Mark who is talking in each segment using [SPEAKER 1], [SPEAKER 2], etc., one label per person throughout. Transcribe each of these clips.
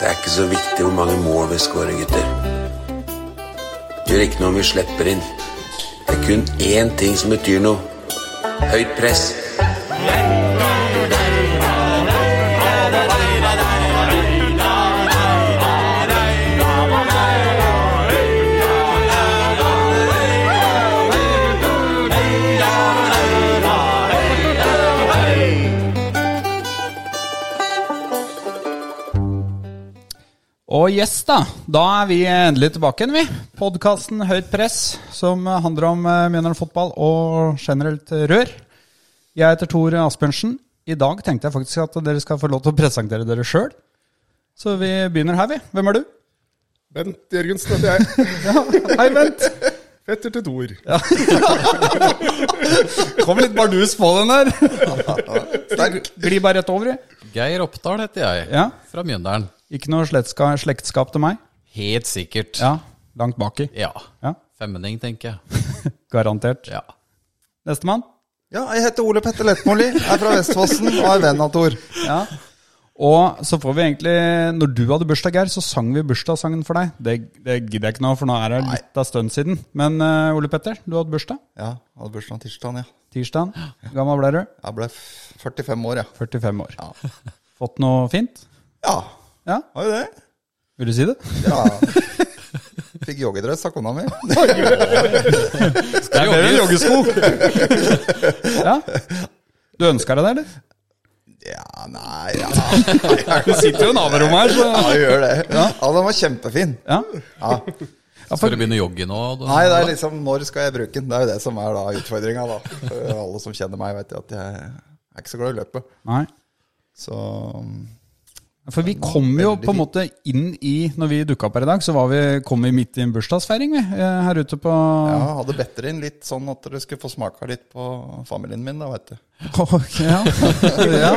[SPEAKER 1] er ikke så viktig hvor mange mål vi skårer, gutter. Det gjør ikke noe om vi slipper inn. Det er kun én ting som betyr noe. Høyt press.
[SPEAKER 2] Og yes, da. Da er vi endelig tilbake igjen, vi. Podkasten Høyt press, som handler om eh, Mjøndalen fotball og generelt rør. Jeg heter Tor Asbjørnsen. I dag tenkte jeg faktisk at dere skal få lov til å presentere dere sjøl. Så vi begynner her, vi. Hvem er du?
[SPEAKER 3] Bent Jørgensen heter jeg.
[SPEAKER 2] Hei, vent.
[SPEAKER 3] Fetter til Thor.
[SPEAKER 2] Kom litt bardus på den der. Gli bare rett over, jeg.
[SPEAKER 4] Geir Oppdal heter jeg,
[SPEAKER 2] Ja.
[SPEAKER 4] fra Mjøndalen.
[SPEAKER 2] Ikke noe slektska- slektskap til meg.
[SPEAKER 4] Helt sikkert.
[SPEAKER 2] Ja, langt baki.
[SPEAKER 4] Ja.
[SPEAKER 2] Ja,
[SPEAKER 4] Femmenning, tenker jeg.
[SPEAKER 2] garantert.
[SPEAKER 4] Ja.
[SPEAKER 2] Nestemann.
[SPEAKER 5] Ja, jeg heter Ole Petter Lettmoli, er fra Vestfossen og er venn av Tor.
[SPEAKER 2] Ja. Og så får vi egentlig Når du hadde bursdag, Geir, så sang vi bursdagssangen for deg. Det, det gidder jeg ikke nå, for nå er det litt av stund siden. Men eh, Ole Petter, du hadde bursdag.
[SPEAKER 5] Ja, hadde bursdag tirsdag, ja.
[SPEAKER 2] Tirsdag. Gammel ble du?
[SPEAKER 5] Jeg ble f- 45 år, ja.
[SPEAKER 2] 45 år.
[SPEAKER 5] Ja.
[SPEAKER 2] Fått noe fint?
[SPEAKER 5] Ja,
[SPEAKER 2] Ja,
[SPEAKER 5] har jo det.
[SPEAKER 2] vil du si det?
[SPEAKER 5] Ja. Fikk joggedress av kona mi.
[SPEAKER 4] Skal det jogges?
[SPEAKER 2] Ja. Du ønska deg det, eller?
[SPEAKER 5] Ja, nei, ja.
[SPEAKER 2] Du sitter jo i naborommet her,
[SPEAKER 5] Ja,
[SPEAKER 2] så
[SPEAKER 5] jeg gjør det. Ja, den var kjempefin.
[SPEAKER 2] Ja.
[SPEAKER 5] Ja.
[SPEAKER 4] Skal du begynne å jogge nå? Da?
[SPEAKER 5] Nei, det er liksom når skal jeg bruke den? Det er jo det som er da utfordringa, da. For Alle som kjenner meg, vet jo at jeg er ikke så glad i å løpe.
[SPEAKER 2] Nei.
[SPEAKER 5] Så
[SPEAKER 2] For vi kom jo på en måte inn i Når vi dukka opp her i dag, så var vi, kom vi midt i en bursdagsfeiring, vi. eh, Her ute på
[SPEAKER 5] ja, hadde better inn litt sånn at dere skulle få smaka litt på familien min, da, veit du.
[SPEAKER 2] Ok, ja. ja.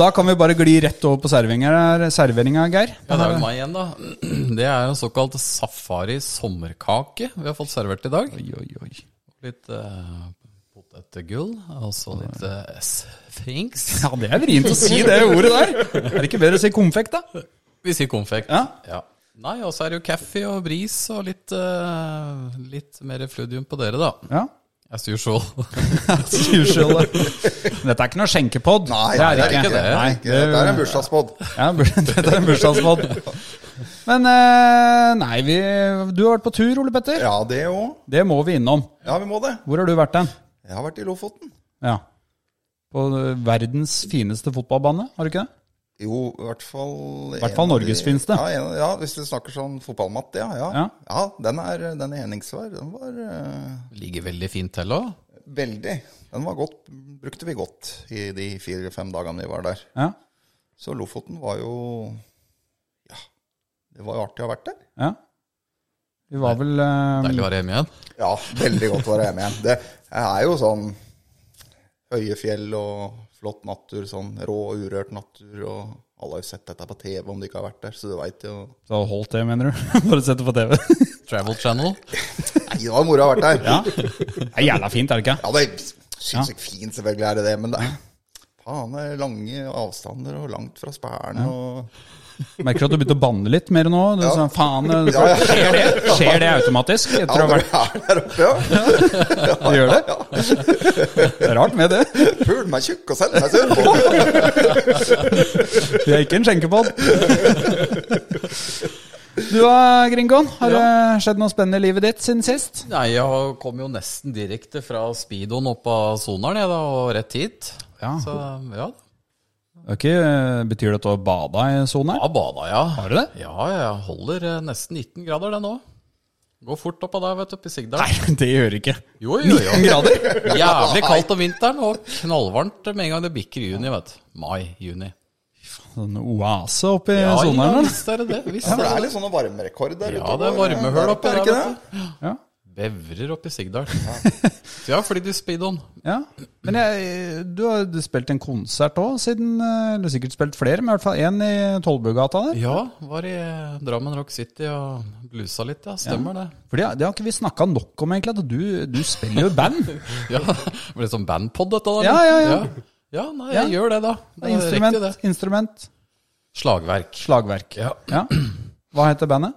[SPEAKER 2] Da kan vi bare gli rett over på serveringa, serveringa Geir.
[SPEAKER 4] Ja, det er vel meg igjen, da. Det er en såkalt safari sommerkake vi har fått servert i dag.
[SPEAKER 2] Oi, oi, oi.
[SPEAKER 4] Litt uh, potetgull, og så litt eh, sfinks.
[SPEAKER 2] Ja, det er vrient å si det ordet der. Er det ikke bedre å si konfekt, da?
[SPEAKER 4] Vi sier konfekt.
[SPEAKER 2] Ja.
[SPEAKER 4] Nei, og så er det jo kaffe og bris og litt, eh, litt mer fludium på dere, da.
[SPEAKER 2] Ja.
[SPEAKER 4] As usual.
[SPEAKER 2] Usual. Dette er ikke noe skjenkepod.
[SPEAKER 5] Nei, det er
[SPEAKER 4] ikke det.
[SPEAKER 2] Nei,
[SPEAKER 5] Det er en bursdagspod.
[SPEAKER 2] Ja, bur- dette er en bursdagspod. Men eh, nei, vi, du har vært på tur, Ole Petter.
[SPEAKER 5] Ja, det òg.
[SPEAKER 2] Det må vi innom.
[SPEAKER 5] Ja, vi må det.
[SPEAKER 2] Hvor har du vært hen?
[SPEAKER 5] Jeg har vært i Lofoten.
[SPEAKER 2] Ja. På eh, verdens fineste fotballbane, har du ikke det?
[SPEAKER 5] Jo, i hvert fall I
[SPEAKER 2] hvert fall Norges fineste.
[SPEAKER 5] Ja, en, av- ja, hvis du snakker sånn fotballmatt, ja. Ja,
[SPEAKER 2] Ja.
[SPEAKER 5] ja. den er, den er Henningsvær. Den var eh,
[SPEAKER 4] Ligger veldig fint til òg.
[SPEAKER 5] veldig Den var godt, brukte vi godt i de fire-fem dagene vi var der.
[SPEAKER 2] Ja.
[SPEAKER 5] Så Lofoten var jo Ja, det var jo artig å ha vært der.
[SPEAKER 2] ja. Vi var vel eh,
[SPEAKER 4] Deilig å være hjemme igjen.
[SPEAKER 5] Ja, veldig godt å være hjemme igjen. Det er jo sånn høye fjell og flott natur, sånn rå og urørt natur. og Alle har jo sett dette på TV om de ikke har vært der, så du veit jo
[SPEAKER 2] Så holdt det, mener du? Bare sette på TV.
[SPEAKER 4] Travel Channel.
[SPEAKER 5] Nei, det var moro å ha vært der!
[SPEAKER 2] Ja. Det er jævla fint, er det ikke?
[SPEAKER 5] Ja, det er sinnssykt fint, selvfølgelig er det det, men det er faen det er lange avstander og langt fra Spæren og
[SPEAKER 2] Merker du at du begynte å banne litt mer nå? Du
[SPEAKER 5] Ja.
[SPEAKER 2] sa, faen, eh,
[SPEAKER 5] Ja, ja.
[SPEAKER 2] Skjer, det, skjer det automatisk
[SPEAKER 5] Ja,
[SPEAKER 2] etter å ha
[SPEAKER 5] når
[SPEAKER 2] vært
[SPEAKER 5] du er der oppe, ja.
[SPEAKER 2] Det gjør det? Det er rart med det.
[SPEAKER 5] Pul meg tjukk og selg meg sunn.
[SPEAKER 2] Vi er ikke en skjenkepod. Du da, Gringoen. Har det skjedd noe spennende i livet ditt siden sist?
[SPEAKER 4] Nei, jeg har- kom jo nesten direkte fra speedoen opp av soneren jeg da, og rett hit.
[SPEAKER 2] Ja.
[SPEAKER 4] Så ja,
[SPEAKER 2] Okay, eh, betyr det at du har bada i sonen?
[SPEAKER 4] da bada jeg.
[SPEAKER 2] Har du det?
[SPEAKER 4] Ja, jeg holder eh, nesten 19 grader det nå. Går fort oppa der, vet du, oppi Sigdal.
[SPEAKER 2] Nei, det gjør du ikke.
[SPEAKER 4] Jo, jo, jo.
[SPEAKER 2] 19 grader?
[SPEAKER 4] Jævlig kaldt om vinteren og knallvarmt med en gang det bikker juni, vet du. Mai-juni.
[SPEAKER 2] Sånn oase oppi
[SPEAKER 4] Ja, ja,
[SPEAKER 2] soneren?
[SPEAKER 4] visst er det det. Visst
[SPEAKER 5] For det
[SPEAKER 4] er
[SPEAKER 5] er
[SPEAKER 4] det.
[SPEAKER 5] litt sånne varmerekord der
[SPEAKER 4] Ja,
[SPEAKER 5] ute.
[SPEAKER 4] det er varmehull oppi
[SPEAKER 5] Er
[SPEAKER 4] der,
[SPEAKER 5] det ikke det?
[SPEAKER 4] vet du.
[SPEAKER 2] Ja.
[SPEAKER 4] Bevrer oppi Sigdal. Så jeg har flydd i speedoen.
[SPEAKER 2] Ja, men jeg, du har du har spilt en konsert òg siden eh, Du har sikkert spilt flere, men i hvert fall én i Tollbugata der.
[SPEAKER 4] Ja, var i Drammen Rock City og blusa litt, ja. Stemmer det.
[SPEAKER 2] For det, det har ikke vi snakka nok om, egentlig. At du, du spiller jo i band.
[SPEAKER 4] Ja, det ble sånn bandpod dette da?
[SPEAKER 2] Ja,
[SPEAKER 4] eller?
[SPEAKER 2] ja, ja.
[SPEAKER 4] Ja, Ja, nei, jeg
[SPEAKER 2] Ja.
[SPEAKER 4] gjør det da. Det er
[SPEAKER 2] Instrument.
[SPEAKER 4] riktig det.
[SPEAKER 2] instrument.
[SPEAKER 4] Slagverk.
[SPEAKER 2] Slagverk.
[SPEAKER 4] Ja.
[SPEAKER 2] Ja. Hva heter bandet?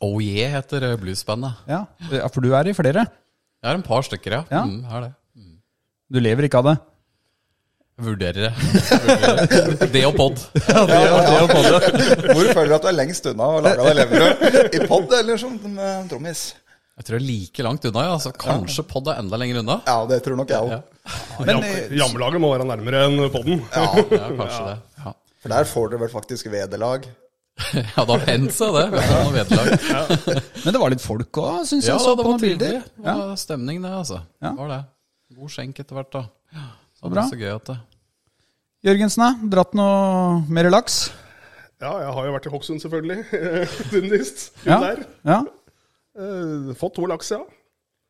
[SPEAKER 4] Oh yeah heter eh, bluesbandet.
[SPEAKER 2] Ja. ja, for du er i flere.
[SPEAKER 4] Jeg har en par stykker, ja.
[SPEAKER 2] Ja.
[SPEAKER 4] Mm, er det.
[SPEAKER 2] Du lever ikke av det.
[SPEAKER 4] Jeg Vurderer det. det og pod.
[SPEAKER 5] Hvor føler du at du er lengst unna å lage deg levebrød? I pod eller som eh, trommis?
[SPEAKER 4] Jeg tror jeg er like langt unna, ja. Så kanskje pod er enda lenger unna.
[SPEAKER 5] Ja, det tror nok jeg òg.
[SPEAKER 4] Ja,
[SPEAKER 2] Men,
[SPEAKER 3] Jam-
[SPEAKER 2] eh,
[SPEAKER 3] Jammelaget må være nærmere enn podden.
[SPEAKER 4] ja kanskje det. Ja.
[SPEAKER 5] For der får dere vel faktisk vederlag.
[SPEAKER 4] ja, det har hendt seg, det. Vi har hatt noe vederlag.
[SPEAKER 2] Men det var litt folk òg, syns jeg.
[SPEAKER 4] Ja,
[SPEAKER 2] så
[SPEAKER 4] da,
[SPEAKER 2] på
[SPEAKER 4] det var
[SPEAKER 2] noen bilder.
[SPEAKER 4] trivelig. Det
[SPEAKER 2] Ja.
[SPEAKER 4] var stemning, det, altså.
[SPEAKER 2] Ja.
[SPEAKER 4] Det Var det. God skjenk etter hvert, da. Ja, Så
[SPEAKER 2] bra.
[SPEAKER 4] bra. Så gøy at det
[SPEAKER 2] Jørgensen, da? Dratt noe mer laks?
[SPEAKER 3] Ja, jeg har jo vært i Hokksund, selvfølgelig. Siden sist.
[SPEAKER 2] Ja.
[SPEAKER 3] Ja. Der.
[SPEAKER 2] ja.
[SPEAKER 3] Eh, Fått to laks, ja.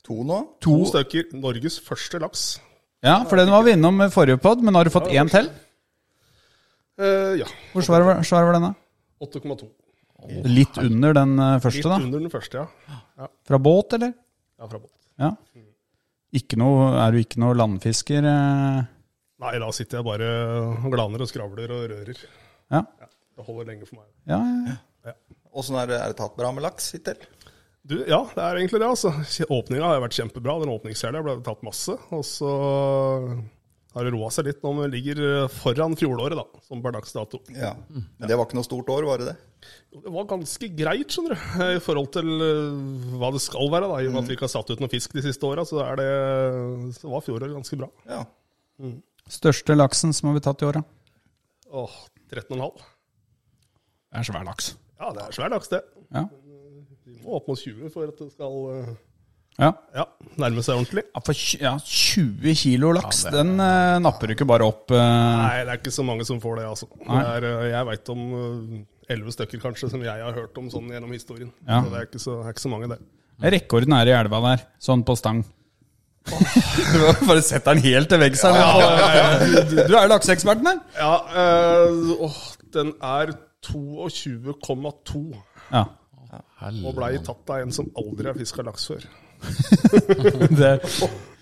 [SPEAKER 5] To nå?
[SPEAKER 3] To stykker. Norges første laks.
[SPEAKER 2] Ja, for den var vi innom med forrige pod, men har du fått én til?
[SPEAKER 3] Eh, ja.
[SPEAKER 2] Hvor svær var, svær var denne?
[SPEAKER 3] 8,2.
[SPEAKER 2] Litt under den eh,
[SPEAKER 3] Litt
[SPEAKER 2] første, da?
[SPEAKER 3] under den første, ja.
[SPEAKER 2] Fra båt, eller?
[SPEAKER 3] ja fra båt.
[SPEAKER 2] Ja. Ikke noe, er du ikke noe landfisker? eh?
[SPEAKER 3] Nei, da sitter jeg bare og glaner og skravler og rører.
[SPEAKER 2] Ja.
[SPEAKER 3] Det holder lenge for meg.
[SPEAKER 2] Ja, ja.
[SPEAKER 5] Åssen er det, er det tatt bra med laks hittil?
[SPEAKER 3] Du, ja, det er egentlig det. altså. Åpninga har jo vært kjempebra. Den åpningsserien ble tatt masse. Og så har det roa seg litt når vi ligger foran fjoråret, da, som per dags dato.
[SPEAKER 5] Ja. Men det var ikke noe stort år, var det det?
[SPEAKER 3] Jo, Det var ganske greit, skjønner du, i forhold til eh, hva det skal være. da, I og med at vi ikke har satt ut noe fisk de siste åra, så, er det- så var fjoråret ganske bra.
[SPEAKER 5] Ja.
[SPEAKER 2] Største laksen som har blitt tatt i åra?
[SPEAKER 3] Åh, 13,5.
[SPEAKER 2] Det er svær laks.
[SPEAKER 3] Ja, det er svær laks, det.
[SPEAKER 2] Ja.
[SPEAKER 3] Vi må opp mot 20 for at det skal eh,
[SPEAKER 2] Ja.
[SPEAKER 3] ja, nærme seg ordentlig.
[SPEAKER 2] Ja, for tj- ja, 20 kilo laks, den eh, napper du ikke bare opp. eh.
[SPEAKER 3] Nei, det er ikke så mange som får det, altså. Det
[SPEAKER 2] Nei.
[SPEAKER 3] er, eh, jeg veit om eh, elleve stykker kanskje som jeg har hørt om sånn gjennom historien.
[SPEAKER 2] Ja.
[SPEAKER 3] Så det er ikke så, er ikke så mange, det.
[SPEAKER 2] Rekorden er i elva der, sånn på stang. bare setter den helt til veggs her. Du du er jo lakseeksperten her.
[SPEAKER 3] Ja, eh, åh, den er 22,2
[SPEAKER 2] Ja,
[SPEAKER 3] og blei tatt av en som aldri har fiska laks før.
[SPEAKER 2] det,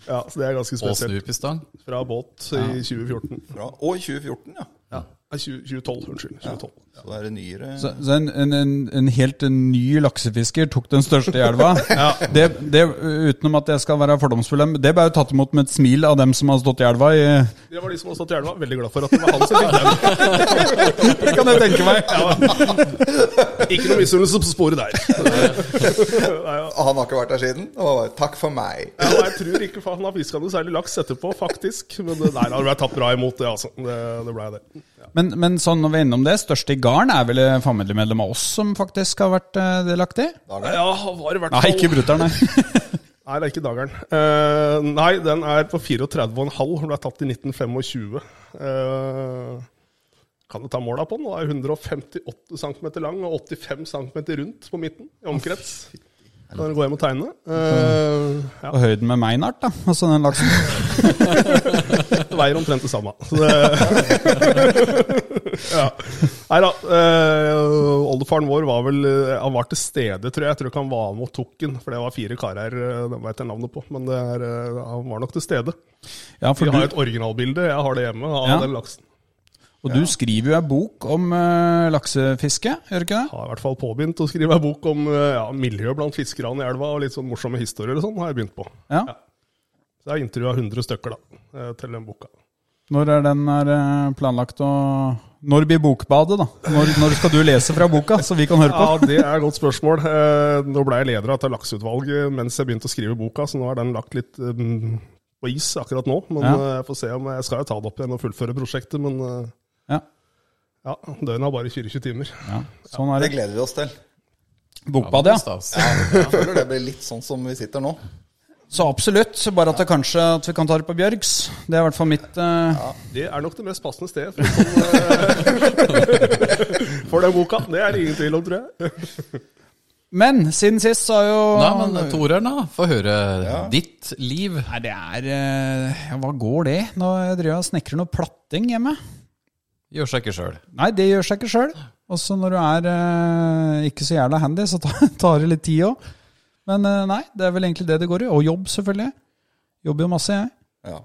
[SPEAKER 3] Ja, så Det er ganske
[SPEAKER 4] Og
[SPEAKER 3] spesielt.
[SPEAKER 4] snup i stang.
[SPEAKER 3] Fra båt i 2014.
[SPEAKER 5] Bra. Og i 2014, ja.
[SPEAKER 3] Ja, Nei, 20, 2012, unnskyld. 2012.
[SPEAKER 5] Så da er det nyere
[SPEAKER 2] så, så en, en, en, en helt ny laksefisker tok den største i elva. Det, det, utenom at jeg skal være fordomsfull, men det ble jo tatt imot med et smil av dem som har stått i elva. I,
[SPEAKER 3] Det var de som har stått i elva. Veldig glad for at det var han som fikk den.
[SPEAKER 2] det kan jeg tenke meg.
[SPEAKER 3] Ikke noe misunnelse på sporet der.
[SPEAKER 5] Han har ikke vært der siden. Det var bare takk for meg.
[SPEAKER 3] Ja, og jeg tror ikke faen han har fiska noe særlig laks etterpå, faktisk. Men det, nei, da ble jeg tatt bra imot det, altså. Det, det ble det.
[SPEAKER 2] Men, men sånn når vi er innom det, største i garn er vel et familiemedlem av oss som faktisk har vært eh, delaktig?
[SPEAKER 5] Da er det.
[SPEAKER 3] Ja, han var i hvert
[SPEAKER 2] Nei,
[SPEAKER 3] fall
[SPEAKER 2] ikke brutter'n, nei.
[SPEAKER 3] Nei, det er ikke dageren. Eh, nei, den er på 34,5. Den ble tatt i 1925. Eh, kan du ta måla på den? Den er 158 cm lang og 85 cm rundt på midten i omkrets. Når den går hjem og tegner. Eh, ja,
[SPEAKER 2] På høyden med meg snart, da. Altså den laksen.
[SPEAKER 3] det veier omtrent det samme. Så det, ja. Nei da. eh, oldefaren vår var vel eh, Han var til stede, tror jeg. Jeg tror ikke han var med og tok den, for det var fire karer. eh, Den veit jeg navnet på, men det er, eh, han var nok til stede.
[SPEAKER 2] Ja, for
[SPEAKER 3] Vi har
[SPEAKER 2] du,
[SPEAKER 3] et originalbilde, jeg har det hjemme, av
[SPEAKER 2] Ja.
[SPEAKER 3] den laksen.
[SPEAKER 2] og du skriver jo ei bok om eh, laksefiske, gjør du ikke det?
[SPEAKER 3] Har i hvert fall påbegynt å skrive en bok om eh, ja, miljø blant fiskerne i elva, og litt sånn morsomme historier og sånn, har jeg begynt på.
[SPEAKER 2] Ja.
[SPEAKER 3] Så jeg har intervjua 100 stykker da, eh, til den boka.
[SPEAKER 2] Når er den er eh, planlagt å Når blir bokbadet, da? Når, når skal du lese fra boka, så vi kan høre
[SPEAKER 3] Ja,
[SPEAKER 2] på?
[SPEAKER 3] det er et godt spørsmål. Eh, Nå ble jeg leder av dette lakseutvalget mens jeg begynte å skrive boka, så nå er den lagt litt eh, på is akkurat nå. Men
[SPEAKER 2] Ja.
[SPEAKER 3] eh, jeg får se om jeg skal jo ta det opp igjen og fullføre prosjektet, men eh,
[SPEAKER 2] Ja.
[SPEAKER 3] ja, døgnet har bare 24 timer.
[SPEAKER 2] ja. Sånn er
[SPEAKER 5] Det
[SPEAKER 2] det.
[SPEAKER 5] gleder vi oss til.
[SPEAKER 2] Bokbad, ja.
[SPEAKER 4] Stas.
[SPEAKER 5] Jeg føler det blir litt sånn som vi sitter nå.
[SPEAKER 2] Så absolutt. så Bare at det kanskje at vi kan ta det på Bjørgs. Det er i hvert fall mitt eh,
[SPEAKER 3] Det er nok det mest passende stedet for, sånn, eh, for den boka. Det er det ingen tvil om, tror jeg.
[SPEAKER 2] Men siden sist så har jo
[SPEAKER 4] Nei, men Toreren, da. Få høre ditt liv.
[SPEAKER 2] Nei, det er eh, ja, Hva går det? Nå driver jeg og snekrer noe platting hjemme.
[SPEAKER 4] Gjør seg ikke sjøl.
[SPEAKER 2] Nei, det gjør seg ikke sjøl. Og så når du er eh, ikke så jævla handy, så tar, tar det litt tid òg. Men eh, nei, det er vel egentlig det det går i. Og jobb, selvfølgelig. Jobber jo masse, jeg.
[SPEAKER 5] Ja.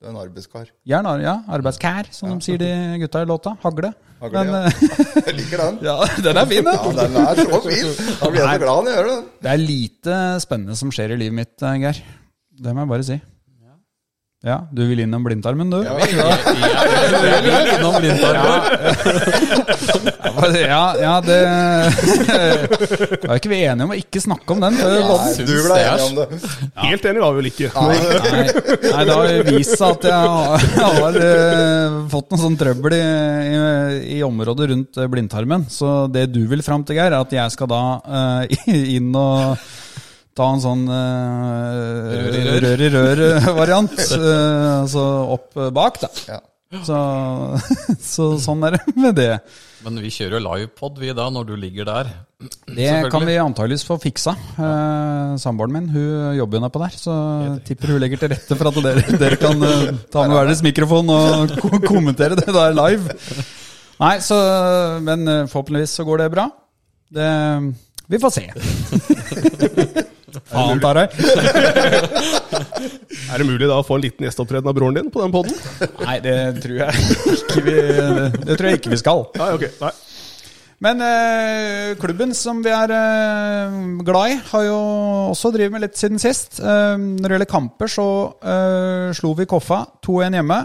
[SPEAKER 5] Du er en arbeidskar.
[SPEAKER 2] Jern, har- ja. Arbeidskær, som de sier de gutta i låta. Hagle.
[SPEAKER 5] Hagle,
[SPEAKER 2] Men,
[SPEAKER 5] ja.
[SPEAKER 2] eh,
[SPEAKER 5] Jeg liker den.
[SPEAKER 2] ja, den er fin,
[SPEAKER 5] Ja,
[SPEAKER 2] den.
[SPEAKER 5] den er så fin! Da blir jeg så glad når jeg gjør den.
[SPEAKER 2] Det er lite spennende som skjer i livet mitt, eh, Geir. Det må jeg bare si. Ja, du vil innom blindtarmen, du?
[SPEAKER 5] Ja,
[SPEAKER 4] Jeg vil innom blindtarmen.
[SPEAKER 2] Ja, ja det Da er ikke vi enige om å ikke snakke om den. eh,
[SPEAKER 5] Nei,
[SPEAKER 2] podden.
[SPEAKER 5] du ble
[SPEAKER 4] det
[SPEAKER 5] enig
[SPEAKER 4] er
[SPEAKER 5] om det.
[SPEAKER 3] Helt enig var vi vel ikke.
[SPEAKER 5] Nei,
[SPEAKER 2] Nei, nei, det har vist seg at jeg har, jeg har eh, fått noe sånn trøbbel i, i, i området rundt eh, blindtarmen. Så det du vil fram til, Geir, er at jeg skal da eh, i- inn og ta en sånn eh,
[SPEAKER 4] Rør i rør.
[SPEAKER 2] rør i rør-variant. så opp eh, bak, da.
[SPEAKER 5] Ja.
[SPEAKER 2] Så, så sånn er det med det.
[SPEAKER 4] Men vi kjører jo livepod, vi da, når du ligger der.
[SPEAKER 2] Det kan
[SPEAKER 4] Selvfølgelig.
[SPEAKER 2] vi antageligvis få fiksa. Eh, Samboeren min hun jobber jo nedpå der, så tipper hun legger til rette for at dere, dere kan eh, ta med hver deres mikrofon og ko- kommentere det der live. Nei, så, Men eh, forhåpentligvis så går det bra. Det, vi får se. Faen, Tarøy.
[SPEAKER 3] Er det mulig da å få en liten gjesteopptreden av broren din på den poden?
[SPEAKER 2] Nei, det tror jeg ikke vi, det tror jeg ikke vi skal.
[SPEAKER 3] Nei, ok. Nei.
[SPEAKER 2] Men eh, klubben som vi er eh, glad i, har jo også drevet med litt siden sist. Eh, når det gjelder kamper, så eh, slo vi Koffa 2-1 hjemme.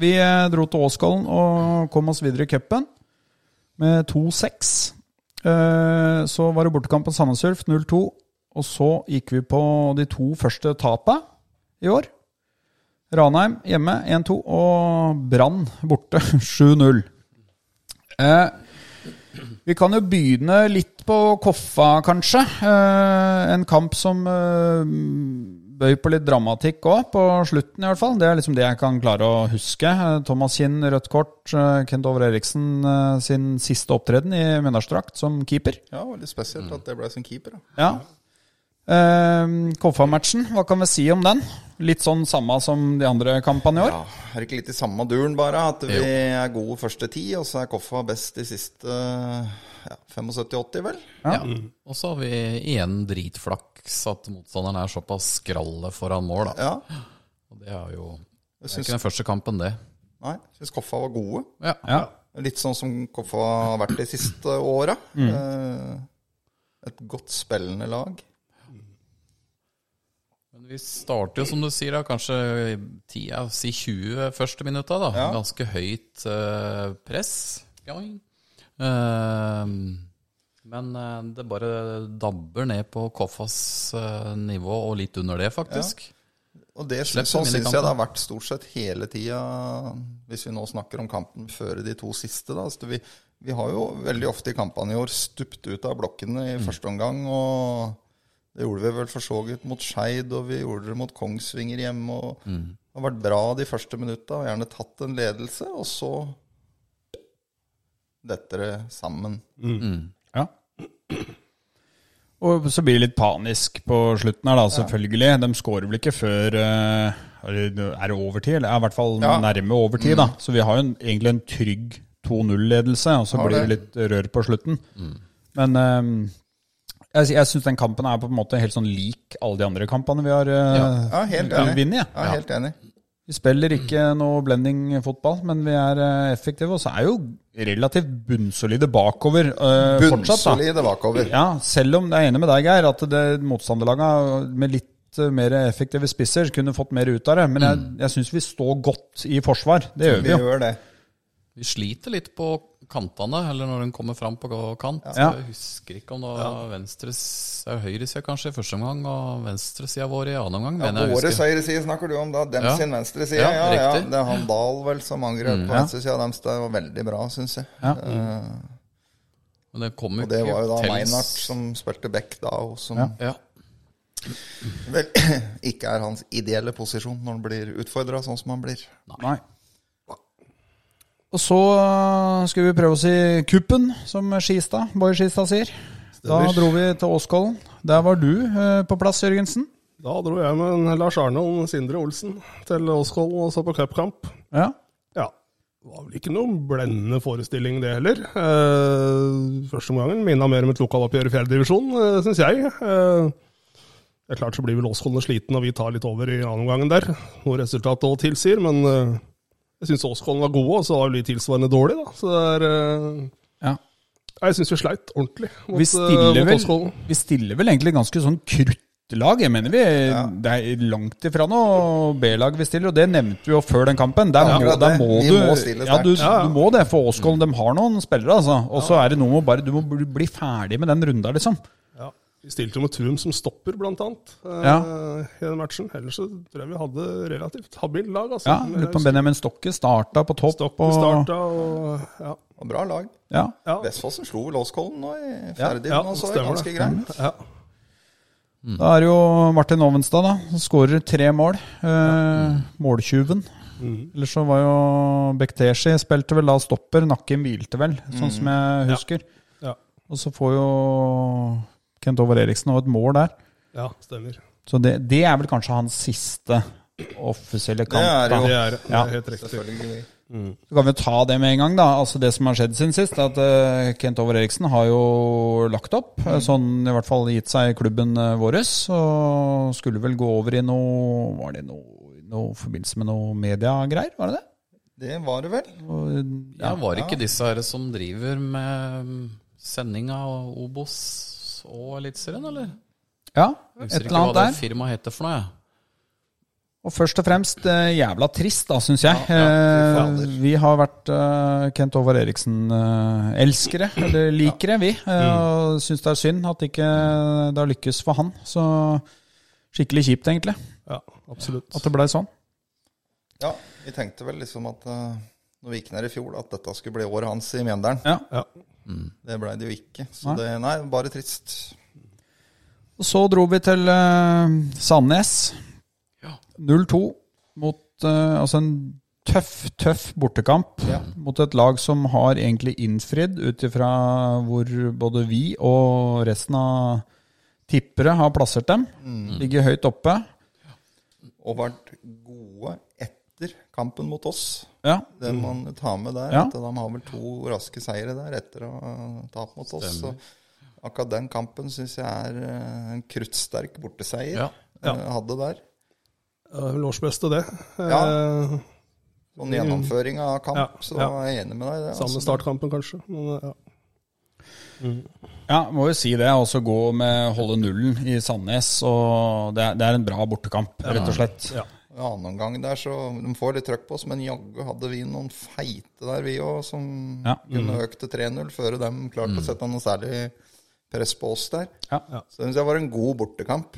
[SPEAKER 2] Vi eh, dro til Åskollen og kom oss videre i cupen med 2-6. Eh, så var det bortekamp på Sandnesurf 0-2. Og så gikk vi på de to første tapa i år. Ranheim hjemme 1-2 og Brann borte 7-0. Eh, vi kan jo begynne litt på Koffa, kanskje. Eh, en kamp som eh, bøy på litt dramatikk òg, på slutten i hvert fall. Det er liksom det jeg kan klare å huske. Eh, Thomas Kinn, rødt kort. Eh, Kent Over Eriksen eh, sin siste opptreden i Mjøndalsdrakt som keeper.
[SPEAKER 5] ja, veldig spesielt at det ble som keeper. Da.
[SPEAKER 2] Ja. Eh, Koffa-matchen, hva kan vi si om den? Litt sånn samme som de andre kampene i år?
[SPEAKER 5] Ja, er det ikke litt i samme duren bare? At vi er gode første ti, og så er Koffa best de siste ja, 75-80, vel?
[SPEAKER 4] Ja. Og så har vi igjen dritflaks at motstanderen er såpass skralle foran mål, da.
[SPEAKER 5] Ja.
[SPEAKER 4] Og det er jo Det er
[SPEAKER 5] syns-
[SPEAKER 4] ikke den første kampen, det.
[SPEAKER 5] Nei, jeg syns Koffa var gode.
[SPEAKER 4] Ja.
[SPEAKER 2] Ja.
[SPEAKER 5] Litt sånn som Koffa har vært de siste åra. Eh, Et godt spillende lag.
[SPEAKER 4] Men vi starter jo, som du sier, da, kanskje 10, ja, si 20 første minutta. da.
[SPEAKER 5] Ja.
[SPEAKER 4] Ganske høyt eh, press. Joing. Ehm, men eh, det bare dabber ned på Koffas eh, nivå, og litt under det, faktisk.
[SPEAKER 5] Og det
[SPEAKER 4] Slipper
[SPEAKER 5] sånn
[SPEAKER 4] dem inn i
[SPEAKER 5] syns jeg det har
[SPEAKER 4] kampen.
[SPEAKER 5] vært stort sett hele tida, hvis vi nå snakker om kampen før de to siste. da. Så vi, vi har jo veldig ofte i kampene i år stupt ut av blokkene
[SPEAKER 4] Mm.
[SPEAKER 5] i første omgang. og Det gjorde vi vel for så vidt mot Skeid, og vi gjorde det mot Kongsvinger hjemme. og
[SPEAKER 4] Mm.
[SPEAKER 5] Det har vært bra de første minutta, og gjerne tatt en ledelse, og så detter det sammen.
[SPEAKER 2] Ja. Og så blir det litt panisk på slutten her, da, selvfølgelig. De skårer vel ikke før eh, Er det er det overtid? Eller er i hvert fall
[SPEAKER 5] Ja. Mm.
[SPEAKER 2] nærme overtid, da. Så vi har jo en, egentlig en trygg 2-0-ledelse, og så
[SPEAKER 5] Har
[SPEAKER 2] blir det
[SPEAKER 5] det. Mm.
[SPEAKER 2] litt rør på slutten. Men eh, jeg, jeg syns den kampen er på en måte helt sånn lik alle de andre kampene vi har eh,
[SPEAKER 5] Ja, helt
[SPEAKER 2] vi
[SPEAKER 5] enig.
[SPEAKER 2] vinner. Ja.
[SPEAKER 5] Ja, helt enig.
[SPEAKER 2] Vi spiller ikke noe blending fotball, men vi er eh, effektive. Og så er jo relativt bunnsolide bakover eh, fortsatt, da.
[SPEAKER 5] Bunnsolide bakover.
[SPEAKER 2] Ja, selv om jeg er enig med deg, Geir, at det motstanderlaga med litt eh, mer effektive spisser kunne fått mer ut av det. Men jeg, jeg syns vi står godt i forsvar. Det gjør Mm.
[SPEAKER 5] Vi
[SPEAKER 2] vi jo.
[SPEAKER 5] gjør det.
[SPEAKER 4] Vi sliter litt på kantene, eller når den kommer fram på kant.
[SPEAKER 2] Ja.
[SPEAKER 4] Jeg husker ikke om det var venstres, eller høyresida kanskje i første omgang, og venstresida vår i annen omgang.
[SPEAKER 5] Ja,
[SPEAKER 4] mener jeg å
[SPEAKER 5] Årets
[SPEAKER 4] huske.
[SPEAKER 5] høyreside snakker du om, da. Dem
[SPEAKER 4] Ja.
[SPEAKER 5] sin venstreside. Ja, ja,
[SPEAKER 4] Ja,
[SPEAKER 5] ja.
[SPEAKER 4] riktig.
[SPEAKER 5] Det er han Dahl vel som angrep på
[SPEAKER 2] ja.
[SPEAKER 5] venstresida deres. Det var veldig bra, syns jeg.
[SPEAKER 2] Ja.
[SPEAKER 5] Eh,
[SPEAKER 4] Men det kom jo
[SPEAKER 5] og det
[SPEAKER 4] ikke
[SPEAKER 5] var jo da
[SPEAKER 4] til-
[SPEAKER 5] Meinhardt som spilte back da, og som
[SPEAKER 2] Ja.
[SPEAKER 4] Ja.
[SPEAKER 5] vel ikke er hans ideelle posisjon når han blir utfordra sånn som han blir.
[SPEAKER 2] Nei. Og så eh, skulle vi prøve oss i kuppen, som Skistad, Boy Skistad sier. Da
[SPEAKER 3] Stemmer.
[SPEAKER 2] dro vi til Åskollen. Der var du eh, på plass, Jørgensen.
[SPEAKER 3] Da dro jeg med en Lars Arne og en Sindre Olsen til Åskollen og så på cupkamp.
[SPEAKER 2] Ja.
[SPEAKER 3] Ja. Det var vel ikke noen blendende forestilling, det heller. Eh, første omgangen minna mer om et lokaloppgjør i fjerdedivisjon, eh, syns jeg. Eh, Det er klart så blir vel Åskollen sliten, og vi tar litt over i annen omgangen der. Noe resultatet òg tilsier, men eh, jeg syns Åskollen var gode, og så var jo de tilsvarende dårlige, da. Så det er eh,
[SPEAKER 2] Ja.
[SPEAKER 3] Jeg syns vi sleit ordentlig mot,
[SPEAKER 2] Vi
[SPEAKER 3] eh,
[SPEAKER 2] stiller,
[SPEAKER 3] mot
[SPEAKER 2] vel,
[SPEAKER 3] Åskollen.
[SPEAKER 2] vi stiller vel egentlig ganske sånn kruttlag, jeg mener vi. Det er langt ifra noe B-lag vi stiller, og det nevnte vi jo før den kampen. Der må,
[SPEAKER 5] akkurat
[SPEAKER 2] der
[SPEAKER 5] det.
[SPEAKER 2] må
[SPEAKER 5] Vi
[SPEAKER 2] du
[SPEAKER 5] må stille
[SPEAKER 2] ja, du,
[SPEAKER 5] sterkt. Ja,
[SPEAKER 2] du må det, for Åskollen de har noen spillere, altså. Og så er det noe med å bare Du må bli bli ferdig med den runda, liksom.
[SPEAKER 3] Ja. Vi stilte jo med Trum som stopper, blant annet, eh,
[SPEAKER 2] Ja.
[SPEAKER 3] i den matchen. Ellers så tror jeg vi hadde relativt habilt lag, altså.
[SPEAKER 2] Ja, Lurer på om Benjamin Stokke starta på topp.
[SPEAKER 3] Stopp
[SPEAKER 2] og-
[SPEAKER 3] starta og ja.
[SPEAKER 5] Og bra lag.
[SPEAKER 2] Ja.
[SPEAKER 3] Ja.
[SPEAKER 5] Vestfossen slo vel Åskollen nå i fjerdedivisen,
[SPEAKER 3] ja,
[SPEAKER 5] og så
[SPEAKER 3] stemmer
[SPEAKER 5] ganske
[SPEAKER 3] det. Mm.
[SPEAKER 5] greit.
[SPEAKER 3] ja.
[SPEAKER 2] Da er det jo Martin Ovenstad, da. som Skårer tre mål. Eh, måltyven. Eller så var jo Bekteshi spilte vel da stopper. Nakken hvilte vel, sånn som jeg husker.
[SPEAKER 3] Ja.
[SPEAKER 2] Og så får jo Kent Over Eriksen også et mål der.
[SPEAKER 3] ja, stemmer.
[SPEAKER 2] Så det, det er vel kanskje hans siste offisielle kamp.
[SPEAKER 5] er
[SPEAKER 2] da.
[SPEAKER 5] jo-
[SPEAKER 3] Det er, det
[SPEAKER 2] Ja.
[SPEAKER 3] er helt riktig.
[SPEAKER 5] Selvfølgelig.
[SPEAKER 2] Så kan vi jo ta det med en gang, da. Altså Det som har skjedd siden sist, er at eh, Kent Over Eriksen har jo lagt opp.
[SPEAKER 4] Mm.
[SPEAKER 2] eh, Sånn i hvert fall gitt seg i klubben eh, våres. Og skulle vel gå over i noe Var det noe, noe i forbindelse med noe mediegreier? Var det det?
[SPEAKER 5] Det var det vel.
[SPEAKER 2] Og, eh,
[SPEAKER 4] Ja, var det ikke disse her som driver med mm, sending av Obos og Eliteserien, eller?
[SPEAKER 2] ja,
[SPEAKER 4] Jeg
[SPEAKER 2] et
[SPEAKER 4] husker
[SPEAKER 2] eller
[SPEAKER 4] ikke hva
[SPEAKER 2] annet
[SPEAKER 4] det
[SPEAKER 2] der.
[SPEAKER 4] firmaet heter for noe. jeg.
[SPEAKER 2] Og først og fremst eh, jævla trist, da, syns jeg.
[SPEAKER 5] ja, fy
[SPEAKER 2] Eh,
[SPEAKER 5] fader.
[SPEAKER 2] vi har vært eh, Kent Håvard Eriksen-elskere, eller likere, vi. eh,
[SPEAKER 5] Mm.
[SPEAKER 2] Og syns det er synd at ikke det har lykkes for han. Så skikkelig kjipt, egentlig,
[SPEAKER 3] Ja, absolutt.
[SPEAKER 2] at det blei sånn.
[SPEAKER 5] Ja, vi tenkte vel liksom at eh, når vi gikk ned i fjor, at dette skulle bli året hans i Mjøndalen.
[SPEAKER 2] Ja.
[SPEAKER 3] Ja.
[SPEAKER 5] Det blei det jo ikke. Så det, nei, bare trist.
[SPEAKER 2] Og så dro vi til eh, Sandnes. 0-2 mot eh, Altså en tøff, tøff bortekamp mot et lag som har egentlig innfridd ut ifra hvor både vi og resten av tippere har plassert dem. Ligger høyt oppe.
[SPEAKER 5] Og vært gode etter kampen mot oss.
[SPEAKER 2] Ja.
[SPEAKER 5] Det man tar med der,
[SPEAKER 2] Ja.
[SPEAKER 5] at de har vel to raske seire der etter å eh, tape mot oss. Så akkurat den kampen syns jeg er eh, en kruttsterk borteseier.
[SPEAKER 4] Ja.
[SPEAKER 3] Ja.
[SPEAKER 5] eh, Hadde der.
[SPEAKER 3] Det er vel årsbeste, det.
[SPEAKER 5] Ja.
[SPEAKER 3] Eh,
[SPEAKER 5] Sånn gjennomføring av kamp,
[SPEAKER 3] Ja,
[SPEAKER 5] så
[SPEAKER 3] ja.
[SPEAKER 5] er jeg enig med deg i det. Altså,
[SPEAKER 3] Samme startkampen, kanskje. Men, eh, ja.
[SPEAKER 2] ja, må jo si det. Og så gå med holde nullen i Sandnes. Og det er, det er en bra bortekamp, rett og slett.
[SPEAKER 3] Ja.
[SPEAKER 5] En annen omgang der, så de får litt trøkk på oss, men jaggu hadde vi noen feite der, vi òg, som
[SPEAKER 2] Ja.
[SPEAKER 5] kunne økt til 3-0 før de klarte å sette noe særlig press på oss der.
[SPEAKER 2] Ja.
[SPEAKER 5] Så det syns jeg var en god bortekamp.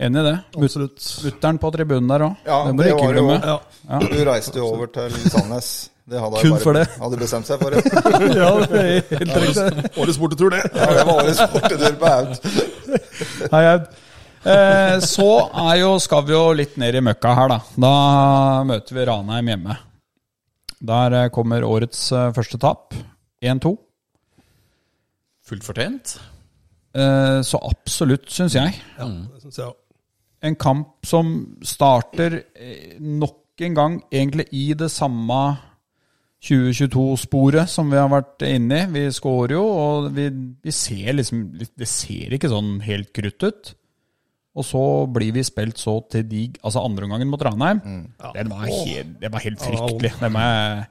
[SPEAKER 2] Enig i det.
[SPEAKER 3] Absolutt.
[SPEAKER 2] Mutter'n på tribunen der òg.
[SPEAKER 5] Ja,
[SPEAKER 2] det må du
[SPEAKER 5] det
[SPEAKER 2] ikke
[SPEAKER 5] var det
[SPEAKER 2] glemme.
[SPEAKER 5] jo.
[SPEAKER 3] Ja.
[SPEAKER 5] Du reiste jo over til Sandnes. Det hadde jeg
[SPEAKER 2] Kun
[SPEAKER 5] bare,
[SPEAKER 2] for det.
[SPEAKER 5] Hadde bestemt seg for det.
[SPEAKER 2] Ja, det er helt riktig.
[SPEAKER 3] Årets bortetur, det.
[SPEAKER 5] Ja, det var årets bortetur på Aud.
[SPEAKER 2] Hei, Aud. Eh, så er jo, skal vi jo litt ned i møkka her, da. Da møter vi Ranheim hjemme. Der eh, kommer årets eh, første tap. 1-2.
[SPEAKER 4] Fullt fortjent.
[SPEAKER 2] Eh, så absolutt, syns jeg.
[SPEAKER 3] Det synes jeg også.
[SPEAKER 2] En kamp som starter eh, nok en gang egentlig i det samme 2022-sporet som vi har vært inne i. Vi scorer jo, og vi, vi ser liksom Det ser ikke sånn helt krutt ut. Og så blir vi spilt så til de Altså andreomgangen mot Ranheim, den, var helt, den var helt fryktelig. Den var,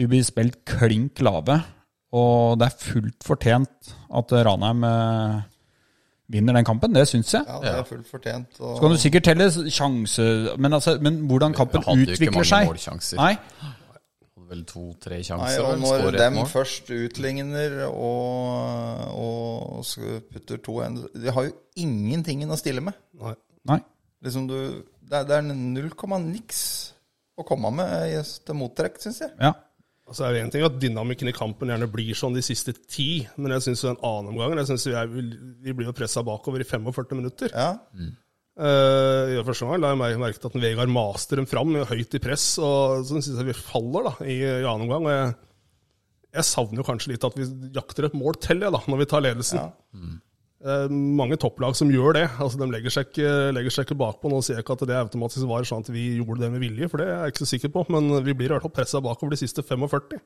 [SPEAKER 2] vi blir spilt klink lave, og det er fullt fortjent at Ranheim eh, vinner den kampen. Det syns jeg.
[SPEAKER 5] Ja, det er fullt fortjent.
[SPEAKER 2] Så kan
[SPEAKER 5] Og
[SPEAKER 2] du sikkert telle sjanse Men, altså, men hvordan kampen
[SPEAKER 4] hadde jo ikke
[SPEAKER 2] utvikler
[SPEAKER 4] mange
[SPEAKER 2] seg
[SPEAKER 4] målsjanser.
[SPEAKER 2] Nei,
[SPEAKER 4] Hadde vel to-tre
[SPEAKER 5] Nei,
[SPEAKER 4] sjanser.
[SPEAKER 5] og
[SPEAKER 4] vel,
[SPEAKER 5] når
[SPEAKER 4] skårer et
[SPEAKER 5] dem
[SPEAKER 4] mål.
[SPEAKER 5] først utligner og, og sk- putter to en De har jo ingenting å stille med.
[SPEAKER 3] Nei.
[SPEAKER 2] nei.
[SPEAKER 5] Liksom du, det, er, det er null komma niks å komme med i- til mottrekk, syns jeg.
[SPEAKER 2] Ja.
[SPEAKER 3] Altså, det er jo en ting at Dynamikken i kampen gjerne blir sånn de siste ti, men jeg syns den annen omgangen jeg synes vi, er, vi blir jo pressa bakover i 45 minutter.
[SPEAKER 5] Ja,
[SPEAKER 3] Eh, I første omgang la jeg mer- merke til at en Vegard master dem fram høyt i press, og så syns jeg vi faller da, i, i annen omgang. og jeg, jeg savner jo kanskje litt at vi jakter et mål til jeg, da, når vi tar ledelsen.
[SPEAKER 5] Ja.
[SPEAKER 3] Det er mange topplag som gjør det. altså De legger seg ikke, legger seg ikke bakpå. Nå sier jeg ikke at det automatisk var sånn at vi gjorde det med vilje, for det er jeg ikke så sikker på. Men vi blir i hvert fall pressa bakover de siste 45.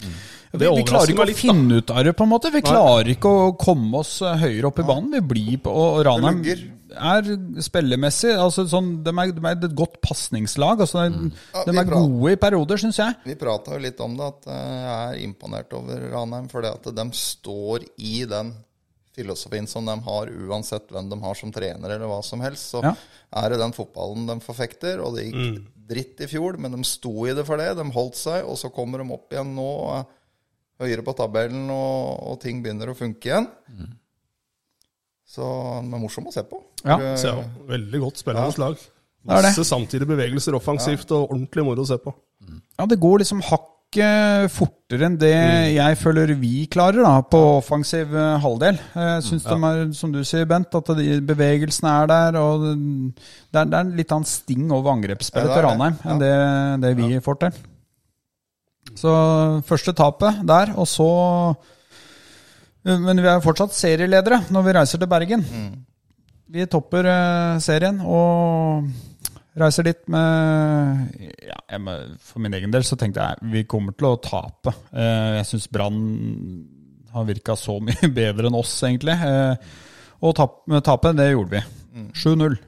[SPEAKER 2] Vi, vi klarer ikke å finne ut av det, på en måte. Vi klarer ikke å komme oss eh, høyere opp i banen. Vi blir på og Ranheim
[SPEAKER 5] lugger.
[SPEAKER 2] er spillemessig altså sånn, de, er, de er et godt pasningslag. Altså, de,
[SPEAKER 5] Ja,
[SPEAKER 2] de
[SPEAKER 5] vi
[SPEAKER 2] er
[SPEAKER 5] bra.
[SPEAKER 2] gode i perioder, syns jeg.
[SPEAKER 5] Vi prata jo litt om det, at eh, jeg er imponert over Ranheim. Fordi at de står i den filosofien som de har, uansett hvem de har som trener eller hva som helst. Så
[SPEAKER 2] Ja. Mm.
[SPEAKER 5] er det den fotballen de forfekter. Og det gikk dritt i fjor, men de sto i det for det. De holdt seg, og så kommer de opp igjen nå. eh, Høyere på tabellen, og, og ting begynner å funke igjen. Så de er morsomme å se på.
[SPEAKER 2] Mm. Ja,
[SPEAKER 5] For, eh,
[SPEAKER 3] Så ja, veldig godt spillende slag.
[SPEAKER 2] er det.
[SPEAKER 3] Masse samtidige bevegelser offensivt og ordentlig moro å se på.
[SPEAKER 2] Ja, det går liksom hakket fortere enn det
[SPEAKER 5] Mm.
[SPEAKER 2] jeg føler vi klarer da, på offensiv eh, halvdel. Jeg syns de er, som du sier, Bent, at de bevegelsene er der. Og det er, det er en litt annen sting over angrepsspillet
[SPEAKER 5] Ja, det er
[SPEAKER 2] til
[SPEAKER 5] det.
[SPEAKER 2] Ranheim enn det, det vi får til. Så første tapet der, og så eh, Men vi er fortsatt serieledere når vi reiser til Bergen.
[SPEAKER 5] Mm.
[SPEAKER 2] Vi topper eh, serien og reiser dit med ja, jeg, må- For min egen del så tenkte jeg vi kommer til å tape. Eh, jeg syns Brann har virka så mye bedre enn oss, egentlig. Eh, og tap, tape, det gjorde vi.
[SPEAKER 3] Mm.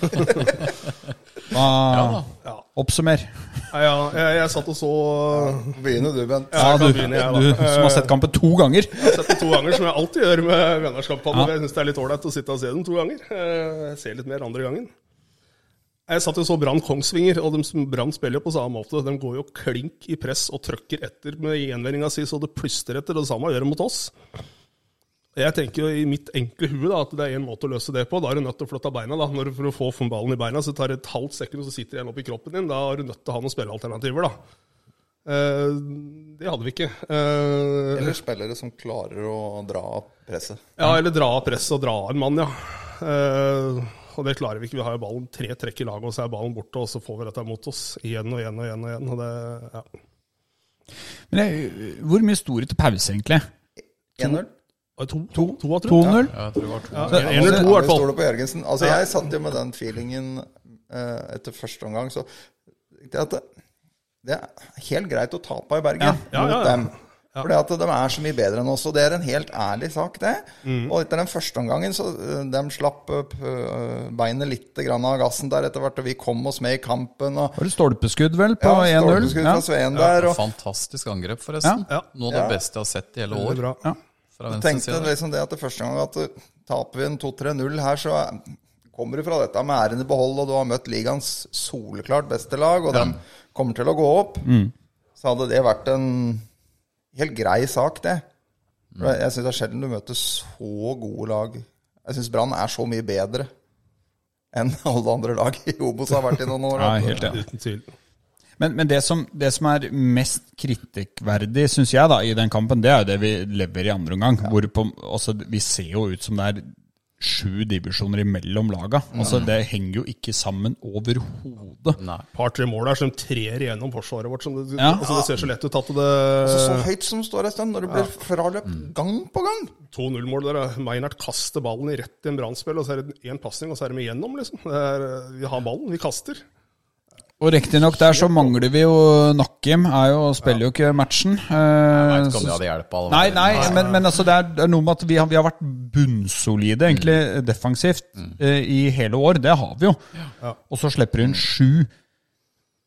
[SPEAKER 2] 7-0. Hva Oppsummer.
[SPEAKER 3] Nei, ja, jeg, jeg satt og så
[SPEAKER 5] Begynner du, Bent?
[SPEAKER 3] Ja,
[SPEAKER 2] du,
[SPEAKER 3] jeg kan
[SPEAKER 2] du
[SPEAKER 3] begynne, jeg, da.
[SPEAKER 2] som har sett kampen to ganger.
[SPEAKER 3] Jeg har sett det to ganger, som jeg alltid gjør med vennerskapene. Jeg syns det er litt ålreit å sitte og se dem to ganger. Eh, Jeg ser litt mer andre gangen. Jeg satt jo og så Brann Kongsvinger, og de som Brann spiller jo på samme måte. De går jo klink i press og trøkker etter med gjenvendinga si, så det plystrer etter. og Det samme gjør de mot oss. Jeg tenker jo i mitt enkle hue da, at det er én måte å løse det på. Da er du nødt til å flytte beina. da. Når du, for å få få ballen i beina, så tar det et halvt sekund, og så sitter den oppi kroppen din. Da er du nødt til å ha noen spillealternativer, da. Eh, det hadde vi ikke. Eh,
[SPEAKER 5] Eller spillere som klarer å dra opp presset.
[SPEAKER 3] ja, eller dra av presset og dra av en mann, ja. Eh, og det klarer vi ikke. Vi har jo ballen tre trekk i laget, og så er ballen borte, og så får vi dette mot oss igjen og igjen og igjen. Og igjen, og det, ja.
[SPEAKER 2] Men jeg, hvor mye sto det til pause, egentlig?
[SPEAKER 5] 1-0.
[SPEAKER 3] Og To, to, to, to,
[SPEAKER 2] 2-0?
[SPEAKER 4] Jeg tror det var to.
[SPEAKER 3] Ja, en eller to, i hvert fall.
[SPEAKER 5] Stoler på Jørgensen. Altså, jeg satt jo med den feelingen eh, etter første omgang, så det, at det, det er helt greit å tape i Bergen
[SPEAKER 3] ja, ja.
[SPEAKER 5] mot dem. Fordi at de er så mye bedre enn oss, og det er en helt ærlig sak, det.
[SPEAKER 3] Mm.
[SPEAKER 5] Og etter den første omgangen, så eh, de slapp opp eh, beinet litt grann av gassen der etter hvert, og vi kom oss med i kampen. Og,
[SPEAKER 2] Var det stolpeskudd, vel, på
[SPEAKER 5] ja,
[SPEAKER 2] 1-0?
[SPEAKER 5] stolpeskudd
[SPEAKER 2] Ja.
[SPEAKER 5] fra Sveen der, og
[SPEAKER 4] Fantastisk angrep, forresten.
[SPEAKER 3] Ja, ja.
[SPEAKER 4] Noe av det
[SPEAKER 5] Ja.
[SPEAKER 4] beste jeg har sett i hele
[SPEAKER 3] Veldig
[SPEAKER 4] år.
[SPEAKER 3] bra.
[SPEAKER 4] Fra
[SPEAKER 5] Jeg
[SPEAKER 4] venstre
[SPEAKER 5] tenkte
[SPEAKER 4] side.
[SPEAKER 5] liksom det at det første gang at uh, taper vi en 2-3-0 her, så eh, kommer du fra dette med æren i behold, og du har møtt ligaens soleklart beste lag, og den kommer til å gå opp, så hadde det vært en helt grei sak, det. For Jeg syns det er sjelden du møter så gode lag. Jeg syns Brann er så mye bedre enn alle andre lag i Obos har vært i noen år.
[SPEAKER 2] Ja, helt enig.
[SPEAKER 3] Uten tvil.
[SPEAKER 2] Men, men det, som, det som er mest kritikkverdig, syns jeg, da, i den kampen, det er jo det vi lever i andre omgang. Hvor på, altså, vi ser jo ut som det er sju divisjoner imellom laga. Altså, det henger jo ikke sammen overhodet.
[SPEAKER 4] Nei.
[SPEAKER 3] Par-tre mål der som trer igjennom forsvaret vårt. Som det,
[SPEAKER 2] Ja.
[SPEAKER 3] altså, det ser så lett ut at
[SPEAKER 5] Så, sånn. så
[SPEAKER 3] det
[SPEAKER 5] høyt som det står en stund, når det blir fraløpt gang på gang.
[SPEAKER 3] 2-0-mål der er Meinert kaster ballen i rett i en brannspill, og så er det én pasning, og så er de igjennom, liksom. Det er, vi har ballen, vi kaster.
[SPEAKER 2] Og riktignok der så mangler vi jo Nakkim, er jo, spiller jo ikke matchen.
[SPEAKER 4] Jeg
[SPEAKER 2] Eh,
[SPEAKER 4] vet ikke om det hadde hjulpet. alle.
[SPEAKER 2] Nei, nei, men, men altså det, er, det er noe med at vi har, vi har vært bunnsolide egentlig defensivt eh, i hele år. Det har vi jo. Og så slipper hun sju.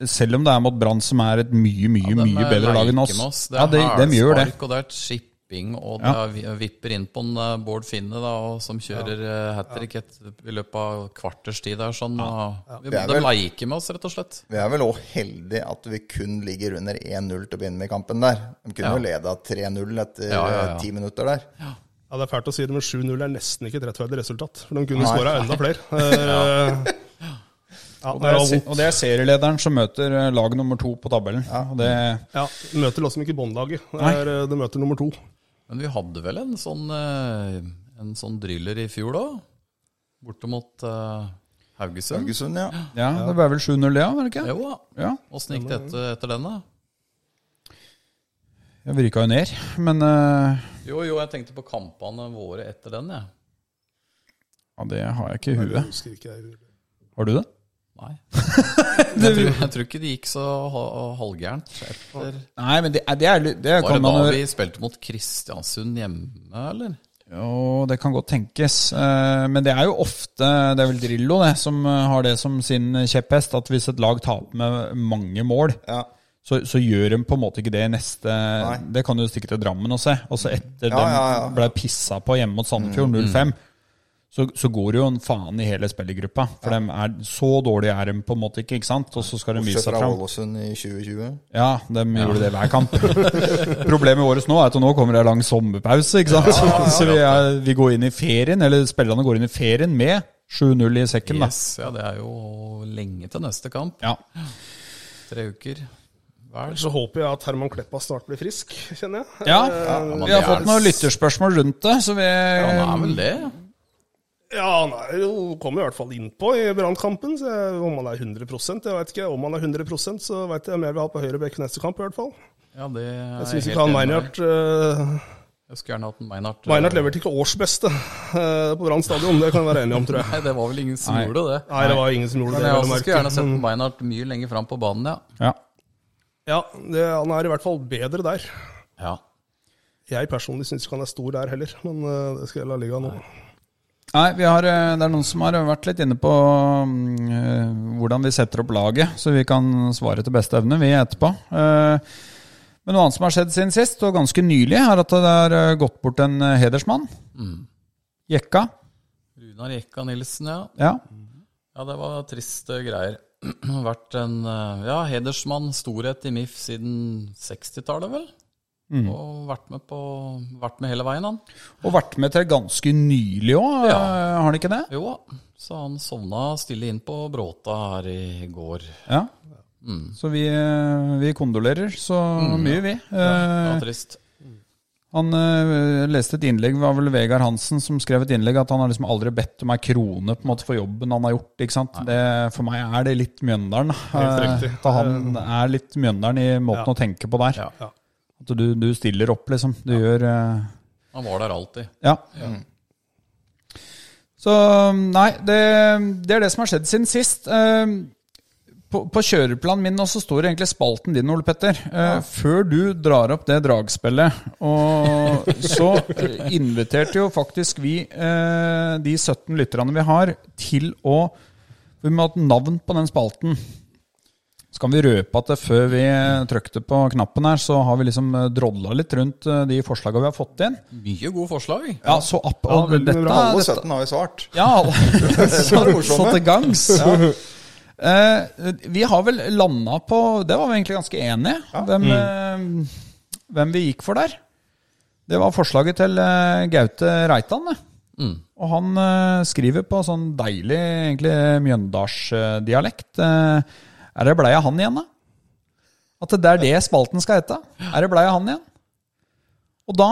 [SPEAKER 2] Selv om det er mot Brann, som er et mye mye,
[SPEAKER 4] De
[SPEAKER 2] mye bedre lag enn
[SPEAKER 4] leker
[SPEAKER 2] oss.
[SPEAKER 4] med Det
[SPEAKER 2] ja, de,
[SPEAKER 4] er
[SPEAKER 2] de gjør det.
[SPEAKER 4] hælspark, Og det er et shipping, og det er vi- vipper inn på en eh, Bård Finne, da, og som kjører hat trick i løpet av kvarters tid. Der, sånn, og, vi,
[SPEAKER 5] Det er
[SPEAKER 4] de
[SPEAKER 5] vel-
[SPEAKER 4] leker med oss, rett og slett.
[SPEAKER 5] Vi er vel òg heldige at vi kun ligger under 1-0 til å begynne med i kampen der. De kunne
[SPEAKER 4] Ja.
[SPEAKER 5] jo leda 3-0 etter
[SPEAKER 4] Ja, ja, ja.
[SPEAKER 5] eh, ti minutter der.
[SPEAKER 3] Ja, Det er fælt å si det, men 7-0 er nesten ikke et rettferdig resultat. For de kunne
[SPEAKER 5] Nei.
[SPEAKER 3] skåra enda flere. Eh, ja,
[SPEAKER 2] Og det,
[SPEAKER 3] det var
[SPEAKER 2] er, se-
[SPEAKER 3] vondt.
[SPEAKER 2] og det er serielederen som møter eh, lag nummer to på tabellen. Og det,
[SPEAKER 3] Ja, de møter liksom ikke båndlaget. Det
[SPEAKER 2] Nei.
[SPEAKER 3] er, eh, De møter nummer to.
[SPEAKER 4] Men vi hadde vel en sånn, eh, en sånn driller i fjor da, borte mot eh, Haugesund.
[SPEAKER 5] Haugesund, ja.
[SPEAKER 2] ja, det ble vel 7-0, det ja, var det ikke?
[SPEAKER 4] Jo da.
[SPEAKER 2] Ja,
[SPEAKER 4] Åssen gikk det etter, etter den, da?
[SPEAKER 2] Jeg vrika jo ned, men eh,
[SPEAKER 4] Jo, jo, jeg tenkte på kampene våre etter den, jeg.
[SPEAKER 2] ja, det har jeg ikke i
[SPEAKER 3] Jeg
[SPEAKER 2] huet.
[SPEAKER 3] husker ikke jeg.
[SPEAKER 2] Har du det?
[SPEAKER 4] Nei. Jeg tror, jeg tror ikke det gikk så ha- halvgærent. etter-
[SPEAKER 2] Nei, men det, er- det er, litt- det
[SPEAKER 4] Var
[SPEAKER 2] kan
[SPEAKER 4] det da
[SPEAKER 2] man jo
[SPEAKER 4] vi spilte mot Kristiansund hjemme, eller?
[SPEAKER 2] Jo, det kan godt tenkes. Eh, Men det er jo ofte Det er vel Drillo det, som eh, har det som sin kjepphest, at hvis et lag taper med mange mål,
[SPEAKER 5] Ja.
[SPEAKER 2] så, så gjør de på en måte ikke det i neste
[SPEAKER 5] Nei.
[SPEAKER 2] Det kan du stikke til Drammen og se. Altså etter
[SPEAKER 5] Ja, ja, Mm, ja.
[SPEAKER 2] de ble pissa på hjemme mot Sandefjord 0-5, så, så går det jo en faen i hele spillergruppa. For dem er, så dårlige er de på en måte ikke, ikke sant? Og så skal de vise
[SPEAKER 5] Bortsett
[SPEAKER 2] seg
[SPEAKER 5] fra
[SPEAKER 2] fram.
[SPEAKER 5] Ålesund i 2020.
[SPEAKER 2] Ja, de gjorde det hver kamp. Problemet vårt nå er at nå kommer det en lang sommerpause. ikke sant? Så vi, er, vi går inn i ferien, eller spillerne går inn i ferien med 7-0 i sekken. da.
[SPEAKER 4] Yes, ja, det er jo lenge til neste kamp.
[SPEAKER 2] Ja.
[SPEAKER 4] Tre uker. Vel.
[SPEAKER 3] Så håper jeg at Herman Kleppa snart blir frisk, kjenner jeg.
[SPEAKER 2] Ja,
[SPEAKER 4] men
[SPEAKER 2] vi
[SPEAKER 4] det
[SPEAKER 2] har
[SPEAKER 4] er-
[SPEAKER 2] fått noen lytterspørsmål rundt det, så vi
[SPEAKER 4] Ja, han er vel det.
[SPEAKER 3] Ja, han er jo, kom i hvert fall innpå i brannkampen. så jeg- Om han er 100 jeg vet ikke. Om han er 100 så vet jeg mer vi har på høyre bekk neste kamp, i hvert fall.
[SPEAKER 4] Ja, det er
[SPEAKER 3] Jeg syns
[SPEAKER 4] helt
[SPEAKER 3] ikke han
[SPEAKER 4] enig med
[SPEAKER 3] Meinhardt
[SPEAKER 4] deg.
[SPEAKER 3] uh,
[SPEAKER 4] Jeg skulle gjerne hatt en Meinhardt.
[SPEAKER 3] Meinhardt leverte ikke årsbeste eh, på Brann stadion, det kan vi være enige om, tror jeg.
[SPEAKER 4] Nei, det var vel ingen som
[SPEAKER 2] Nei.
[SPEAKER 4] gjorde det.
[SPEAKER 3] Nei, det var ingen som gjorde det.
[SPEAKER 4] Men jeg
[SPEAKER 3] vel å
[SPEAKER 4] også
[SPEAKER 3] merke.
[SPEAKER 4] skulle gjerne sett Meinhardt mye lenger fram på banen, ja.
[SPEAKER 2] ja.
[SPEAKER 3] Ja, det, han er i hvert fall bedre der.
[SPEAKER 4] ja.
[SPEAKER 3] Jeg personlig syns ikke han er stor der heller, men eh, det skal jeg la ligge nå.
[SPEAKER 2] Nei, vi har, eh, det er noen som har vært litt inne på mm, eh, hvordan vi setter opp laget, så vi kan svare til beste evne, vi etterpå. Eh, Men noe annet som har skjedd siden sist, og ganske nylig, er at det har eh, gått bort en eh, hedersmann. Mm. Jekka.
[SPEAKER 4] Runar Jekka Nilsen, ja.
[SPEAKER 2] Ja.
[SPEAKER 4] Ja, det var triste greier. Vært en eh, ja, hedersmann, storhet i MIF siden 60-tallet, vel?
[SPEAKER 3] Mm.
[SPEAKER 4] Og vært med, på, vært med hele veien, han.
[SPEAKER 2] Og vært med til ganske nylig òg,
[SPEAKER 4] Ja.
[SPEAKER 2] har han ikke det?
[SPEAKER 4] Jo, så han sovna stille inn på Bråta her i går.
[SPEAKER 2] Ja. Så vi, eh, vi kondolerer så mye, vi.
[SPEAKER 4] Det
[SPEAKER 2] Eh,
[SPEAKER 4] var trist.
[SPEAKER 2] Han eh, leste et innlegg, det var vel Vegard Hansen som skrev et innlegg, at han har liksom aldri bedt om ei krone på en måte for jobben han har gjort. ikke sant? Det, for meg er det litt Mjøndalen.
[SPEAKER 3] Helt
[SPEAKER 2] eh,
[SPEAKER 3] riktig.
[SPEAKER 2] At han er litt Mjøndalen i måten å tenke på der.
[SPEAKER 4] Ja.
[SPEAKER 3] Ja.
[SPEAKER 2] At du, du stiller opp, liksom. Du gjør eh,
[SPEAKER 4] Han var der alltid.
[SPEAKER 2] Ja. Mm. Så um, nei, det, det er det som har skjedd siden sist. Eh, På, på kjøreplanen min også står egentlig spalten din, Ole Petter. Eh, Før du drar opp det dragspillet, og så eh, inviterte jo faktisk vi eh, de 17 lytterne vi har, til å Vi må ha et navn på den spalten. Så kan vi røpe at det før vi trykte på knappen her, så har vi liksom eh, drodla litt rundt eh, de forslaga vi har fått inn.
[SPEAKER 4] Mye gode forslag.
[SPEAKER 2] Ja, så app
[SPEAKER 3] Ja,
[SPEAKER 2] og
[SPEAKER 3] veldig
[SPEAKER 2] dette,
[SPEAKER 3] bra.
[SPEAKER 5] Alle
[SPEAKER 2] dette
[SPEAKER 5] 17 har jo svart.
[SPEAKER 2] Ja, alle
[SPEAKER 5] var det
[SPEAKER 2] så, så
[SPEAKER 5] morsomme.
[SPEAKER 2] til gangs. Eh, vi har vel landa på Det var vi egentlig ganske enige hvem, eh, hvem vi gikk for der. Det var forslaget til eh, Gaute Reitan. det. Og han eh, skriver på sånn deilig egentlig mjøndalsdialekt. Uh, er det bleia han igjen, da? At det er det spalten skal hete. Er det bleia han igjen? Og da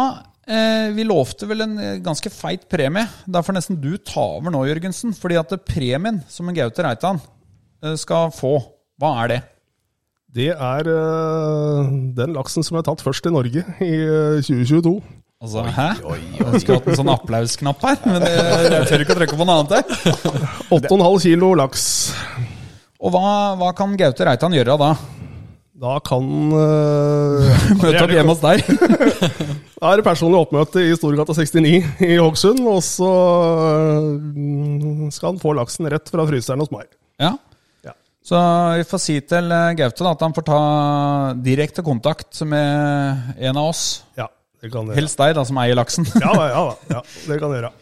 [SPEAKER 2] eh, Vi lovte vel en eh, ganske feit premie. Derfor nesten du ta over nå, Jørgensen. Fordi at det premien som en Gaute Reitan eh, skal få, hva er det?
[SPEAKER 3] Det er eh, den laksen som er tatt først i Norge i eh, 2022.
[SPEAKER 2] Altså, hæ? Jeg skulle hatt en sånn applausknapp her, men det, jeg tør ikke å trykke på noe annet her.
[SPEAKER 3] 8,5 kilo laks.
[SPEAKER 2] Og hva, hva kan Gaute Reitan gjøre da?
[SPEAKER 3] Da kan eh,
[SPEAKER 2] Møte opp hjemme hos deg?
[SPEAKER 3] Da er det personlig oppmøte i Storgata 69 i Hokksund, og så eh, skal han få laksen rett fra fryseren hos meg.
[SPEAKER 2] Ja.
[SPEAKER 3] Ja.
[SPEAKER 2] Så vi får si til eh, Gaute da, at han får ta direkte kontakt med en av oss.
[SPEAKER 3] Ja, det kan dere.
[SPEAKER 2] Helst deg, da, som eier laksen.
[SPEAKER 3] Ja da, ja da. Ja, det kan dere.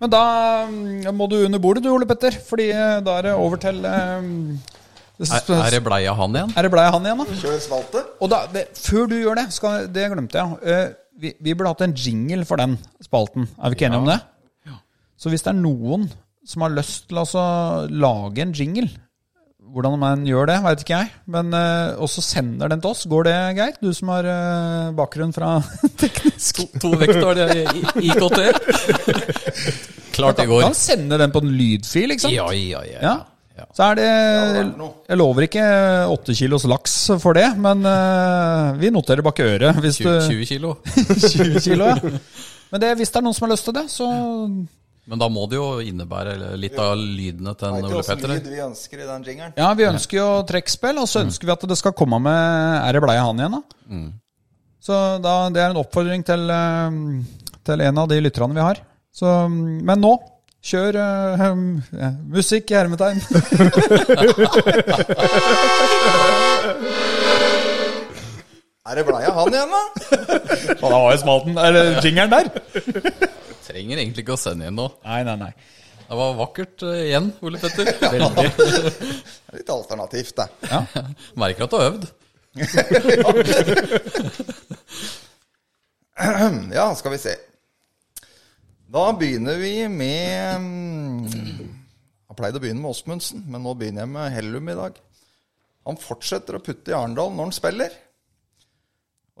[SPEAKER 2] Men da mm, må du under bordet du, Ole Petter. Fordi eh, da er det over til eh,
[SPEAKER 4] Er, er det bleia han igjen?
[SPEAKER 2] er det blei han igjen, da?
[SPEAKER 5] Kjør spalte.
[SPEAKER 2] Og da, det, før du gjør det, skal, det glemte jeg. Eh, vi, vi burde hatt en jingle for den spalten. Er vi ikke enige om det? Så hvis det er noen som har lyst til å altså lage en jingle Hvordan man gjør det, veit ikke jeg. Men eh, også sender den til oss. Går det greit? Du som har eh, bakgrunn fra teknisk.
[SPEAKER 4] To vektår i i- IKT. Klart det går.
[SPEAKER 2] Kan sende den på en lydfil, ikke sant?
[SPEAKER 4] Ja, ja, ja.
[SPEAKER 2] Ja.
[SPEAKER 4] ja.
[SPEAKER 2] Så er det
[SPEAKER 5] vært noe.
[SPEAKER 2] Jeg lover ikke eh, åtte kilos laks for det, men eh, vi noterer bak øret hvis
[SPEAKER 4] 20,
[SPEAKER 2] du
[SPEAKER 4] 20 kilo.
[SPEAKER 2] 20 kilo, ja. Men det, hvis det er noen som har lyst til det, så
[SPEAKER 4] Men da må det jo innebære litt av lydene til
[SPEAKER 5] Veit
[SPEAKER 4] en
[SPEAKER 5] du
[SPEAKER 4] Ole
[SPEAKER 5] åssen
[SPEAKER 4] Petter.
[SPEAKER 5] lyd vi ønsker i den jingeren?
[SPEAKER 2] Ja, vi ønsker jo trekkspill, og så ønsker vi at det skal komme med Er det bleia han igjen, da? Så da, det er en oppfordring til, eh, til en av de lytterne vi har. Så, mm, men nå, kjør eh, mm, eh, musikk i hermetegn.
[SPEAKER 5] Er det bleia han igjen, da?
[SPEAKER 6] Og da var jo smalten, eller jingeren der.
[SPEAKER 4] Trenger egentlig ikke å sende inn noe.
[SPEAKER 6] Nei, nei, nei.
[SPEAKER 4] Det var vakkert eh, igjen, Ole Petter.
[SPEAKER 5] Det er Litt alternativt, det.
[SPEAKER 4] Merker at du har øvd.
[SPEAKER 5] Ja, skal vi se. Da begynner vi med mm, Jeg pleide å begynne med Åsmundsen, men nå begynner jeg med Hellum i dag. Han fortsetter å putte i Arendal når han spiller.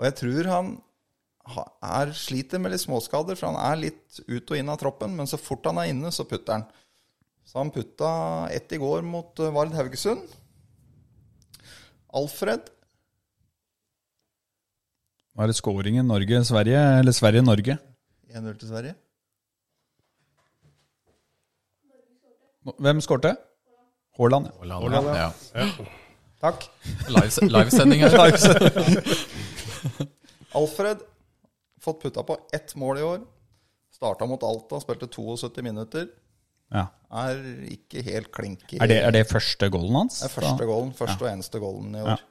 [SPEAKER 5] Og jeg tror han ha- er, sliter med litt småskader, for han er litt ut og inn av troppen. Men så fort han er inne, så putter han. Så han putta ett i går mot eh, Vard Haugesund. Alfred
[SPEAKER 2] Nå er det scoringen Norge-Sverige, eller Sverige-Norge.
[SPEAKER 5] 1-0 til Sverige.
[SPEAKER 2] Hvem skårte? Haaland, ja.
[SPEAKER 4] Haaland, ja.
[SPEAKER 2] Takk.
[SPEAKER 4] Lives- Livesending her.
[SPEAKER 5] Alfred fått putta på ett mål i år. Starta mot Alta, spilte 72 minutter.
[SPEAKER 2] Ja.
[SPEAKER 5] Er ikke helt klink i
[SPEAKER 2] Er, det, er det første goalen hans?
[SPEAKER 5] Det er første goalen, første og eneste goalen i år.
[SPEAKER 2] Ja.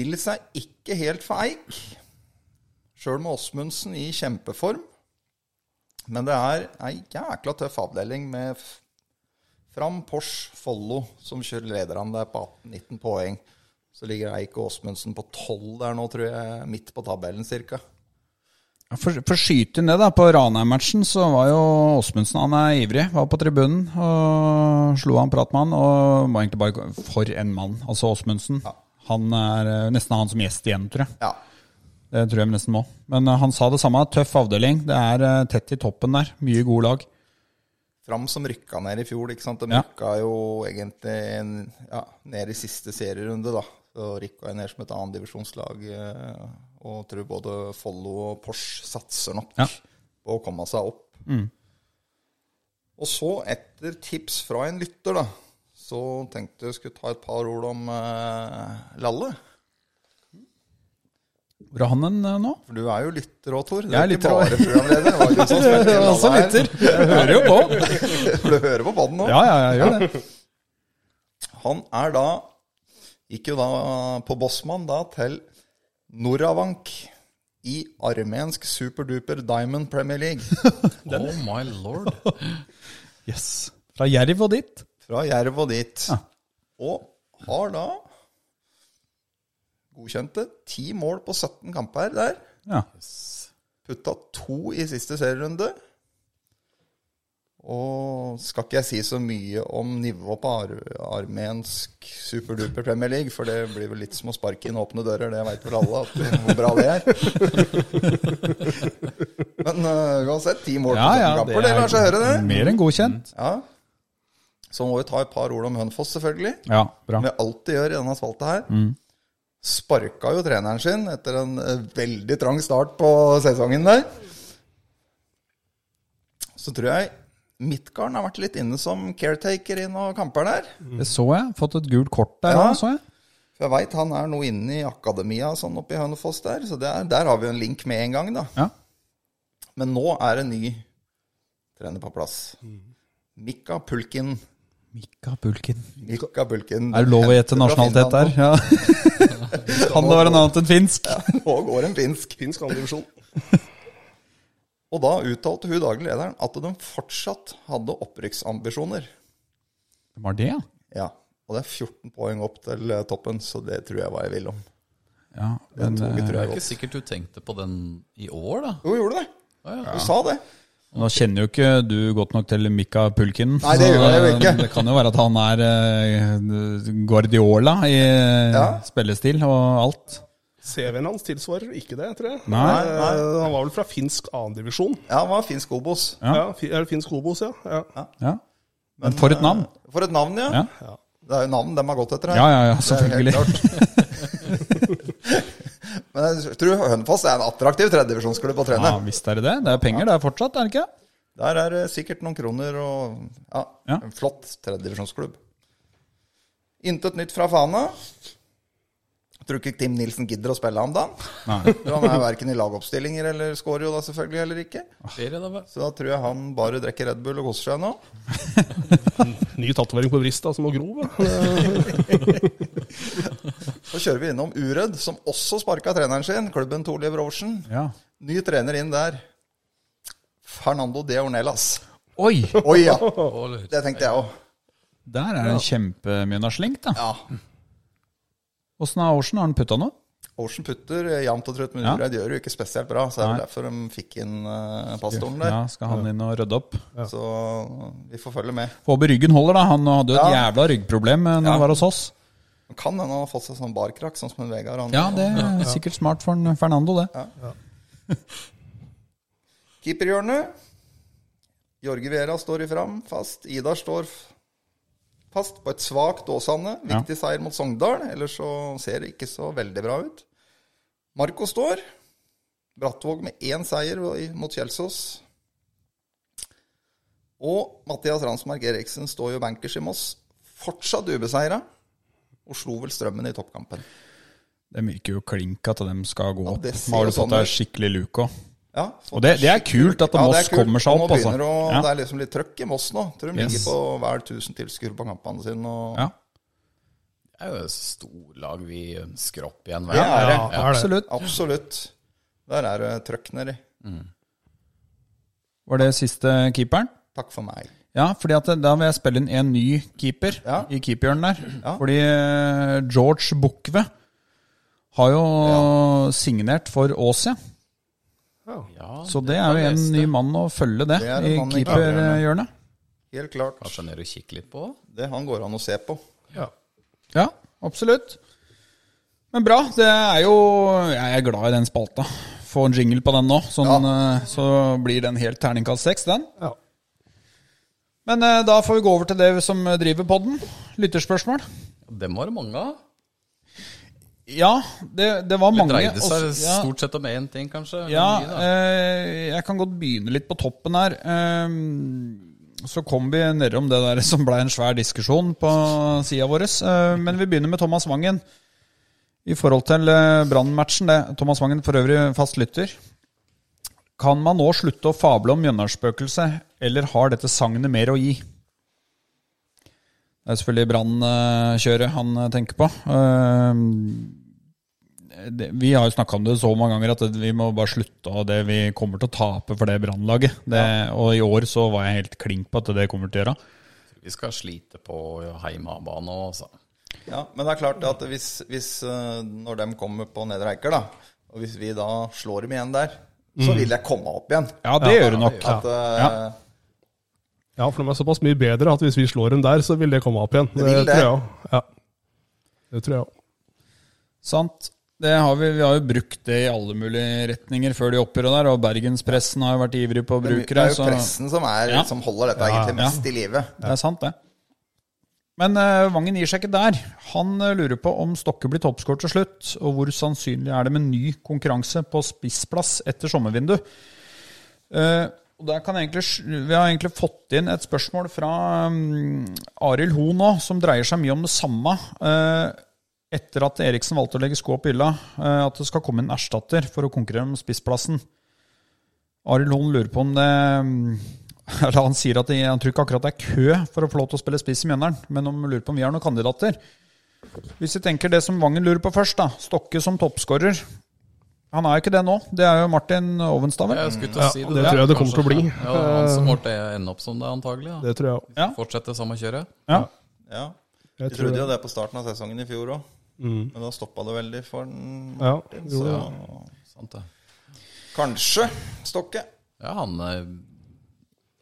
[SPEAKER 5] Vil seg ikke helt for Eik, sjøl med Åsmundsen i kjempeform. Men det er ei jækla tøff avdeling med F- Fram, Pors, Follo som kjører lederne der på 18-19 poeng. Så ligger Eik og Åsmundsen på 12 der nå, tror jeg. Midt på tabellen, cirka.
[SPEAKER 2] Ja, For, for å skyte ned da, på Ranheim-matchen så var jo Åsmundsen han er ivrig. Var på tribunen og slo han prat med han. Og var egentlig bare for en mann, altså Åsmundsen. Han er eh, nesten han som gjest igjen, tror jeg.
[SPEAKER 5] Ja.
[SPEAKER 2] Det tror jeg vi nesten må. Men eh, han sa det samme. Tøff avdeling. Det er eh, tett i toppen der. Mye gode lag.
[SPEAKER 5] Fram som rykka ned i fjor. ikke sant? De
[SPEAKER 2] Ja.
[SPEAKER 5] rykka jo egentlig en, ja, ned i siste serierunde, da. Så rykka jeg ned som et annendivisjonslag. Og tror både Follo og Pors satser nok
[SPEAKER 2] Ja. Mm.
[SPEAKER 5] på å komme seg opp. Og så, etter tips fra en lytter, da, så tenkte jeg skulle ta et par ord om eh, Lalle.
[SPEAKER 2] Hvor er han hen eh, nå?
[SPEAKER 5] For du er jo lytter òg, Tor. Du
[SPEAKER 2] Jeg
[SPEAKER 5] er
[SPEAKER 2] er
[SPEAKER 5] ikke
[SPEAKER 2] lytter
[SPEAKER 5] bare programleder. Det var ikke sånn som jeg skulle
[SPEAKER 2] Også
[SPEAKER 5] la det
[SPEAKER 2] lytter. Jeg hører jo på.
[SPEAKER 5] her. For du hører på baden nå.
[SPEAKER 2] Ja, ja, jeg gjør det.
[SPEAKER 5] Han er da Gikk jo da på Bossmann da til Noravank i armensk superduper Diamond Premier League.
[SPEAKER 4] Oh my lord.
[SPEAKER 2] Yes. Fra Jerv og dit.
[SPEAKER 5] Fra Jerv og dit.
[SPEAKER 2] Ja.
[SPEAKER 5] Og har da godkjente ti mål på 17 kamper der.
[SPEAKER 2] Ja.
[SPEAKER 5] Putta to i siste serierunde. Og skal ikke jeg si så mye om nivået på ar armensk superduper Premier League, for det blir vel litt som å sparke inn åpne dører, det veit vel alle at, hvor bra det er. Men øh, uansett, ti mål på
[SPEAKER 2] Ja,
[SPEAKER 5] ja,
[SPEAKER 2] ja,
[SPEAKER 5] kamper, det lar seg høre, det.
[SPEAKER 2] Mer enn godkjent.
[SPEAKER 5] Ja. Så må vi ta et par ord om Hønfoss, selvfølgelig
[SPEAKER 2] Mm. Ja, bra.
[SPEAKER 5] som vi alltid gjør i denne asfalten her.
[SPEAKER 2] Mm.
[SPEAKER 5] Sparka jo treneren sin etter en eh, veldig trang start på sesongen der. Så tror jeg Midtgarden har vært litt inne som caretaker i noen kamper der.
[SPEAKER 2] Det så jeg. Fått et gult kort der
[SPEAKER 5] Ja.
[SPEAKER 2] òg, så jeg.
[SPEAKER 5] For jeg veit han er nå inne i akademia og sånn oppe i Hønefoss der, så det er, der har vi jo en link med en gang, da.
[SPEAKER 2] Ja.
[SPEAKER 5] Men nå er det en ny trener på plass.
[SPEAKER 2] Mm.
[SPEAKER 5] Mikka Pulkin.
[SPEAKER 2] Mika Bulkin.
[SPEAKER 5] Mikka Pulkin.
[SPEAKER 2] Er det lov å gjette nasjonalitet der? Ja. Han det var en annet enn finsk.
[SPEAKER 5] Nå går en finsk.
[SPEAKER 3] Finsk andredivisjon.
[SPEAKER 5] Og da uttalte hun daglig lederen at de fortsatt hadde opprykksambisjoner.
[SPEAKER 2] Hvem var det, ja?
[SPEAKER 5] Ja, og det er 14 poeng opp til eh, toppen, så det tror jeg var jeg vil om.
[SPEAKER 2] ja men, eh,
[SPEAKER 5] Toget tror
[SPEAKER 4] Det
[SPEAKER 5] jeg
[SPEAKER 4] er ikke
[SPEAKER 5] godt.
[SPEAKER 4] sikkert du tenkte på den i år, da.
[SPEAKER 5] Jo, gjorde du det?
[SPEAKER 4] ja.
[SPEAKER 5] Du sa det.
[SPEAKER 2] nå kjenner jo ikke du godt nok til Mika Pulkin.
[SPEAKER 5] Nei,
[SPEAKER 2] så
[SPEAKER 5] det
[SPEAKER 2] eh,
[SPEAKER 5] gjør jeg jo ikke.
[SPEAKER 2] Det kan jo være at han er eh, Guardiola i
[SPEAKER 5] Ja.
[SPEAKER 2] spillestil og alt.
[SPEAKER 3] CV-en hans tilsvarer ikke det, tror jeg.
[SPEAKER 2] Nei.
[SPEAKER 3] Eh, Han var vel fra finsk andredivisjon.
[SPEAKER 5] Ja, han var finsk obos.
[SPEAKER 2] Ja.
[SPEAKER 3] Ja. fi- eller finsk Obos, ja. ja.
[SPEAKER 2] Ja. Men for et navn.
[SPEAKER 5] For et navn, ja.
[SPEAKER 2] Ja.
[SPEAKER 5] Det er jo navn de har gått etter her.
[SPEAKER 2] Ja, ja, ja,
[SPEAKER 5] Det
[SPEAKER 2] selvfølgelig.
[SPEAKER 5] er helt klart. Men jeg tror Hønefoss er en attraktiv tredjedivisjonsklubb å trene.
[SPEAKER 2] Ja, visst er det det. Det er penger der fortsatt, er det ikke?
[SPEAKER 5] Der er det sikkert noen kroner og ja,
[SPEAKER 2] Ja.
[SPEAKER 5] en flott tredjedivisjonsklubb. Intet nytt fra Fana. Tror du ikke Tim Nilsen gidder å spille ham da?
[SPEAKER 2] Nei.
[SPEAKER 5] For Han er verken i lagoppstillinger eller scorer jo da selvfølgelig eller ikke.
[SPEAKER 4] Skjer det da vel?
[SPEAKER 5] Så da tror jeg han bare drikker Red Bull og koser seg nå.
[SPEAKER 3] Ny tatovering på brista som må gro. da.
[SPEAKER 5] Så kjører vi innom Urød, som også sparka treneren sin, klubben Torliv Roversen.
[SPEAKER 2] Ja.
[SPEAKER 5] Ny trener inn der. Fernando de Ornelas.
[SPEAKER 2] Oi!
[SPEAKER 5] Oi, ja.
[SPEAKER 4] Og lurer.
[SPEAKER 5] Det tenkte jeg òg.
[SPEAKER 2] Der er det en kjempemye naslink, da.
[SPEAKER 5] Ja.
[SPEAKER 2] Åssen har Ocean? Har han putta noe?
[SPEAKER 5] Ocean putter eh, jevnt og trutt, men
[SPEAKER 2] Ja.
[SPEAKER 5] Urød gjør jo ikke spesielt bra. Så det er
[SPEAKER 2] Nei.
[SPEAKER 5] vel derfor de fikk inn eh, pastoren der.
[SPEAKER 2] Ja, skal han inn og rydde opp?
[SPEAKER 5] Så eh, vi får følge med.
[SPEAKER 2] Håper ryggen holder, da. Han hadde jo et
[SPEAKER 5] Ja.
[SPEAKER 2] jævla ryggproblem eh, når han var hos oss.
[SPEAKER 5] Men Kan hende han har fått seg sånn barkrakk, sånn som en Vegard. Han,
[SPEAKER 2] Ja, det er sikkert smart for en Fernando, det.
[SPEAKER 5] Keeperhjørnet. Jorge Vera står i fram, fast. Idar står f- fast på et svakt Åsane. Viktig seier mot Sogndal, ellers så ser det ikke så veldig bra ut. Marco står. Brattvåg med én seier i- mot Kjelsås. Og Mathias Ransmark Eriksen står jo bankers i Moss, fortsatt ubeseira, og slo vel strømmen i toppkampen.
[SPEAKER 2] Det virker jo klink at de skal gå opp.
[SPEAKER 5] det ser
[SPEAKER 2] har du
[SPEAKER 5] jo
[SPEAKER 2] fått
[SPEAKER 5] sånn
[SPEAKER 2] deg
[SPEAKER 5] ut.
[SPEAKER 2] skikkelig luke òg.
[SPEAKER 5] Ja,
[SPEAKER 2] Og det, det er kult at
[SPEAKER 5] Ja, det
[SPEAKER 2] Moss
[SPEAKER 5] er kult.
[SPEAKER 2] kommer seg
[SPEAKER 5] Og
[SPEAKER 2] opp,
[SPEAKER 5] nå
[SPEAKER 2] altså.
[SPEAKER 5] begynner å,
[SPEAKER 2] Ja.
[SPEAKER 5] Det er liksom litt trøkk i Moss nå. Tror de
[SPEAKER 2] Yes.
[SPEAKER 5] ligger på hver 1000 tilskuere på kampene sine. Og...
[SPEAKER 2] Ja,
[SPEAKER 4] Det er jo et storlag vi ønsker opp igjen. vel?
[SPEAKER 5] Det er det.
[SPEAKER 3] Ja, er det.
[SPEAKER 2] absolutt.
[SPEAKER 5] Absolutt. Der er det trøkk nedi.
[SPEAKER 2] Var det siste keeperen?
[SPEAKER 5] Takk for meg.
[SPEAKER 2] Ja, fordi at da vil jeg spille inn en ny keeper
[SPEAKER 5] Ja.
[SPEAKER 2] i keeperhjørnet der.
[SPEAKER 5] Ja.
[SPEAKER 2] Fordi eh, George Bukve har jo signert for Åsia.
[SPEAKER 4] Ja,
[SPEAKER 2] Så det er jo en ny mann å følge, det,
[SPEAKER 5] Det er en
[SPEAKER 2] i
[SPEAKER 5] mann i
[SPEAKER 2] keeperhjørnet.
[SPEAKER 5] Helt klart.
[SPEAKER 4] Kanskje ned og kikke litt på?
[SPEAKER 5] Det han går an å se på.
[SPEAKER 3] Ja.
[SPEAKER 2] Ja, absolutt. Men bra. Det er jo Jeg er glad i den spalta. Få en jingle på den nå, sånn, eh, så blir den helt terningkast seks, den.
[SPEAKER 3] Ja.
[SPEAKER 2] Men eh, da får vi gå over til det som driver podden. Lytterspørsmål.
[SPEAKER 4] Dem var det mange av.
[SPEAKER 2] Ja, det, det var
[SPEAKER 4] Det
[SPEAKER 2] mange.
[SPEAKER 4] dreide seg
[SPEAKER 2] også- ja.
[SPEAKER 4] stort sett om én ting, kanskje.
[SPEAKER 2] Ja,
[SPEAKER 4] Mye, da.
[SPEAKER 2] eh, jeg kan godt begynne litt på toppen her. Eh, så kom vi nedom det der som ble en svær diskusjon på sida vår. Eh, men vi begynner med Thomas Wangen. I forhold til eh, Brann-matchen, det. Thomas Wangen for øvrig fast lytter. Kan man nå slutte å fable om Mjøndalsspøkelset, eller har dette sagnet mer å gi? Det er selvfølgelig Brann-kjøret han eh, tenker på. Eh, det, vi har jo snakka om det så mange ganger at vi må bare slutte av det. Vi kommer til å tape for det brannlaget. Det, Og i år så var jeg helt klink på at det kommer til å gjøre.
[SPEAKER 4] Vi skal slite på heimebane òg, altså.
[SPEAKER 5] Ja, men det er klart at hvis, hvis eh, når de kommer på Nedre Eiker, da, og hvis vi da slår dem igjen der, så vil jeg komme opp igjen.
[SPEAKER 2] Mm. Ja, det gjør det nok.
[SPEAKER 5] At, eh,
[SPEAKER 2] Ja.
[SPEAKER 3] ja, for de er såpass mye bedre at hvis vi slår dem der, så vil det komme opp igjen. Det,
[SPEAKER 5] vil det.
[SPEAKER 3] tror jeg òg. Ja. Det tror jeg òg.
[SPEAKER 2] Sant. Det har vi, vi har jo brukt det i alle mulige retninger før de oppgjøret der, og bergenspressen har jo vært ivrig på å
[SPEAKER 5] Det
[SPEAKER 2] bruke
[SPEAKER 5] er
[SPEAKER 2] det.
[SPEAKER 5] jo
[SPEAKER 2] Så
[SPEAKER 5] pressen som, er,
[SPEAKER 2] Ja.
[SPEAKER 5] som holder dette egentlig
[SPEAKER 2] ja.
[SPEAKER 5] mest i live.
[SPEAKER 2] det er sant, det. Men eh, Vangen gir seg ikke der. Han eh, lurer på om Stokke blir toppskårer til slutt, og hvor sannsynlig er det med ny konkurranse på spissplass etter sommervindu? Eh, og der kan jeg egentlig, sj- vi har egentlig fått inn et spørsmål fra um, Arild Ho nå, som dreier seg mye om det samme. Eh, etter at Eriksen valgte å legge skoa på hylla, eh, at det skal komme en erstatter for å konkurrere om spissplassen. Arild Hoen lurer på om det mm, eller Han sier at det, han tror ikke akkurat det er kø for å få lov til å spille spiss i Mjøndalen, men om lurer på om vi har noen kandidater. Hvis vi tenker det som Vangen lurer på først, da. Stokke som toppskårer. Han er jo ikke det nå. Det er jo Martin Ovenstad, vel?
[SPEAKER 4] Jeg skulle til å si
[SPEAKER 3] Ja,
[SPEAKER 4] det.
[SPEAKER 3] det
[SPEAKER 4] der,
[SPEAKER 3] tror jeg det kommer
[SPEAKER 4] kanskje.
[SPEAKER 3] til å bli. Eh.
[SPEAKER 4] Ja, det er han som måtte ende opp som det, antagelig. Da.
[SPEAKER 3] Det tror jeg òg.
[SPEAKER 2] Ja.
[SPEAKER 4] Fortsette samme kjøret.
[SPEAKER 2] Ja.
[SPEAKER 5] Ja.
[SPEAKER 3] Jeg
[SPEAKER 5] Vi
[SPEAKER 3] tror
[SPEAKER 5] trodde
[SPEAKER 3] det. Mm.
[SPEAKER 5] jo det på starten av sesongen i fjor òg, men da stoppa det veldig for den.
[SPEAKER 3] Ja,
[SPEAKER 5] Så
[SPEAKER 3] jo, ja.
[SPEAKER 4] Sant det.
[SPEAKER 5] kanskje Stokke.
[SPEAKER 4] Ja, han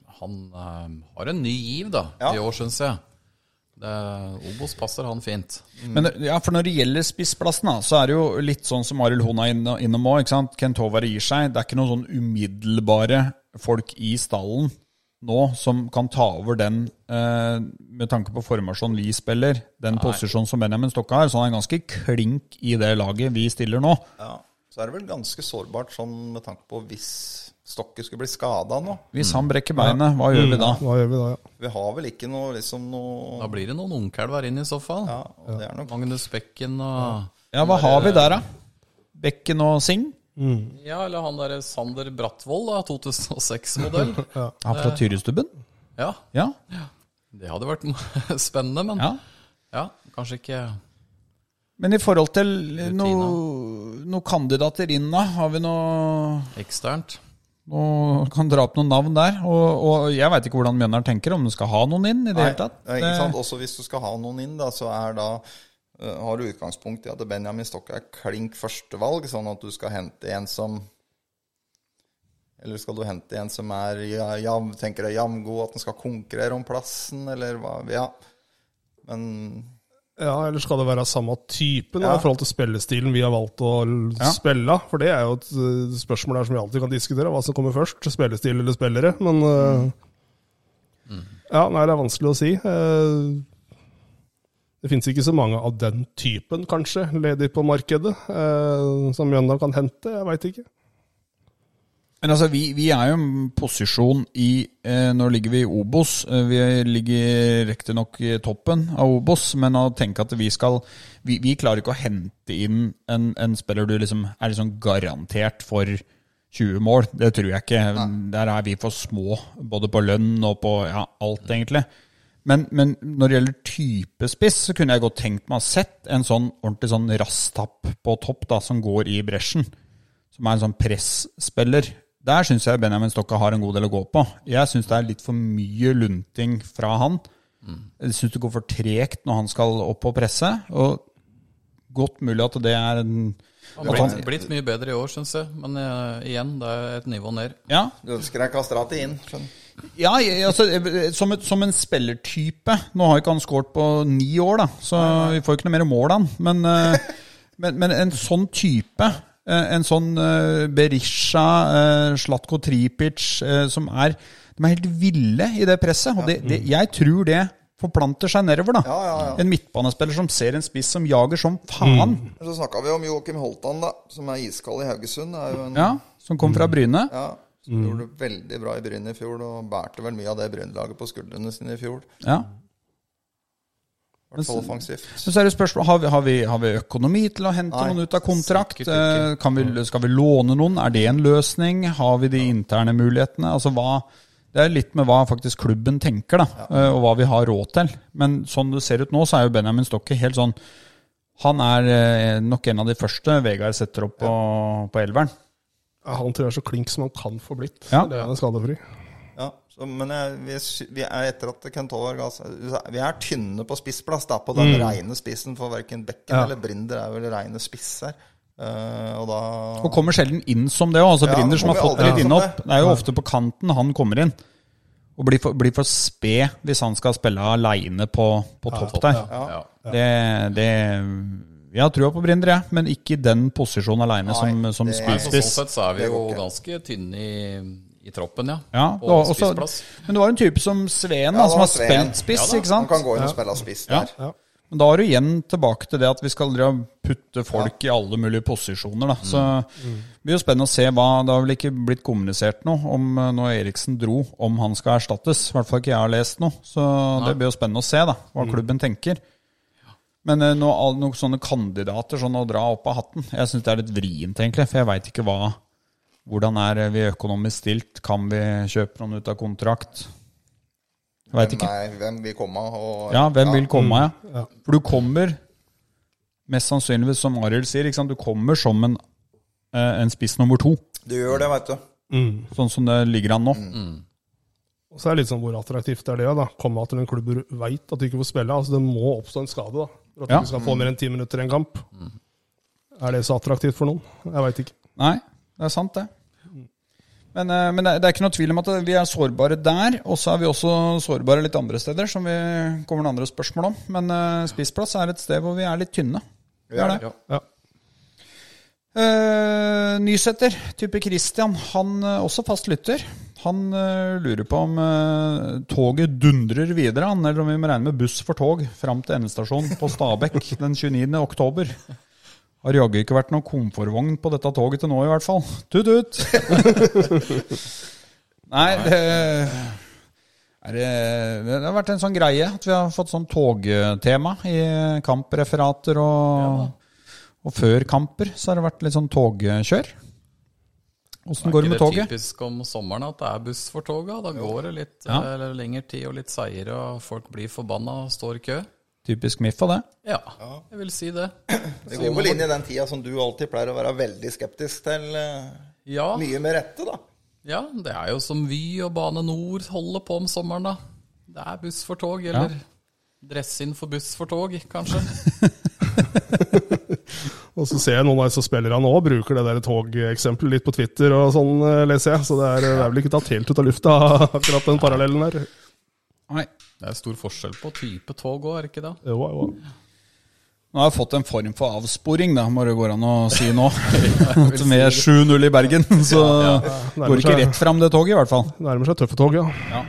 [SPEAKER 4] eh, Han eh, har en ny giv, da,
[SPEAKER 5] Ja.
[SPEAKER 4] i år, syns jeg. Det, Obos passer han fint.
[SPEAKER 2] Mm. Men ja, for når det gjelder spissplassen, da, så er det jo litt sånn som Arild Hona er inne- innom òg. Kent Håvard gir seg. Det er ikke noen sånn umiddelbare folk i stallen nå som kan ta over den eh, med tanke på formasjon vi spiller, den posisjonen som Benjamin Stokke har. Så han er ganske klink i det laget vi stiller nå.
[SPEAKER 5] Ja, så er det vel ganske sårbart sånn med tanke på hvis Stokke skulle bli skada nå.
[SPEAKER 2] Hvis han brekker beinet, hva gjør vi da?
[SPEAKER 3] Hva gjør vi da, ja?
[SPEAKER 5] Vi har vel ikke noe liksom noe
[SPEAKER 4] Da blir det noen ungkalver inn i så fall.
[SPEAKER 5] Ja, og det er nok
[SPEAKER 4] Magnus Bekken og
[SPEAKER 2] Ja, hva har vi der, da? Bekken og Singh?
[SPEAKER 4] Ja, eller han derre Sander Brattvold, da, 2006-modell.
[SPEAKER 2] Han fra Tyristubben?
[SPEAKER 4] Ja,
[SPEAKER 2] Eh. Ja.
[SPEAKER 4] det hadde vært spennende, men ja,
[SPEAKER 2] ja.
[SPEAKER 4] kanskje ikke
[SPEAKER 2] Men i forhold til noen noe kandidater inn, da? Har vi noe
[SPEAKER 4] eksternt.
[SPEAKER 2] og kan dra opp noen navn der. Og, og jeg veit ikke hvordan Mjøndalen tenker, om du skal ha noen inn i det
[SPEAKER 5] Nei,
[SPEAKER 2] hele tatt.
[SPEAKER 5] det er ikke sant? Også hvis du skal ha noen inn, da, så er da, eh, har du utgangspunkt i at Benjamin Stokke er klink førstevalg, sånn at du skal hente en som Eller skal du hente en som er ja, jam, tenker deg jamgod, at den skal konkurrere om plassen, eller hva Ja. Men
[SPEAKER 3] Ja, eller skal det være samme typen da,
[SPEAKER 5] Ja.
[SPEAKER 3] i forhold til spillestilen vi har valgt å l-
[SPEAKER 2] Ja.
[SPEAKER 3] spille? For det er jo et eh, spørsmål der som vi alltid kan diskutere, hva som kommer først, spillestil eller spillere. Men eh, ja, nei, det er vanskelig å si. Eh, det finnes ikke så mange av den typen, kanskje, ledig på markedet, eh, som Mjøndalen kan hente. Jeg veit ikke.
[SPEAKER 2] Men altså, vi, vi er jo en posisjon i eh, Nå ligger vi i Obos. Eh, Vi ligger riktignok i toppen av Obos, men å tenke at vi skal Vi, vi klarer ikke å hente inn en, en spiller du liksom er liksom garantert for 20 mål. Det tror jeg ikke. Der er vi for små, både på lønn og på ja, alt, egentlig. Men, men når det gjelder typespiss, så kunne jeg godt tenkt meg å ha sett en sånn ordentlig sånn rasstapp på topp, da, som går i bresjen som er en sånn presspiller. Der syns jeg Benjamin Stokka har en god del å gå på. Jeg syns det er litt for mye lunting fra han. Jeg syns det går for tregt når han skal opp og presse. Og godt mulig at det er en
[SPEAKER 4] Han har blitt, blitt mye bedre i år, syns jeg. Men eh, igjen, det er et nivå ned.
[SPEAKER 2] Ja,
[SPEAKER 5] du ønsker deg Kastrati inn? skjønner du?
[SPEAKER 2] ja jeg- altså, eh, som, et, som en spillertype. Nå har ikke han skåret på ni år, da, så vi får ikke noe mer mål av han. Men, eh, men, men en sånn type, eh, en sånn eh, Berisha, eh, Slatko Tripic, eh, som er De er helt ville i det presset. Og det, det, jeg tror det forplanter seg nedover, da. En midtbanespiller som ser en spiss som jager som faen.
[SPEAKER 5] Men Så snakka vi om Joakim Holtan, da, som er iskald i Haugesund. Det er jo en
[SPEAKER 2] Ja, Mm. som kom fra Bryne.
[SPEAKER 5] Ja, som gjorde det veldig bra i Bryn i fjor, og bærte vel mye av det Bryn-laget på skuldrene sine i fjor. I
[SPEAKER 2] Ja.
[SPEAKER 5] hvert fall offensivt.
[SPEAKER 2] Men så er det spørsmål, har vi, har vi, har vi økonomi til å hente
[SPEAKER 5] Nei, Mm.
[SPEAKER 2] noen ut av kontrakt?
[SPEAKER 4] sikkert ikke.
[SPEAKER 2] Eh, Kan vi, skal vi låne noen? Er det en løsning? Har vi de interne mulighetene? Altså hva, det er litt med hva faktisk klubben tenker, da, eh, og hva vi har råd til. Men sånn det ser ut nå, så er jo Benjamin Stokke helt sånn Han er eh, nok en av de første Vegard setter opp på, på elveren.
[SPEAKER 3] Ja, Han tror jeg er så klink som han kan få blitt.
[SPEAKER 2] Ja.
[SPEAKER 3] Det er skadefri.
[SPEAKER 5] Ja, så, men jeg, vi, sy- vi er etter at Kent Håvard ga seg Vi er tynne på spissplass, da, på
[SPEAKER 2] Mm.
[SPEAKER 5] den reine spissen, for verken Bekken eller Brinder er vel reine spiss her. Eh, og da
[SPEAKER 2] Og kommer sjelden inn som det òg. Altså
[SPEAKER 5] Ja,
[SPEAKER 2] Brinder som har
[SPEAKER 5] kommer
[SPEAKER 2] fått
[SPEAKER 5] aldri
[SPEAKER 2] litt
[SPEAKER 5] inn som
[SPEAKER 2] innhopp.
[SPEAKER 5] det.
[SPEAKER 2] Det er jo ofte på kanten han kommer inn. Og blir for, blir for sped hvis han skal spille aleine på, på topp der.
[SPEAKER 4] Ja.
[SPEAKER 2] Det, det Jeg har trua på Brinder, jeg, men ikke i den posisjonen aleine som,
[SPEAKER 5] Nei,
[SPEAKER 2] som
[SPEAKER 5] det-
[SPEAKER 4] Nei, så sånn
[SPEAKER 2] spydspiss.
[SPEAKER 4] sett så er vi
[SPEAKER 5] Det
[SPEAKER 4] jo
[SPEAKER 5] går ikke.
[SPEAKER 4] ganske tynne i, i troppen, ja.
[SPEAKER 2] Ja, det
[SPEAKER 4] på
[SPEAKER 2] var også,
[SPEAKER 4] spissplass.
[SPEAKER 2] men du har en type som Sveen, da,
[SPEAKER 5] Ja, det
[SPEAKER 2] som
[SPEAKER 5] var
[SPEAKER 2] har spilt
[SPEAKER 5] Sveen.
[SPEAKER 2] spiss.
[SPEAKER 4] Ja da,
[SPEAKER 2] ikke
[SPEAKER 5] Han
[SPEAKER 2] sant?
[SPEAKER 5] kan gå inn og spille spiss der.
[SPEAKER 3] Ja.
[SPEAKER 2] Men da er du igjen tilbake til det at vi skal drive og putte folk i alle mulige posisjoner. Da. Så det blir jo spennende å se hva Det har vel ikke blitt kommunisert noe om eh, når Eriksen dro, om han skal erstattes. I hvert fall ikke jeg har lest noe. Så det blir jo spennende å se da, hva klubben tenker. Men eh, noe, all- noen sånne kandidater sånn å dra opp av hatten Jeg syns det er litt vrient, egentlig. For jeg veit ikke hva Hvordan er eh, vi økonomisk stilt? Kan vi kjøpe noen ut av kontrakt? Jeg veit ikke.
[SPEAKER 5] Nei, hvem vil komme og
[SPEAKER 2] Ja, hvem vil komme? Ja. For du kommer mest sannsynligvis, som Arild sier, ikke sant? du kommer som en, eh, en spiss nummer to,
[SPEAKER 5] Du gjør det, veit du.
[SPEAKER 3] Mm.
[SPEAKER 2] sånn som det ligger an nå.
[SPEAKER 3] Og så er det litt sånn hvor attraktivt er det da? Komme til en klubb hvor du veit at du ikke får spille. Altså Det må oppstå en skade da, for at
[SPEAKER 2] Ja.
[SPEAKER 3] du ikke skal få mer enn ti minutter i en kamp.
[SPEAKER 4] Mm.
[SPEAKER 3] Er det så attraktivt for noen? Jeg veit ikke.
[SPEAKER 2] Nei, det er sant, det. Men, eh, men det er- det er ikke noe tvil om at vi er sårbare der, og så er vi også sårbare litt andre steder, som vi kommer noen andre spørsmål om. Men eh, spissplass er et sted hvor vi er litt tynne. Vi er det.
[SPEAKER 3] Ja.
[SPEAKER 2] Eh, Nysæter, type Christian, han eh, også fast lytter. Han eh, lurer på om eh, toget dundrer videre, han, eller om vi må regne med buss for tog fram til endestasjonen på Stabekk den 29. oktober. Har jaggu ikke vært noen komfortvogn på dette toget til nå, i hvert fall. Tut-tut! Nei, det er det, det har vært en sånn greie at vi har fått sånn togtema i kampreferater og Og før kamper så har det vært litt sånn togkjør. Åssen går det med
[SPEAKER 4] Er ikke
[SPEAKER 2] toget?
[SPEAKER 4] det typisk om sommeren at det er buss for toga? Da går det litt
[SPEAKER 2] Ja.
[SPEAKER 4] eh, lengre tid og litt seigere, og folk blir forbanna og står i kø.
[SPEAKER 2] Typisk MIF av det.
[SPEAKER 4] Ja, jeg vil si det.
[SPEAKER 5] Det går vel inn i den tida som du alltid pleier å være veldig skeptisk til. eh,
[SPEAKER 4] Ja,
[SPEAKER 5] Mye med rette, da.
[SPEAKER 4] ja, det er jo som Vy og Bane Nor holder på om sommeren, da. Det er buss for tog, eller dress inn for buss for tog, kanskje.
[SPEAKER 3] Og så ser jeg noen av disse spillerne òg bruker det der togeksempelet litt på Twitter og sånn, eh, leser jeg. Så det er, det er vel ikke tatt helt ut av lufta, akkurat den parallellen der.
[SPEAKER 2] Nei.
[SPEAKER 4] Det er stor forskjell på type tog òg, er det ikke det?
[SPEAKER 3] Jo, jo.
[SPEAKER 2] Nå har jeg fått en form for avsporing, da, må det gå an å si nå. At med 7-0 i Bergen, så går det ikke rett fram det toget, i hvert fall.
[SPEAKER 3] Nærmer seg tøffe tog, ja.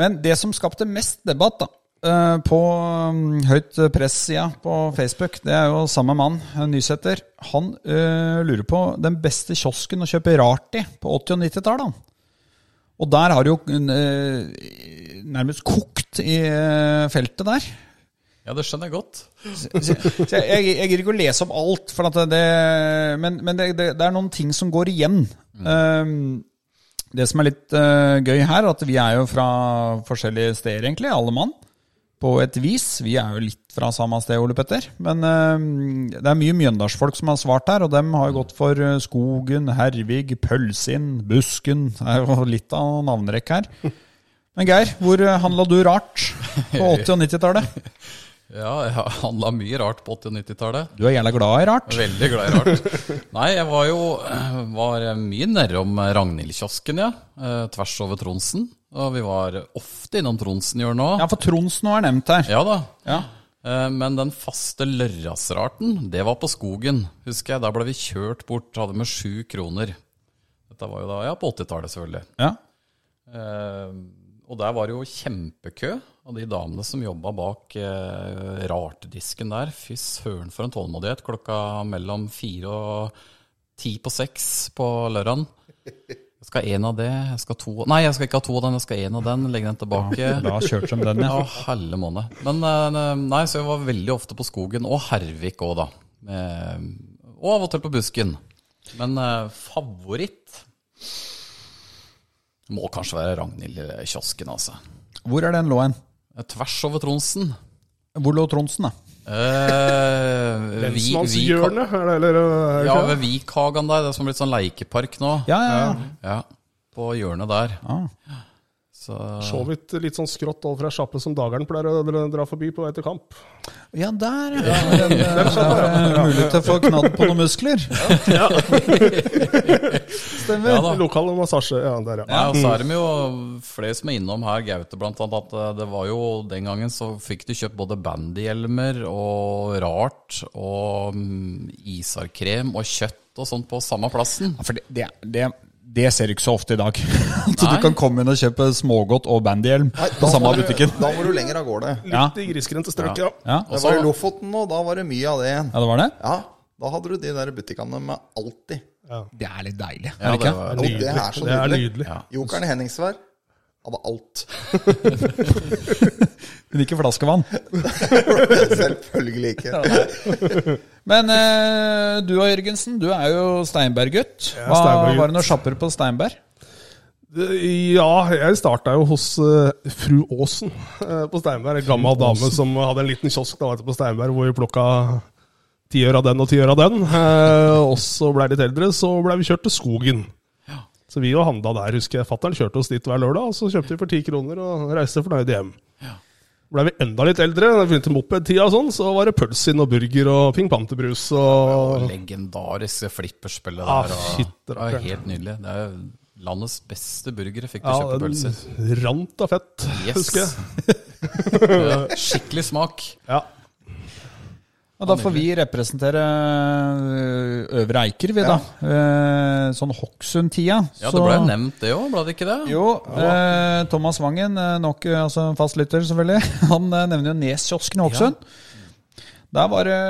[SPEAKER 2] Men det som skapte mest debatt da, eh, på mm, høyt press-sida på Facebook, det er jo samme mann, en Nysæter. Han eh, lurer på den beste kiosken å kjøpe rart i på 80- og 90-tallet. han. Og der har det jo eh, nærmest kokt i eh, feltet der.
[SPEAKER 4] Ja, det skjønner jeg godt.
[SPEAKER 2] Så så jeg, jeg, jeg gir ikke å lese opp alt, for at det, men, men det, det, det er noen ting som går igjen. Um, det som er litt eh, gøy her, er at vi er jo fra forskjellige steder, egentlig, alle mann. På et vis. Vi er jo litt fra samme sted, Ole Petter. Men eh, det er mye mjøndalsfolk som har svart her, og dem har jo gått for eh, Skogen, Hervig, Pølsin, Busken. Det er jo litt av navnerekk her. Men Geir, hvor eh, handla du rart på 80- og 90-tallet?
[SPEAKER 4] Ja, jeg handla mye rart på 80- og 90-tallet.
[SPEAKER 2] Du er jævla glad i rart.
[SPEAKER 4] Veldig glad i rart. Nei, jeg var jo eh, var mye nærmere om Ragnhild-kiosken, ja. eh, Tvers over Tronsen. Og vi var ofte innom Tronsenhjørnet òg.
[SPEAKER 2] Ja, for Tronsen nå er nevnt her.
[SPEAKER 4] Ja da.
[SPEAKER 2] Ja.
[SPEAKER 4] Eh, Men den faste lørdagsrarten, det var på skogen, husker jeg. Da ble vi kjørt bort, hadde med sju kroner. Dette var jo da, ja, på 80-tallet selvfølgelig.
[SPEAKER 2] Ja.
[SPEAKER 4] Eh, og der var det jo kjempekø av de damene som jobba bak eh, rartdisken der. Fy søren for en tålmodighet. Klokka mellom fire og ti på seks på lørdagen. Jeg skal ha én av det, jeg skal ha to Nei, jeg skal ikke ha to av den, jeg skal ha én av den. Legge den tilbake.
[SPEAKER 2] Bra kjørt som den,
[SPEAKER 4] Å,
[SPEAKER 2] ja.
[SPEAKER 4] helle måne. Men eh, nei, så jeg var veldig ofte på skogen, og Hervik òg, da. Eh, Og av og til på busken. Men eh, favoritt må kanskje være Ragnhild-kiosken, altså. Eh,
[SPEAKER 2] Hvor er den lå hen?
[SPEAKER 4] Tvers over Tronsen.
[SPEAKER 2] Hvor lå Tronsen, da?
[SPEAKER 4] Eh, vi- vi-
[SPEAKER 3] Lensmannshjørnet, er det eller? eh, er det
[SPEAKER 4] Ja,
[SPEAKER 3] ikke det?
[SPEAKER 4] ved Vikhagan der. Det som er blitt sånn leikepark nå.
[SPEAKER 2] Ja, ja, ja.
[SPEAKER 4] Ja, På hjørnet der.
[SPEAKER 2] Ah.
[SPEAKER 4] Så
[SPEAKER 3] Så vidt litt sånn skrått over fra sjappe som dageren pleier å dra- dra forbi på vei til kamp.
[SPEAKER 2] Ja, der, ja. Den, eh, der er det mulig til å få knadd på noen muskler.
[SPEAKER 4] ja da.
[SPEAKER 3] Lokal massasje, ja, der, ja.
[SPEAKER 4] Nei, og så er det jo flere som er innom her, Gaute blant annet, at eh, det var jo den gangen så fikk du kjøpt både bandyhjelmer og rart og mm, isarkrem og kjøtt og sånt på samme plassen.
[SPEAKER 2] Ja, for det, det, det, det ser du ikke så ofte i dag. At du
[SPEAKER 4] Nei.
[SPEAKER 2] kan komme inn og kjøpe smågodt og bandyhjelm
[SPEAKER 5] Nei, da
[SPEAKER 2] på samme
[SPEAKER 5] må du-
[SPEAKER 2] butikken.
[SPEAKER 5] Da må du lenger av gårde. Det
[SPEAKER 2] Ja.
[SPEAKER 3] Litt i grisgrendte strøk, ja.
[SPEAKER 2] Ja. ja,
[SPEAKER 5] var i Lofoten nå, da var det mye av det igjen.
[SPEAKER 2] det var det?
[SPEAKER 5] Ja, da hadde du de der butikkene med alltid.
[SPEAKER 2] Det er litt deilig.
[SPEAKER 4] Ja,
[SPEAKER 2] er det
[SPEAKER 4] det
[SPEAKER 2] ikke?
[SPEAKER 4] var-
[SPEAKER 5] Og det er så
[SPEAKER 3] Det er
[SPEAKER 5] nydelig.
[SPEAKER 3] nydelig.
[SPEAKER 5] Jokeren Henningsvær hadde alt.
[SPEAKER 2] Men ikke flaskevann.
[SPEAKER 5] Selvfølgelig ikke.
[SPEAKER 2] Men eh, du og Jørgensen, du er jo Steinberg-gutt.
[SPEAKER 3] er
[SPEAKER 2] Hva
[SPEAKER 3] Steinberg-gutt.
[SPEAKER 2] var det noe sjapper på Steinberg?
[SPEAKER 3] Det- Ja, jeg starta jo hos eh, fru Aasen eh, på Steinberg. En gammel dame som hadde en liten kiosk da, vet du, på Steinberg hvor vi plukka ti øre av den og ti øre av den. Eh, Og så blei litt eldre, så blei vi kjørt til skogen. Så vi jo handla der, husker jeg. Fattern kjørte oss dit hver lørdag, og så kjøpte vi for ti kroner og reiste fornøyde hjem. Blei vi enda litt eldre, da vi begynte mopedtida og sånn, så var det pølsin og burger og Pink Panther-brus og
[SPEAKER 4] Legendariske flipperspillet
[SPEAKER 3] Ah,
[SPEAKER 4] der. og-
[SPEAKER 3] shit,
[SPEAKER 4] det
[SPEAKER 3] rakker.
[SPEAKER 4] var helt nydelig. Det er jo landets beste burgere fikk du
[SPEAKER 3] ja,
[SPEAKER 4] kjøpe pølser.
[SPEAKER 3] den rant av fett, husker jeg.
[SPEAKER 4] Yes. Ja, Skikkelig smak.
[SPEAKER 3] Ja.
[SPEAKER 2] Ja, da får vi representere ø, Øvre Eiker, vi, da. Eh, Sånn Hokksund-tida.
[SPEAKER 4] Ja,
[SPEAKER 2] så-
[SPEAKER 4] det ble jo nevnt det òg, ble det ikke det?
[SPEAKER 2] Jo, eh, Thomas Wangen, eh, nok eh, altså en fast lytter, selvfølgelig, han eh, nevner jo Neskiosken i Hokksund. Der var det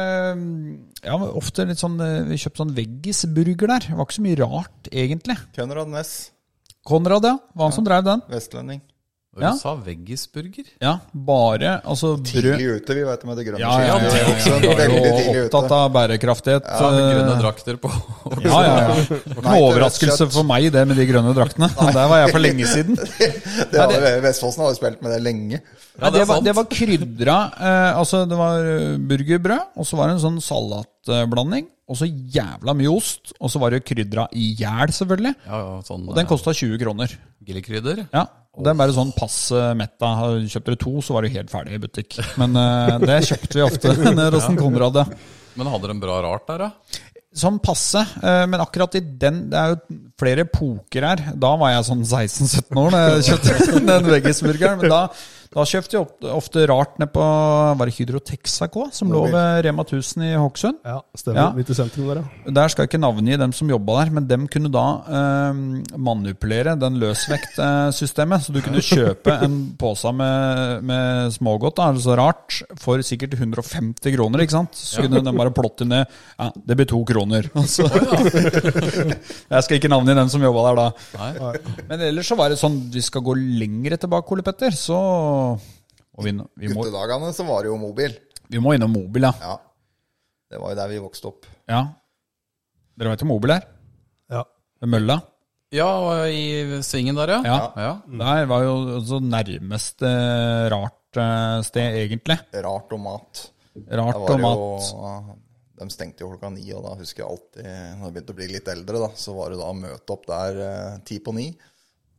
[SPEAKER 2] mm, ja, ofte litt sånn eh, Vi kjøpte sånn veggisburger der. Det var ikke så mye rart, egentlig.
[SPEAKER 5] Konrad Næss,
[SPEAKER 2] Konrad, ja. Hva han som drev den?
[SPEAKER 5] vestlending.
[SPEAKER 2] Ja.
[SPEAKER 4] Hun sa veggisburger.
[SPEAKER 2] Ja, bare altså brød
[SPEAKER 5] Tidlig ute, vi vet med det grønne
[SPEAKER 2] Ja, ja, ja.
[SPEAKER 5] skiltet. Vi er også
[SPEAKER 2] Vi er
[SPEAKER 5] Veldig
[SPEAKER 2] jo
[SPEAKER 5] tidlig
[SPEAKER 2] opptatt
[SPEAKER 5] ute.
[SPEAKER 2] av bærekraftighet.
[SPEAKER 4] Grønne
[SPEAKER 2] eh,
[SPEAKER 4] drakter på.
[SPEAKER 2] Ja, ja, ja. Det var ikke
[SPEAKER 5] Nei,
[SPEAKER 2] noe
[SPEAKER 5] til
[SPEAKER 2] overraskelse
[SPEAKER 5] rødt kjøtt.
[SPEAKER 2] for meg, det med de grønne draktene. Der var jeg for lenge siden.
[SPEAKER 5] Det har, Vestfossen har jo spilt med det lenge.
[SPEAKER 4] Ja,
[SPEAKER 2] det,
[SPEAKER 4] det er
[SPEAKER 2] var,
[SPEAKER 4] sant.
[SPEAKER 2] det var krydra eh, Altså, det var eh, burgerbrød, og så var det en sånn salatblanding. Og så jævla mye ost. Og så var det jo krydra i hjel, selvfølgelig.
[SPEAKER 4] Ja, ja, sånn
[SPEAKER 2] Og den kosta 20 kroner.
[SPEAKER 4] gillikrydder.
[SPEAKER 2] Ja. Og det er bare sånn pass eh, metta. Har- Kjøper du to, så var du helt ferdig i butikk. Men eh, det kjøpte vi ofte nede hos en Konrad. ja.
[SPEAKER 4] Men hadde de bra rart der, da?
[SPEAKER 2] Sånn passe, eh, men akkurat i den Det er jo flere poker her. Da var jeg sånn 16-17 år da jeg kjøpte den veggisburgeren. Men da, da kjøpte jeg opp- ofte rart ned på Var det Hydro Texaco som lå ved Rema 1000 i Hokksund?
[SPEAKER 3] Ja, stemmer.
[SPEAKER 2] Ja.
[SPEAKER 3] Midt i sentrum der, ja.
[SPEAKER 2] Der skal jeg ikke navngi dem som jobba der, men dem kunne da eh, manipulere den løsvektsystemet. Så du kunne kjøpe en pose med, med smågodt, da, altså rart, for sikkert 150 kroner. ikke sant? Så kunne de bare plotte ned ja, det blir to kroner. Altså. jeg skal ikke navngi dem som jobba der da.
[SPEAKER 4] Nei.
[SPEAKER 2] Men ellers så var det sånn, vi skal gå lengre tilbake, Ole Petter, så og vi, vi, må,
[SPEAKER 5] Guttedagene så var det jo mobil.
[SPEAKER 2] vi må innom mobil, ja.
[SPEAKER 5] Ja. Det var jo der vi vokste opp.
[SPEAKER 2] ja. Dere vet jo mobil her?
[SPEAKER 3] ja.
[SPEAKER 2] Mølla?
[SPEAKER 4] Ja, og i svingen der, ja.
[SPEAKER 2] Ja.
[SPEAKER 4] ja.
[SPEAKER 2] Der Mm. var jo så nærmest eh, rart eh, sted, egentlig.
[SPEAKER 5] Rart og mat. Da
[SPEAKER 2] Rart
[SPEAKER 5] var
[SPEAKER 2] og
[SPEAKER 5] det
[SPEAKER 2] mat.
[SPEAKER 5] jo De stengte jo klokka ni, og da husker jeg alltid Når jeg begynte å bli litt eldre, da, så var det da å møte opp der eh, ti på ni.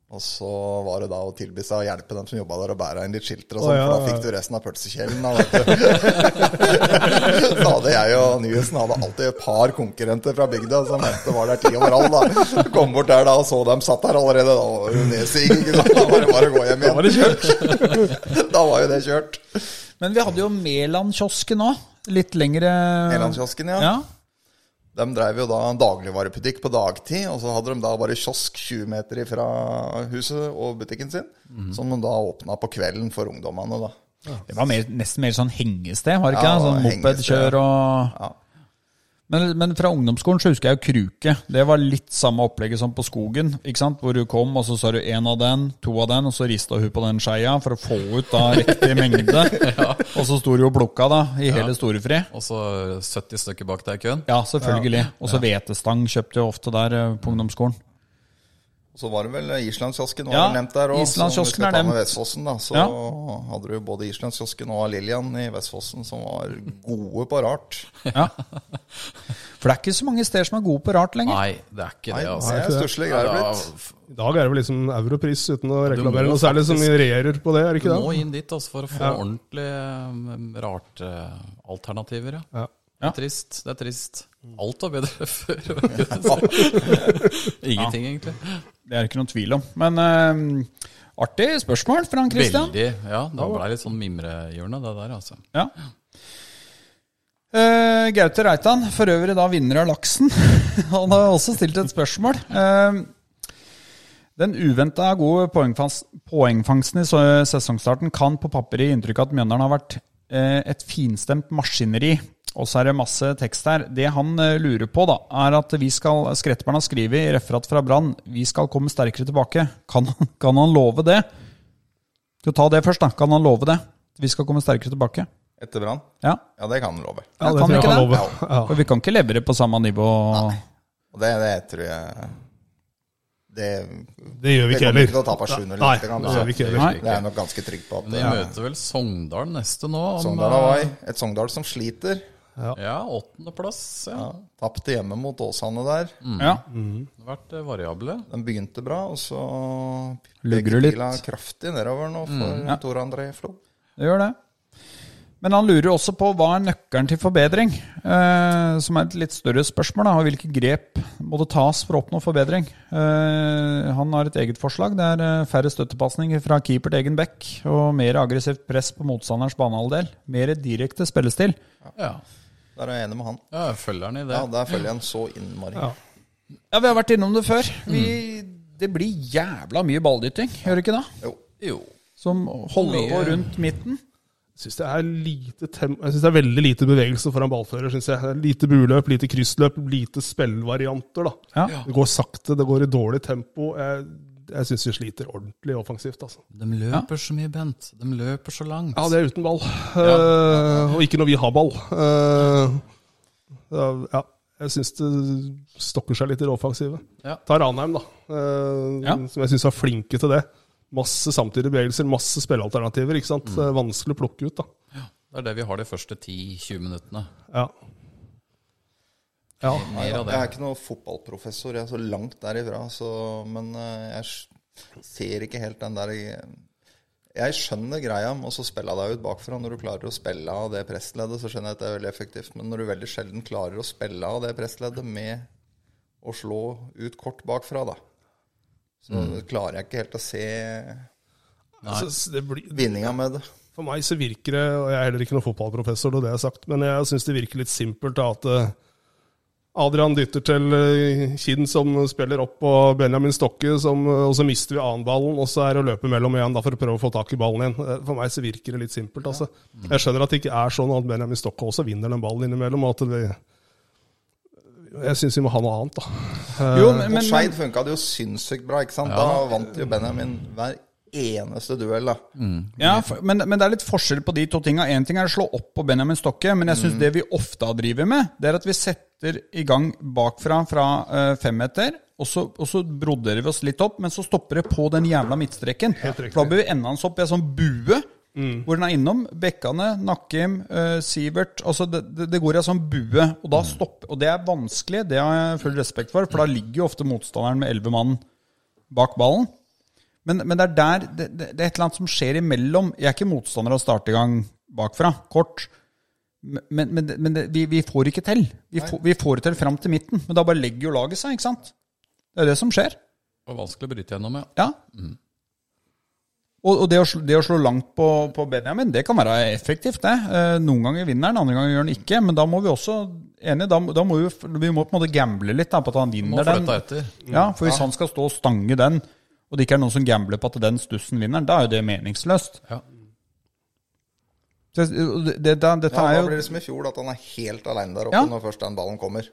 [SPEAKER 5] Og så var det da å tilby seg å hjelpe dem som jobba der, å bære inn litt skilter og sånn,
[SPEAKER 3] Å, ja,
[SPEAKER 5] for da
[SPEAKER 3] ja.
[SPEAKER 5] fikk du resten av pølsekjelen. Da, vet du. da hadde jeg og Nyhusen hadde alltid et par konkurrenter fra bygda som mente var der ti over halv. da. Kom bort der da og så dem satt der allerede. Da var det jo nedsing. ikke sant? Da var det bare å gå hjem igjen. Da var det kjørt. da var jo det kjørt.
[SPEAKER 2] Men vi hadde jo Mæland-kiosken òg. Litt lengre
[SPEAKER 5] Elandskiosken, ja.
[SPEAKER 2] Ja.
[SPEAKER 5] De drev jo da en dagligvarebutikk på dagtid, og så hadde de da bare kiosk 20 meter fra huset og butikken sin,
[SPEAKER 2] Mhm.
[SPEAKER 5] som de da åpna på kvelden for ungdommene. da.
[SPEAKER 2] Det var mer, nesten mer sånn hengested, var det ikke?
[SPEAKER 5] Ja,
[SPEAKER 2] sånn
[SPEAKER 5] hengested,
[SPEAKER 2] mopedkjør og
[SPEAKER 5] Ja.
[SPEAKER 2] men, men fra ungdomsskolen så husker jeg jo Kruke. Det var litt samme opplegget som på Skogen. ikke sant? Hvor du kom, og så sa du én av den, to av den, og så rista hun på den skeia for å få ut da riktig mengde. Og så sto du og plukka da, i hele storefri.
[SPEAKER 4] Og så 70 stykker bak deg i køen.
[SPEAKER 2] Ja, selvfølgelig. Og så hvetestang kjøpte jeg ofte der eh, på ungdomsskolen.
[SPEAKER 5] Og så var det vel eh, Islandskiosken var
[SPEAKER 2] Ja,
[SPEAKER 5] vel nevnt der òg.
[SPEAKER 2] Islandskiosken er
[SPEAKER 5] er
[SPEAKER 2] nevnt.
[SPEAKER 5] Med Vestfossen, da, så hadde du jo både Islandskiosken og Lillian i Vestfossen som var gode på rart.
[SPEAKER 2] Ja. For det er ikke så mange steder som er gode på rart lenger.
[SPEAKER 4] Nei, det er ikke
[SPEAKER 5] Nei,
[SPEAKER 4] det,
[SPEAKER 5] det
[SPEAKER 4] altså.
[SPEAKER 5] er stusslige greier blitt.
[SPEAKER 4] Ja,
[SPEAKER 3] I dag er det vel liksom europris uten
[SPEAKER 4] du
[SPEAKER 3] å
[SPEAKER 4] må
[SPEAKER 3] reklamere noe særlig som
[SPEAKER 4] faktisk-
[SPEAKER 3] regjerer på det, er det
[SPEAKER 4] du
[SPEAKER 3] ikke
[SPEAKER 4] må
[SPEAKER 3] det?
[SPEAKER 4] inn dit altså, for å få ordentlig um, rart eh, alternativer, ja. Det
[SPEAKER 3] Ja.
[SPEAKER 4] er trist. Det er trist. Alt var bedre før. vet du. Ingenting, egentlig.
[SPEAKER 2] Det er det ikke noen tvil om. Men eh, artig spørsmål fra han Christian.
[SPEAKER 4] Veldig. Ja, da ble det litt sånn mimrehjørne, det der, altså.
[SPEAKER 2] Ja. Eh, Gaute Reitan, for øvrig da vinner av laksen, han har også stilt et spørsmål. Eh, den uventa gode poengfans- poengfangsten i se- sesongstarten kan på papiret gi inntrykk av at Mjøndalen har vært eh, et finstemt maskineri. Og så er det masse tekst her. Det han eh, lurer på, da, er at vi skal Skretteberg har skrevet i referat fra Brann vi skal komme sterkere tilbake. Kan, han- kan han love det? Skal ta det først, da. Kan han love det? Vi skal komme sterkere tilbake.
[SPEAKER 5] Etter brann?
[SPEAKER 2] Ja.
[SPEAKER 5] Ja, det kan han love.
[SPEAKER 2] Ja,
[SPEAKER 3] det
[SPEAKER 2] kan
[SPEAKER 3] tror jeg
[SPEAKER 2] ikke
[SPEAKER 3] han
[SPEAKER 2] det?
[SPEAKER 3] lover. Ja.
[SPEAKER 2] For vi kan ikke levere på samme nivå.
[SPEAKER 5] Og det, det tror jeg Det,
[SPEAKER 3] Det gjør vi
[SPEAKER 5] det
[SPEAKER 3] ikke
[SPEAKER 5] kommer ikke
[SPEAKER 3] heller.
[SPEAKER 5] til å tape 7-0.
[SPEAKER 3] Nei,
[SPEAKER 5] dette kan du
[SPEAKER 3] det
[SPEAKER 5] se.
[SPEAKER 3] gjør vi ikke
[SPEAKER 4] Nei.
[SPEAKER 3] heller.
[SPEAKER 5] Det er jeg nok ganske trygg på at
[SPEAKER 4] Men de
[SPEAKER 5] eh,
[SPEAKER 4] møter vel Sogndal neste nå. om,
[SPEAKER 5] Sogndal Hawaii. Et Sogndal som sliter.
[SPEAKER 4] eh, Ja, åttendeplass. Ja.
[SPEAKER 5] Ja, Tapte hjemme mot Åsane der.
[SPEAKER 2] Ja.
[SPEAKER 4] Vært eh, variable.
[SPEAKER 5] De begynte bra, og så
[SPEAKER 2] Lugger du
[SPEAKER 5] pekte
[SPEAKER 2] litt.
[SPEAKER 5] pila kraftig nedover nå for Tor André Flo.
[SPEAKER 2] Det gjør det. Men han lurer også på hva er nøkkelen til forbedring, eh, som er et litt større spørsmål. Da, og hvilke grep må det tas for å oppnå forbedring? Eh, han har et eget forslag. Det er eh, færre støttepasninger fra keeper til egen back, og mer aggressivt press på motstanderens banehalvdel. Mer direkte spillestil.
[SPEAKER 4] Ja,
[SPEAKER 5] Der er jeg enig med han.
[SPEAKER 4] ja jeg følger han i det.
[SPEAKER 5] Ja, Der følger jeg han så innmari.
[SPEAKER 3] Ja.
[SPEAKER 2] Ja, vi har vært innom det før. Vi, det blir jævla mye balldytting, gjør det ikke det?
[SPEAKER 5] Jo.
[SPEAKER 4] Jo.
[SPEAKER 2] Som holder på rundt midten.
[SPEAKER 3] Jeg syns det, er lite tem jeg synes det er veldig lite bevegelse foran ballfører. Synes jeg. Det er Lite buløp, lite kryssløp, lite spillvarianter. da.
[SPEAKER 2] Ja.
[SPEAKER 3] Det går sakte, det går i dårlig tempo. Jeg jeg syns vi sliter ordentlig offensivt, altså.
[SPEAKER 4] De løper så mye, Bent. De løper så langt.
[SPEAKER 3] Ja, det er uten ball. Eh, og ikke når vi har ball. Eh, ja, jeg syns det stokker seg litt i det offensive.
[SPEAKER 4] Ja.
[SPEAKER 3] Ta Ranheim, da. eh,
[SPEAKER 2] Ja.
[SPEAKER 3] Som jeg syns er flinke til det. Masse samtidige bevegelser, masse spillealternativer. ikke sant? Det er Vanskelig å plukke ut, da.
[SPEAKER 4] Det er det vi har de første 10-20 minuttene.
[SPEAKER 3] Ja. ja.
[SPEAKER 5] Nei,
[SPEAKER 4] Mer
[SPEAKER 5] jeg
[SPEAKER 4] av det.
[SPEAKER 5] er ikke noen fotballprofessor, jeg er så langt derifra. Så, men eh, jeg s- ser ikke helt den der Jeg skjønner greia med å så spille deg ut bakfra. Når du klarer å spille av det pressleddet, så skjønner jeg at det er veldig effektivt. Men når du veldig sjelden klarer å spille av det pressleddet med å slå ut kort bakfra, da, så klarer jeg ikke helt å se
[SPEAKER 3] Altså, det blir,
[SPEAKER 5] vinninga med det.
[SPEAKER 3] For meg så virker det, og jeg er heller ikke noen fotballprofessor, det er det jeg har sagt, men jeg syns det virker litt simpelt da, at eh, Adrian dytter til eh, Kinn som spiller opp, og Benjamin Stokke, som, eh, og så mister vi annenballen, og så er det å løpe mellom igjen da, for å prøve å få tak i ballen igjen. Eh, For meg så virker det litt simpelt. altså. Jeg skjønner at det ikke er sånn og at Benjamin Stokke også vinner den ballen innimellom. og at vi... Jeg syns vi må ha noe annet, da.
[SPEAKER 2] Jo, men,
[SPEAKER 5] Mot
[SPEAKER 2] men,
[SPEAKER 5] Skeid funka det jo sinnssykt bra, ikke sant? Da vant jo Benjamin hver eneste duell, da.
[SPEAKER 2] ja, for- men, men det er litt forskjell på de to tinga. Én ting er å slå opp på Benjamin Stokke, men jeg syns det vi ofte har drevet med, det er at vi setter i gang bakfra fra eh, femmeter, og så, og så broderer vi oss litt opp, men så stopper det på den jævla midtstreken. For da blir vi enda hans opp i en sånn bue. Hvor den er innom Bekkane, Nakkim, eh, Sivert altså det, det, det går i en sånn bue, og da stopper Og det er vanskelig, det har jeg full respekt for, for da ligger jo ofte motstanderen med elleve mann bak ballen. Men, men det er der det, det, det er et eller annet som skjer imellom. Jeg er ikke motstander av å starte i gang bakfra, kort. Men, men, men, det- men det, vi, vi får ikke til. Vi, får- vi får det til fram til midten, men da bare legger jo laget seg, ikke sant? Det er jo det som skjer.
[SPEAKER 4] Det var vanskelig å bryte gjennom, ja.
[SPEAKER 2] Ja. Og, og det, å, sl- det å slå langt på, på Benjamin, det kan være effektivt, det. Eh, noen ganger vinner han, andre ganger gjør han ikke. Men da må vi også enig, da, da må vi, f- vi må på en måte gamble litt da, på at han
[SPEAKER 4] Må
[SPEAKER 2] vinner den.
[SPEAKER 4] flytte etter.
[SPEAKER 2] Ja, for hvis han skal stå og stange den, og det ikke er noen som gambler på at den stussen vinner, da er jo det meningsløst.
[SPEAKER 4] Ja.
[SPEAKER 2] Så jeg- det, det, det, dette
[SPEAKER 5] Ja,
[SPEAKER 2] er
[SPEAKER 5] da
[SPEAKER 2] jo
[SPEAKER 5] blir det som i fjor, at han er helt aleine der oppe
[SPEAKER 2] Ja.
[SPEAKER 5] når først den ballen kommer.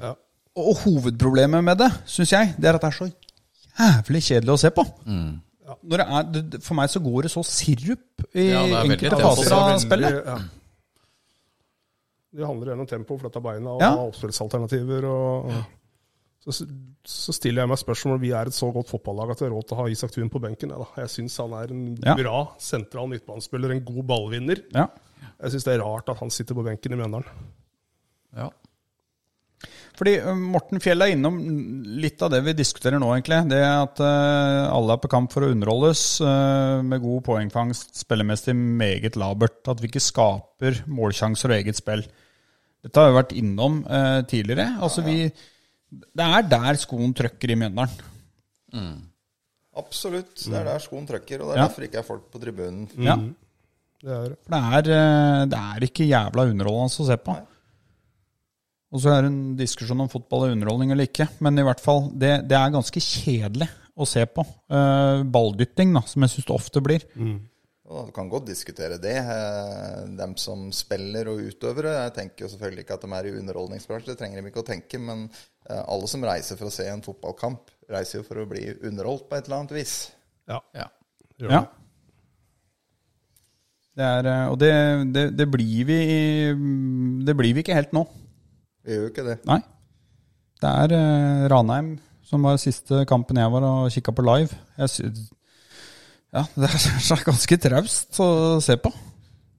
[SPEAKER 2] Og og hovedproblemet med det, syns jeg, det er at det er så jævlig kjedelig å se på.
[SPEAKER 4] Mm.
[SPEAKER 2] Når det er, det- det, for meg så går det så sirup i
[SPEAKER 4] Ja, det er veldig
[SPEAKER 2] enkelte
[SPEAKER 4] tempo.
[SPEAKER 2] faser av spillet.
[SPEAKER 3] altså, Ja. Det handler gjennom tempo, flytta beina og
[SPEAKER 2] Ja.
[SPEAKER 3] oppspillsalternativer. Og, så, så stiller jeg meg spørsmål om vi er et så godt fotballag at vi har råd til å ha Isak Thun på benken. Ja, da. Jeg syns han er en
[SPEAKER 2] Ja.
[SPEAKER 3] bra sentral midtbanespiller, en god ballvinner.
[SPEAKER 2] Ja.
[SPEAKER 3] Jeg syns det er rart at han sitter på benken i Mjøndalen.
[SPEAKER 4] Ja.
[SPEAKER 2] Fordi ø, Morten Fjell er innom litt av det vi diskuterer nå, egentlig. Det at ø, alle er på kamp for å underholdes ø, med god poengfangst, spillemessig meget labert. At vi ikke skaper målsjanser og eget spill. Dette har vi vært innom ø, tidligere. Altså vi Det er der skoen trøkker i Mjøndalen.
[SPEAKER 5] Absolutt. Det er der skoen trykker, og det er
[SPEAKER 2] Mm. Ja.
[SPEAKER 5] derfor ikke er folk på tribunen.
[SPEAKER 2] Ja,
[SPEAKER 3] Det er,
[SPEAKER 2] for det er, ø, det er ikke jævla underholdende å se på. Og så er det en diskusjon om fotball er underholdning eller ikke, men i hvert fall, det, det er ganske kjedelig å se på. Eh, balldytting, da, som jeg syns det ofte blir.
[SPEAKER 5] Og du kan godt diskutere det. eh, Dem som spiller og utøvere. Jeg tenker jo selvfølgelig ikke at de er i underholdningsbransjen, det trenger de ikke å tenke. Men eh, alle som reiser for å se en fotballkamp, reiser jo for å bli underholdt på et eller annet vis.
[SPEAKER 3] ja,
[SPEAKER 4] ja.
[SPEAKER 3] gjør
[SPEAKER 2] Ja.
[SPEAKER 3] det.
[SPEAKER 2] Det er, eh, og det, det, det blir vi mm, Det blir vi ikke helt nå.
[SPEAKER 5] Vi gjør jo ikke det.
[SPEAKER 2] Nei. Det er eh, Ranheim som var siste kampen jeg var og kikka på live. Jeg sy ja, det er så ganske traust å se på.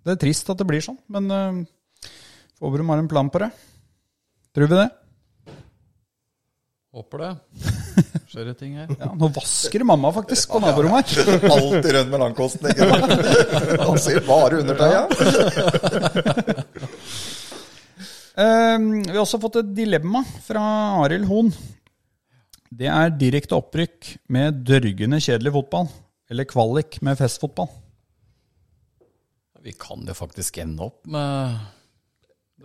[SPEAKER 2] Det er trist at det blir sånn, men eh, Fåbrum har en plan på det. Tror vi det?
[SPEAKER 4] Håper det. Skjer det ting her?
[SPEAKER 2] Ja, nå vasker mamma faktisk på naborommet her.
[SPEAKER 5] Alltid rundt med langkosten, ikke sant? Han sier bare undertøya.
[SPEAKER 2] Eh, vi har også fått et dilemma fra Arild Hoen. Det er direkte opprykk med dørgende kjedelig fotball, eller kvalik med festfotball.
[SPEAKER 4] Vi kan jo faktisk ende opp med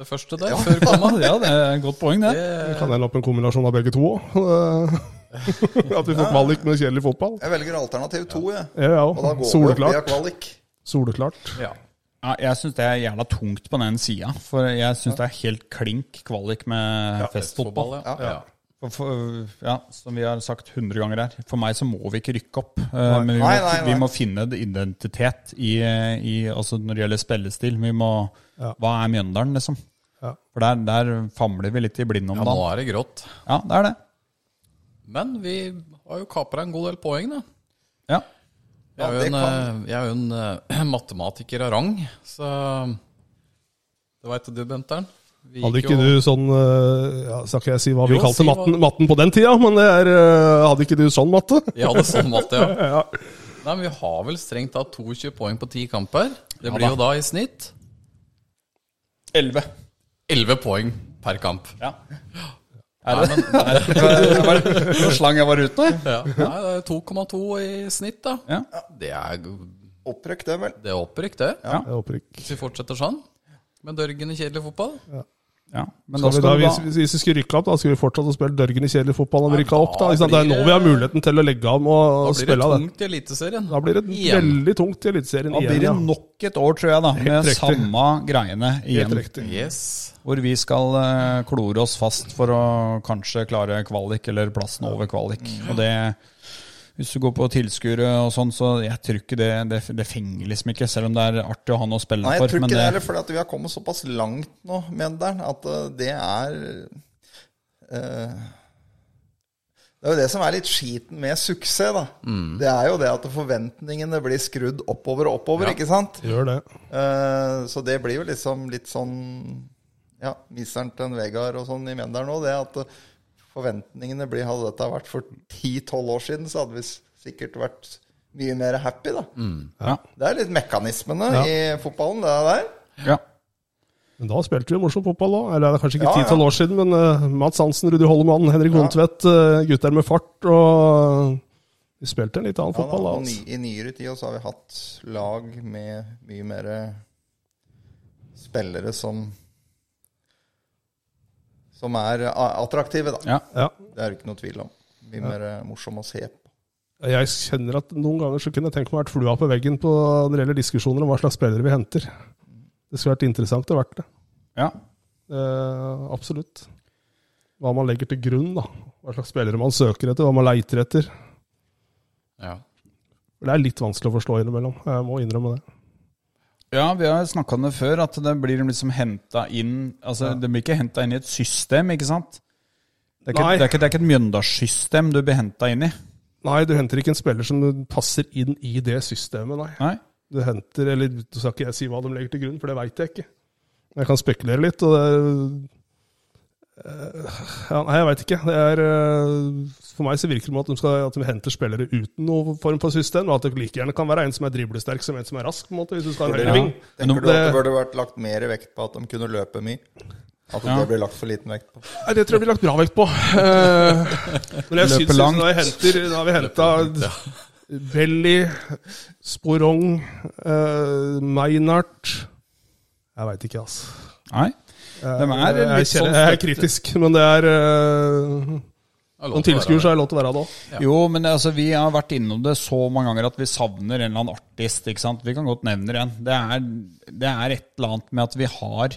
[SPEAKER 4] det første der, før komma.
[SPEAKER 2] Ja, det er et godt poeng, det.
[SPEAKER 3] Det kan hende opp en kombinasjon av begge to òg. At vi får kvalik med kjedelig fotball.
[SPEAKER 5] Jeg velger alternativ to, jeg.
[SPEAKER 3] Ja, ja.
[SPEAKER 5] Og da går vi opp via
[SPEAKER 3] Soleklart.
[SPEAKER 5] kvalik.
[SPEAKER 3] Soleklart.
[SPEAKER 4] Ja.
[SPEAKER 2] Ja, jeg syns det er jævla tungt på den sida, for jeg syns det er helt klink kvalik med festfotball.
[SPEAKER 4] Ja. Ja.
[SPEAKER 2] for, for, ja, som vi har sagt 100 ganger her, for meg så må vi ikke rykke opp. eh, men vi må,
[SPEAKER 5] Nei, nei, nei.
[SPEAKER 2] vi må finne en identitet i, i, altså når det gjelder spillestil. Vi må,
[SPEAKER 3] Ja.
[SPEAKER 2] Hva er Mjøndalen, liksom?
[SPEAKER 3] Ja.
[SPEAKER 2] For der, der famler vi litt i blinde om
[SPEAKER 4] Ja, nå
[SPEAKER 2] dagen.
[SPEAKER 4] er det grått.
[SPEAKER 2] Ja, det er det.
[SPEAKER 4] Men vi har jo kapra en god del poeng, da.
[SPEAKER 2] Ja.
[SPEAKER 4] Jeg er jo
[SPEAKER 5] det
[SPEAKER 4] en,
[SPEAKER 5] kan-
[SPEAKER 4] eh, jeg er jo en eh, matematiker av rang, så det veit du, Benteren. Vi
[SPEAKER 3] Hadde
[SPEAKER 4] gikk
[SPEAKER 3] ikke
[SPEAKER 4] jo-
[SPEAKER 3] du sånn eh, ja, Skal ikke jeg si hva vi
[SPEAKER 4] Jo,
[SPEAKER 3] kalte
[SPEAKER 4] si hva-
[SPEAKER 3] matten, matten på den tida, men det er, eh, hadde ikke du sånn matte?
[SPEAKER 4] Jeg hadde sånn matte, ja. Nei, men vi har vel strengt tatt 22 poeng på 10 kamper. Det blir jo da i snitt
[SPEAKER 2] 11.
[SPEAKER 4] 11 poeng per kamp.
[SPEAKER 2] Ja.
[SPEAKER 4] Er det? Nei, men,
[SPEAKER 2] Så slang jeg var ute.
[SPEAKER 4] ja. Nei, det er 2,2 i snitt, da.
[SPEAKER 2] Ja.
[SPEAKER 4] Det er,
[SPEAKER 5] Opprykk, det, vel.
[SPEAKER 4] det er opprykk, det.
[SPEAKER 3] Jeg håper ikke.
[SPEAKER 4] Hvis vi fortsetter sånn. Med dørgen i kjedelig fotball.
[SPEAKER 2] Ja. Men da
[SPEAKER 3] Skal vi
[SPEAKER 2] skal
[SPEAKER 3] da,
[SPEAKER 2] du
[SPEAKER 3] hvis,
[SPEAKER 2] da
[SPEAKER 3] hvis- hvis vi skulle rykke opp, da skulle vi fortsatt å spille dørgen i kjedelig fotball når vi
[SPEAKER 4] Nei,
[SPEAKER 3] rykka opp. da.
[SPEAKER 4] da
[SPEAKER 3] Ikke sant? Det er
[SPEAKER 4] blir
[SPEAKER 3] nå
[SPEAKER 4] det-
[SPEAKER 3] vi har muligheten til å legge av med å
[SPEAKER 4] Da blir det
[SPEAKER 3] spille av det.
[SPEAKER 4] tungt i Eliteserien.
[SPEAKER 3] Da blir det
[SPEAKER 4] Igjen.
[SPEAKER 3] veldig tungt i Eliteserien
[SPEAKER 2] Da blir
[SPEAKER 3] igjen.
[SPEAKER 2] det
[SPEAKER 3] Ja.
[SPEAKER 2] nok et år, tror jeg, da, med
[SPEAKER 3] riktig.
[SPEAKER 2] samme greiene
[SPEAKER 3] Helt
[SPEAKER 2] igjen.
[SPEAKER 3] riktig.
[SPEAKER 4] Yes.
[SPEAKER 2] Hvor vi skal eh, klore oss fast for å kanskje klare kvalik, eller plassen over kvalik. Og det, hvis du går på tilskuere og sånn, så jeg tror ikke det, det, det fenger liksom ikke. Selv om det er artig å ha noe å spille
[SPEAKER 5] Nei, jeg
[SPEAKER 2] for.
[SPEAKER 5] tror ikke
[SPEAKER 2] men
[SPEAKER 5] det
[SPEAKER 2] det-
[SPEAKER 5] heller, fordi at vi har kommet såpass langt nå, Mjøndalen, at eh, det er eh, Det er jo det som er litt skiten med suksess, da. Det er jo det at forventningene blir skrudd oppover og oppover, ikke sant?
[SPEAKER 3] Gjør det.
[SPEAKER 5] Eh, så det blir jo liksom litt sånn Ja, miseren til en Vegard og sånn i Mjøndalen nå, det at eh, forventningene blir Hadde dette vært for 10-12 år siden, så hadde vi s- sikkert vært mye mer happy, da.
[SPEAKER 2] Ja.
[SPEAKER 5] Det er litt mekanismene
[SPEAKER 3] Ja.
[SPEAKER 5] i fotballen, det der.
[SPEAKER 2] Ja.
[SPEAKER 3] Men da spilte vi morsom fotball òg. Eller det er kanskje ikke
[SPEAKER 5] Ja, ja.
[SPEAKER 3] 10-12 år siden, men eh, Mats Hansen, Rudi Hollemann, Henrik Hontvedt, eh, gutter med fart og Vi spilte en litt annen
[SPEAKER 5] Ja,
[SPEAKER 3] fotball da.
[SPEAKER 5] og
[SPEAKER 3] Altså.
[SPEAKER 5] ny, I nyere tid så har vi hatt lag med mye mer spillere som Som er a- attraktive, da.
[SPEAKER 2] Ja.
[SPEAKER 3] Ja.
[SPEAKER 5] Det er det ikke noe tvil om. Mye mer morsomme å se på.
[SPEAKER 3] Jeg kjenner at noen ganger så kunne jeg tenkt meg å vært flua på veggen på når det gjelder diskusjoner om hva slags spillere vi henter. Det skulle vært interessant å vært det.
[SPEAKER 2] ja.
[SPEAKER 3] Eh, absolutt. Hva man legger til grunn, da. Hva slags spillere man søker etter, hva man leiter etter.
[SPEAKER 4] Ja.
[SPEAKER 3] Det er litt vanskelig å forstå innimellom. Jeg må innrømme det.
[SPEAKER 2] Ja, vi har snakka om det før, at det blir liksom henta inn Altså, det blir ikke henta inn i et system, ikke sant? Det er ikke,
[SPEAKER 3] Nei.
[SPEAKER 2] det er ikke, det er ikke et Mjøndalssystem du blir henta inn i.
[SPEAKER 3] Nei, du henter ikke en spiller som passer inn i det systemet, nei.
[SPEAKER 2] Nei?
[SPEAKER 3] du henter Eller du skal ikke jeg si hva de legger til grunn, for det veit jeg ikke. Men jeg kan spekulere litt, og det Eh, ja, Nei, jeg veit ikke. Det er, eh, for meg så virker det som at de, skal, at de henter spillere uten noen form for system. Og at det like gjerne kan være en som er driblesterk som en som er rask, på en måte, hvis du skal ha en
[SPEAKER 2] Ja.
[SPEAKER 3] høyreving.
[SPEAKER 2] Men
[SPEAKER 5] Tenker du at det burde vært lagt mer vekt på at de kunne løpe mye? At det blir lagt for liten vekt på?
[SPEAKER 3] Nei, Det tror jeg blir lagt bra vekt på. Eh, Men jeg
[SPEAKER 2] Løpe
[SPEAKER 3] syns
[SPEAKER 2] langt.
[SPEAKER 3] Da jeg henter- da har vi henta Belly, Sporong, eh, Meinert Jeg veit ikke, altså.
[SPEAKER 2] Nei. De er
[SPEAKER 3] Eh, jeg,
[SPEAKER 2] litt
[SPEAKER 3] kjenner-
[SPEAKER 2] sånn
[SPEAKER 3] jeg er kritisk, men det er eh,
[SPEAKER 4] Det er lov
[SPEAKER 3] Som
[SPEAKER 4] til å være
[SPEAKER 3] tilskuer
[SPEAKER 4] det.
[SPEAKER 3] så er det lov til å være det òg.
[SPEAKER 2] Jo, men altså, vi har vært innom det så mange ganger at vi savner en eller annen artist. ikke sant? Vi kan godt nevne en. Det er, det er et eller annet med at vi har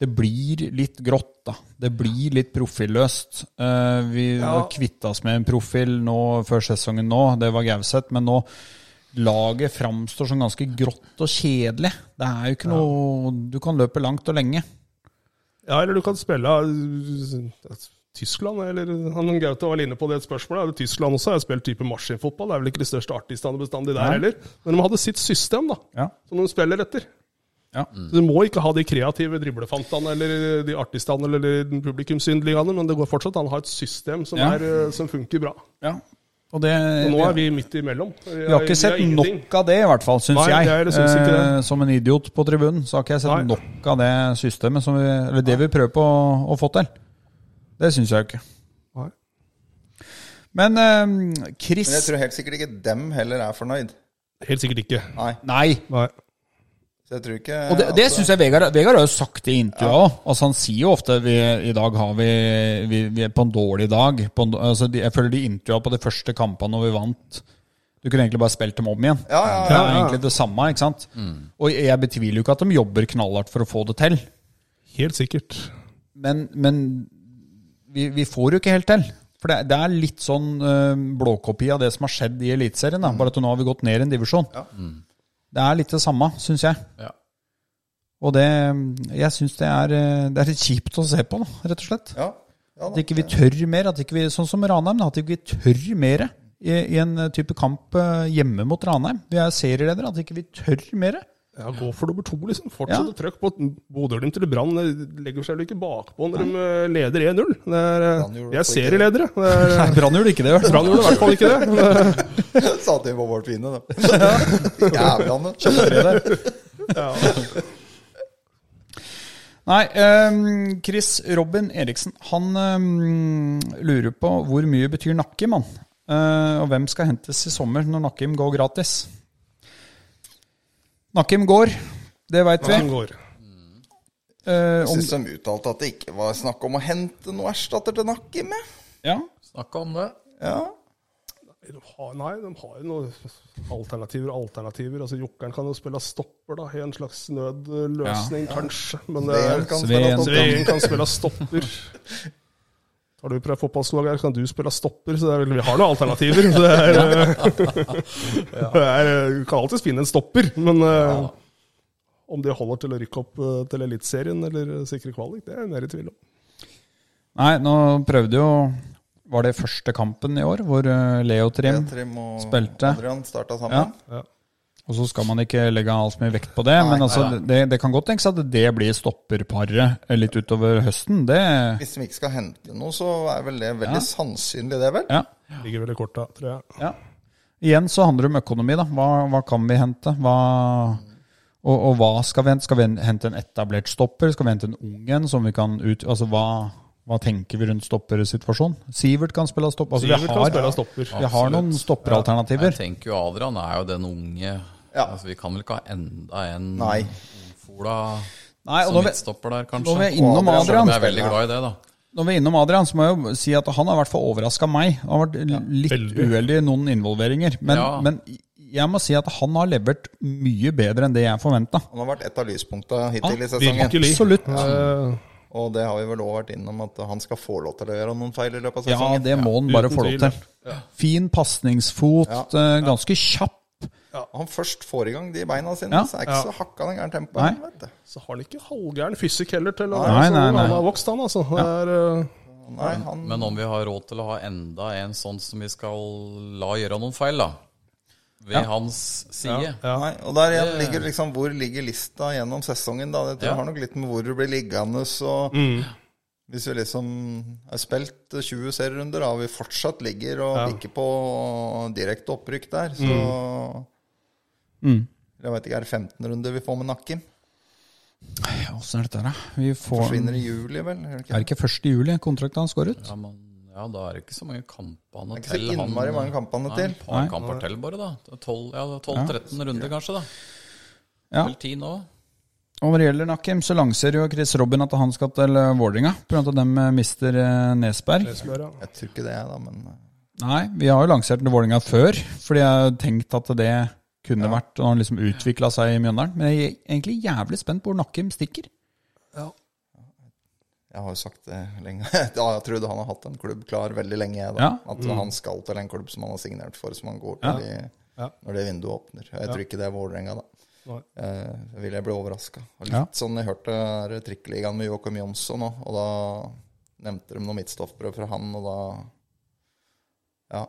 [SPEAKER 2] Det blir litt grått, da. Det blir litt profilløst. Eh, vi har kvitta oss med en profil nå før sesongen nå, det var Gauseth, men nå Laget framstår som ganske grått og kjedelig. Det er jo ikke noe Du kan løpe langt og lenge.
[SPEAKER 3] Ja, eller du kan spille eh, Tyskland, eller han Gaute var inne på det spørsmålet. er det Tyskland også har jeg spilt type maskinfotball. Det er vel ikke de største artistene bestandig der
[SPEAKER 2] Nei.
[SPEAKER 3] heller. Men de hadde sitt system, da,
[SPEAKER 2] Ja.
[SPEAKER 3] som de spiller etter.
[SPEAKER 2] Ja.
[SPEAKER 3] Så Du må ikke ha de kreative driblefantene eller eh, de artistene eller den publikumsyndlingene, men det går fortsatt an å ha et system som,
[SPEAKER 2] Ja.
[SPEAKER 3] er, eh, som funker bra.
[SPEAKER 2] ja. Og det
[SPEAKER 3] Og nå er vi midt imellom.
[SPEAKER 2] Vi har ikke sett
[SPEAKER 3] Eh, ingenting.
[SPEAKER 2] nok av det, i hvert fall, syns
[SPEAKER 3] Nei,
[SPEAKER 2] jeg.
[SPEAKER 3] det er det, synes ikke det.
[SPEAKER 2] Eh, som en idiot på tribunen, så har ikke jeg sett
[SPEAKER 3] Nei.
[SPEAKER 2] nok av det systemet, som vi, eller det vi prøver på å, å få til. Det syns jeg jo ikke.
[SPEAKER 3] Nei.
[SPEAKER 2] Men eh, Chris
[SPEAKER 5] Men jeg tror helt sikkert ikke dem heller er fornøyd.
[SPEAKER 3] Helt sikkert ikke.
[SPEAKER 5] Nei.
[SPEAKER 2] Nei.
[SPEAKER 3] Nei.
[SPEAKER 5] Så jeg tror ikke
[SPEAKER 2] Og det, det syns jeg Vegard, Vegard har jo sagt i intervjuet òg. Altså, han sier jo ofte vi, i dag har vi, vi, vi er på en dårlig dag. På en, altså, de, jeg føler de intervjua på de første kampene når vi vant. Du kunne egentlig bare spilt dem om igjen.
[SPEAKER 5] Ja, ja,
[SPEAKER 2] Det
[SPEAKER 5] ja.
[SPEAKER 2] er egentlig det samme. ikke sant? Og jeg betviler jo ikke at de jobber knallhardt for å få det til.
[SPEAKER 3] Helt sikkert.
[SPEAKER 2] Men, men vi, vi får jo ikke helt til. For det, det er litt sånn eh, blåkopi av det som har skjedd i Eliteserien, da, bare at nå har vi gått ned en divisjon.
[SPEAKER 5] Ja.
[SPEAKER 3] Mm.
[SPEAKER 2] Det er litt det samme, syns jeg.
[SPEAKER 4] Ja.
[SPEAKER 2] Og det Jeg syns det, er, eh, det er litt kjipt å se på, da, rett og slett.
[SPEAKER 5] Ja, ja
[SPEAKER 2] At
[SPEAKER 5] da.
[SPEAKER 2] ikke vi tør mer. At ikke vi, sånn som Ranheim, da, at ikke vi tør mer i, i en type kamp eh, hjemme mot Ranheim. Vi er serieledere. At ikke vi tør mer.
[SPEAKER 3] Ja, Gå for nummer to, liksom. Fortsett
[SPEAKER 2] Ja.
[SPEAKER 3] å trykke på Bodø Glimt eller Brann. eh, Legger seg vel ikke bakpå når de eh, leder 1-0. Det er, eh,
[SPEAKER 5] Brann gjorde
[SPEAKER 3] Vi er
[SPEAKER 5] også ikke
[SPEAKER 3] serieledere. Det er, eh,
[SPEAKER 2] Brann gjorde ikke det, i hvert fall.
[SPEAKER 3] Brann gjorde i hvert fall ikke det. men, eh,
[SPEAKER 5] Sa til på vårt vine, da. Jævlene.
[SPEAKER 2] Nei, ehm, Chris Robin Eriksen han ehm, lurer på hvor mye betyr Nakkim, han. Eh, og hvem skal hentes i sommer når Nakkim går gratis? Nakkim går, det veit vi.
[SPEAKER 3] han Sånn går.
[SPEAKER 2] Eh, om,
[SPEAKER 5] Syns de uttalte at det ikke var snakk om å hente noe erstatter til Nakkim? jeg.
[SPEAKER 2] ja.
[SPEAKER 4] Snakka om det.
[SPEAKER 5] Ja.
[SPEAKER 3] De har, nei, de har jo noen alternativer og alternativer. Altså, Jokkeren kan jo spille stopper da, i en slags nødløsning, kanskje. Men det
[SPEAKER 5] Sveen
[SPEAKER 3] er,
[SPEAKER 5] kan
[SPEAKER 2] Sveen.
[SPEAKER 5] spille topp.
[SPEAKER 3] Sveen kan spille stopper. Tar du på deg fotballslag her, så kan du spille stopper. Så det er, vel- vi har noen alternativer. Så det er, det er, eh, du kan alltids finne en stopper, men eh, om de holder til å rykke opp eh, til Eliteserien eller sikre kvalik, det er jeg mer i tvil om.
[SPEAKER 2] Nei, nå prøvde jo Var det første kampen i år hvor eh, Leo Trim
[SPEAKER 5] Trim og
[SPEAKER 2] Spilte.
[SPEAKER 5] Adrian starta
[SPEAKER 2] Ja.
[SPEAKER 5] sammen.
[SPEAKER 2] Og så skal man ikke legge all så mye vekt på det, men altså, Det, det kan godt tenkes at det blir stopperparet litt utover høsten. Det
[SPEAKER 5] Hvis de ikke skal hente noe, så er vel det veldig sannsynlig, det, vel?
[SPEAKER 2] Ja.
[SPEAKER 3] Ligger veldig kort da, tror jeg.
[SPEAKER 2] Ja. Igjen så handler det om økonomi, da. Hva, hva kan vi hente? Hva, og, og hva skal vi hente? Skal vi hente en etablert stopper? Skal vi hente en ung en som vi kan ut... Altså hva, hva tenker vi rundt stoppersituasjonen? Sivert kan spille stopp. Altså,
[SPEAKER 3] Sivert kan
[SPEAKER 2] vi,
[SPEAKER 3] spille
[SPEAKER 2] har,
[SPEAKER 3] stopper.
[SPEAKER 2] vi har noen
[SPEAKER 4] Jeg
[SPEAKER 2] stopperalternativer.
[SPEAKER 4] tenker jo Adrian er jo den unge
[SPEAKER 5] Ja.
[SPEAKER 4] altså, Vi kan vel ikke ha enda en
[SPEAKER 5] Nei.
[SPEAKER 4] Fola
[SPEAKER 2] Nei, og
[SPEAKER 4] som
[SPEAKER 2] når vi,
[SPEAKER 4] midtstopper der,
[SPEAKER 2] når vi
[SPEAKER 4] kanskje?
[SPEAKER 2] er innom
[SPEAKER 5] Og Adrian
[SPEAKER 2] Adrian,
[SPEAKER 4] Jeg er veldig glad i det, da.
[SPEAKER 2] når vi er innom Adrian, så må jeg jo si at han har i hvert fall overraska meg. Han har vært litt
[SPEAKER 3] veldig.
[SPEAKER 2] uheldig i noen involveringer. Men,
[SPEAKER 4] Ja.
[SPEAKER 2] men jeg må si at han har levert mye bedre enn det jeg forventa.
[SPEAKER 5] Han har vært et av lyspunkta
[SPEAKER 2] Ja,
[SPEAKER 5] hittil i sesongen.
[SPEAKER 3] Virkelig.
[SPEAKER 2] Absolutt.
[SPEAKER 3] Eh,
[SPEAKER 5] Og det har vi vel òg vært innom, at han skal få lov til å gjøre noen feil i løpet av
[SPEAKER 2] Ja,
[SPEAKER 5] sesongen.
[SPEAKER 2] Altså, det må han bare
[SPEAKER 3] Uten
[SPEAKER 2] få lov
[SPEAKER 3] tvil.
[SPEAKER 2] til. Fin pasningsfot, eh, ganske kjapp.
[SPEAKER 5] Han først får i gang de beina sine,
[SPEAKER 2] Ja.
[SPEAKER 5] så er ikke så hakka den gæren tempoet.
[SPEAKER 2] Nei.
[SPEAKER 5] han, vet du.
[SPEAKER 3] så har han ikke halvgæren fysikk heller til å
[SPEAKER 2] Nei,
[SPEAKER 3] være så
[SPEAKER 2] nei,
[SPEAKER 3] ung.
[SPEAKER 2] nei.
[SPEAKER 3] Han har vokst, han, altså. Det er, eh,
[SPEAKER 5] Nei, han,
[SPEAKER 4] Men om vi har råd til å ha enda en sånn som vi skal la gjøre noen feil, da. Ved hans side.
[SPEAKER 5] nei. Og der igjen ligger liksom hvor ligger lista gjennom sesongen, da. Det tror jeg
[SPEAKER 4] Ja. Mm.
[SPEAKER 5] har nok litt med hvor du blir liggende, så Hvis vi liksom har spilt 20 serierunder, da, og vi fortsatt ligger og bikker på direkte opprykk der, så
[SPEAKER 4] Mm.
[SPEAKER 2] Mm.
[SPEAKER 5] Jeg veit ikke, er det 15 runder vi får med Nakkim?
[SPEAKER 2] Ja, Åssen er dette her, da? Vi får
[SPEAKER 5] Forsvinner i juli, vel? Er det
[SPEAKER 2] Er
[SPEAKER 5] ikke,
[SPEAKER 2] det ikke 1. juli kontrakten hans går ut?
[SPEAKER 4] Ja, men, ja, da er det ikke så mange kamper han
[SPEAKER 5] det er ikke så innmari mange kampene
[SPEAKER 4] Nei,
[SPEAKER 5] til.
[SPEAKER 4] et par kamper til, bare, da. Det er 12, ja, 12-13 runder, kanskje, da.
[SPEAKER 2] Ja.
[SPEAKER 4] Vel 10 nå.
[SPEAKER 2] Og når det gjelder Nakim, så lanserer jo Chris Robin at han skal til eh, Vålerenga. Pga. at de eh, mister eh, Nesberg.
[SPEAKER 3] Esbjerg, ja.
[SPEAKER 5] Jeg tror ikke det, da, men eh,
[SPEAKER 2] Nei, vi har jo lansert den til Vålerenga før, fordi jeg har tenkt at det kunne vært Og han liksom utvikla seg i Mjøndalen. Men jeg er egentlig jævlig spent på hvor Nakim stikker.
[SPEAKER 5] jeg har jo sagt det lenge. Ja, jeg trodde han har hatt en klubb klar veldig lenge, jeg, da.
[SPEAKER 2] Ja. Mm.
[SPEAKER 5] At han skal til en klubb som han har signert for, som han
[SPEAKER 2] Ja.
[SPEAKER 5] går til i,
[SPEAKER 3] Ja.
[SPEAKER 5] når det vinduet åpner. Jeg tror ikke det er Vålerenga, da.
[SPEAKER 3] Nei.
[SPEAKER 5] Eh, vil jeg bli overraska. Litt
[SPEAKER 2] Ja.
[SPEAKER 5] sånn jeg hørte her trikkeligaen med Joakim Jonsson òg, og da nevnte de noe midtstoffbrød fra han, og da Ja.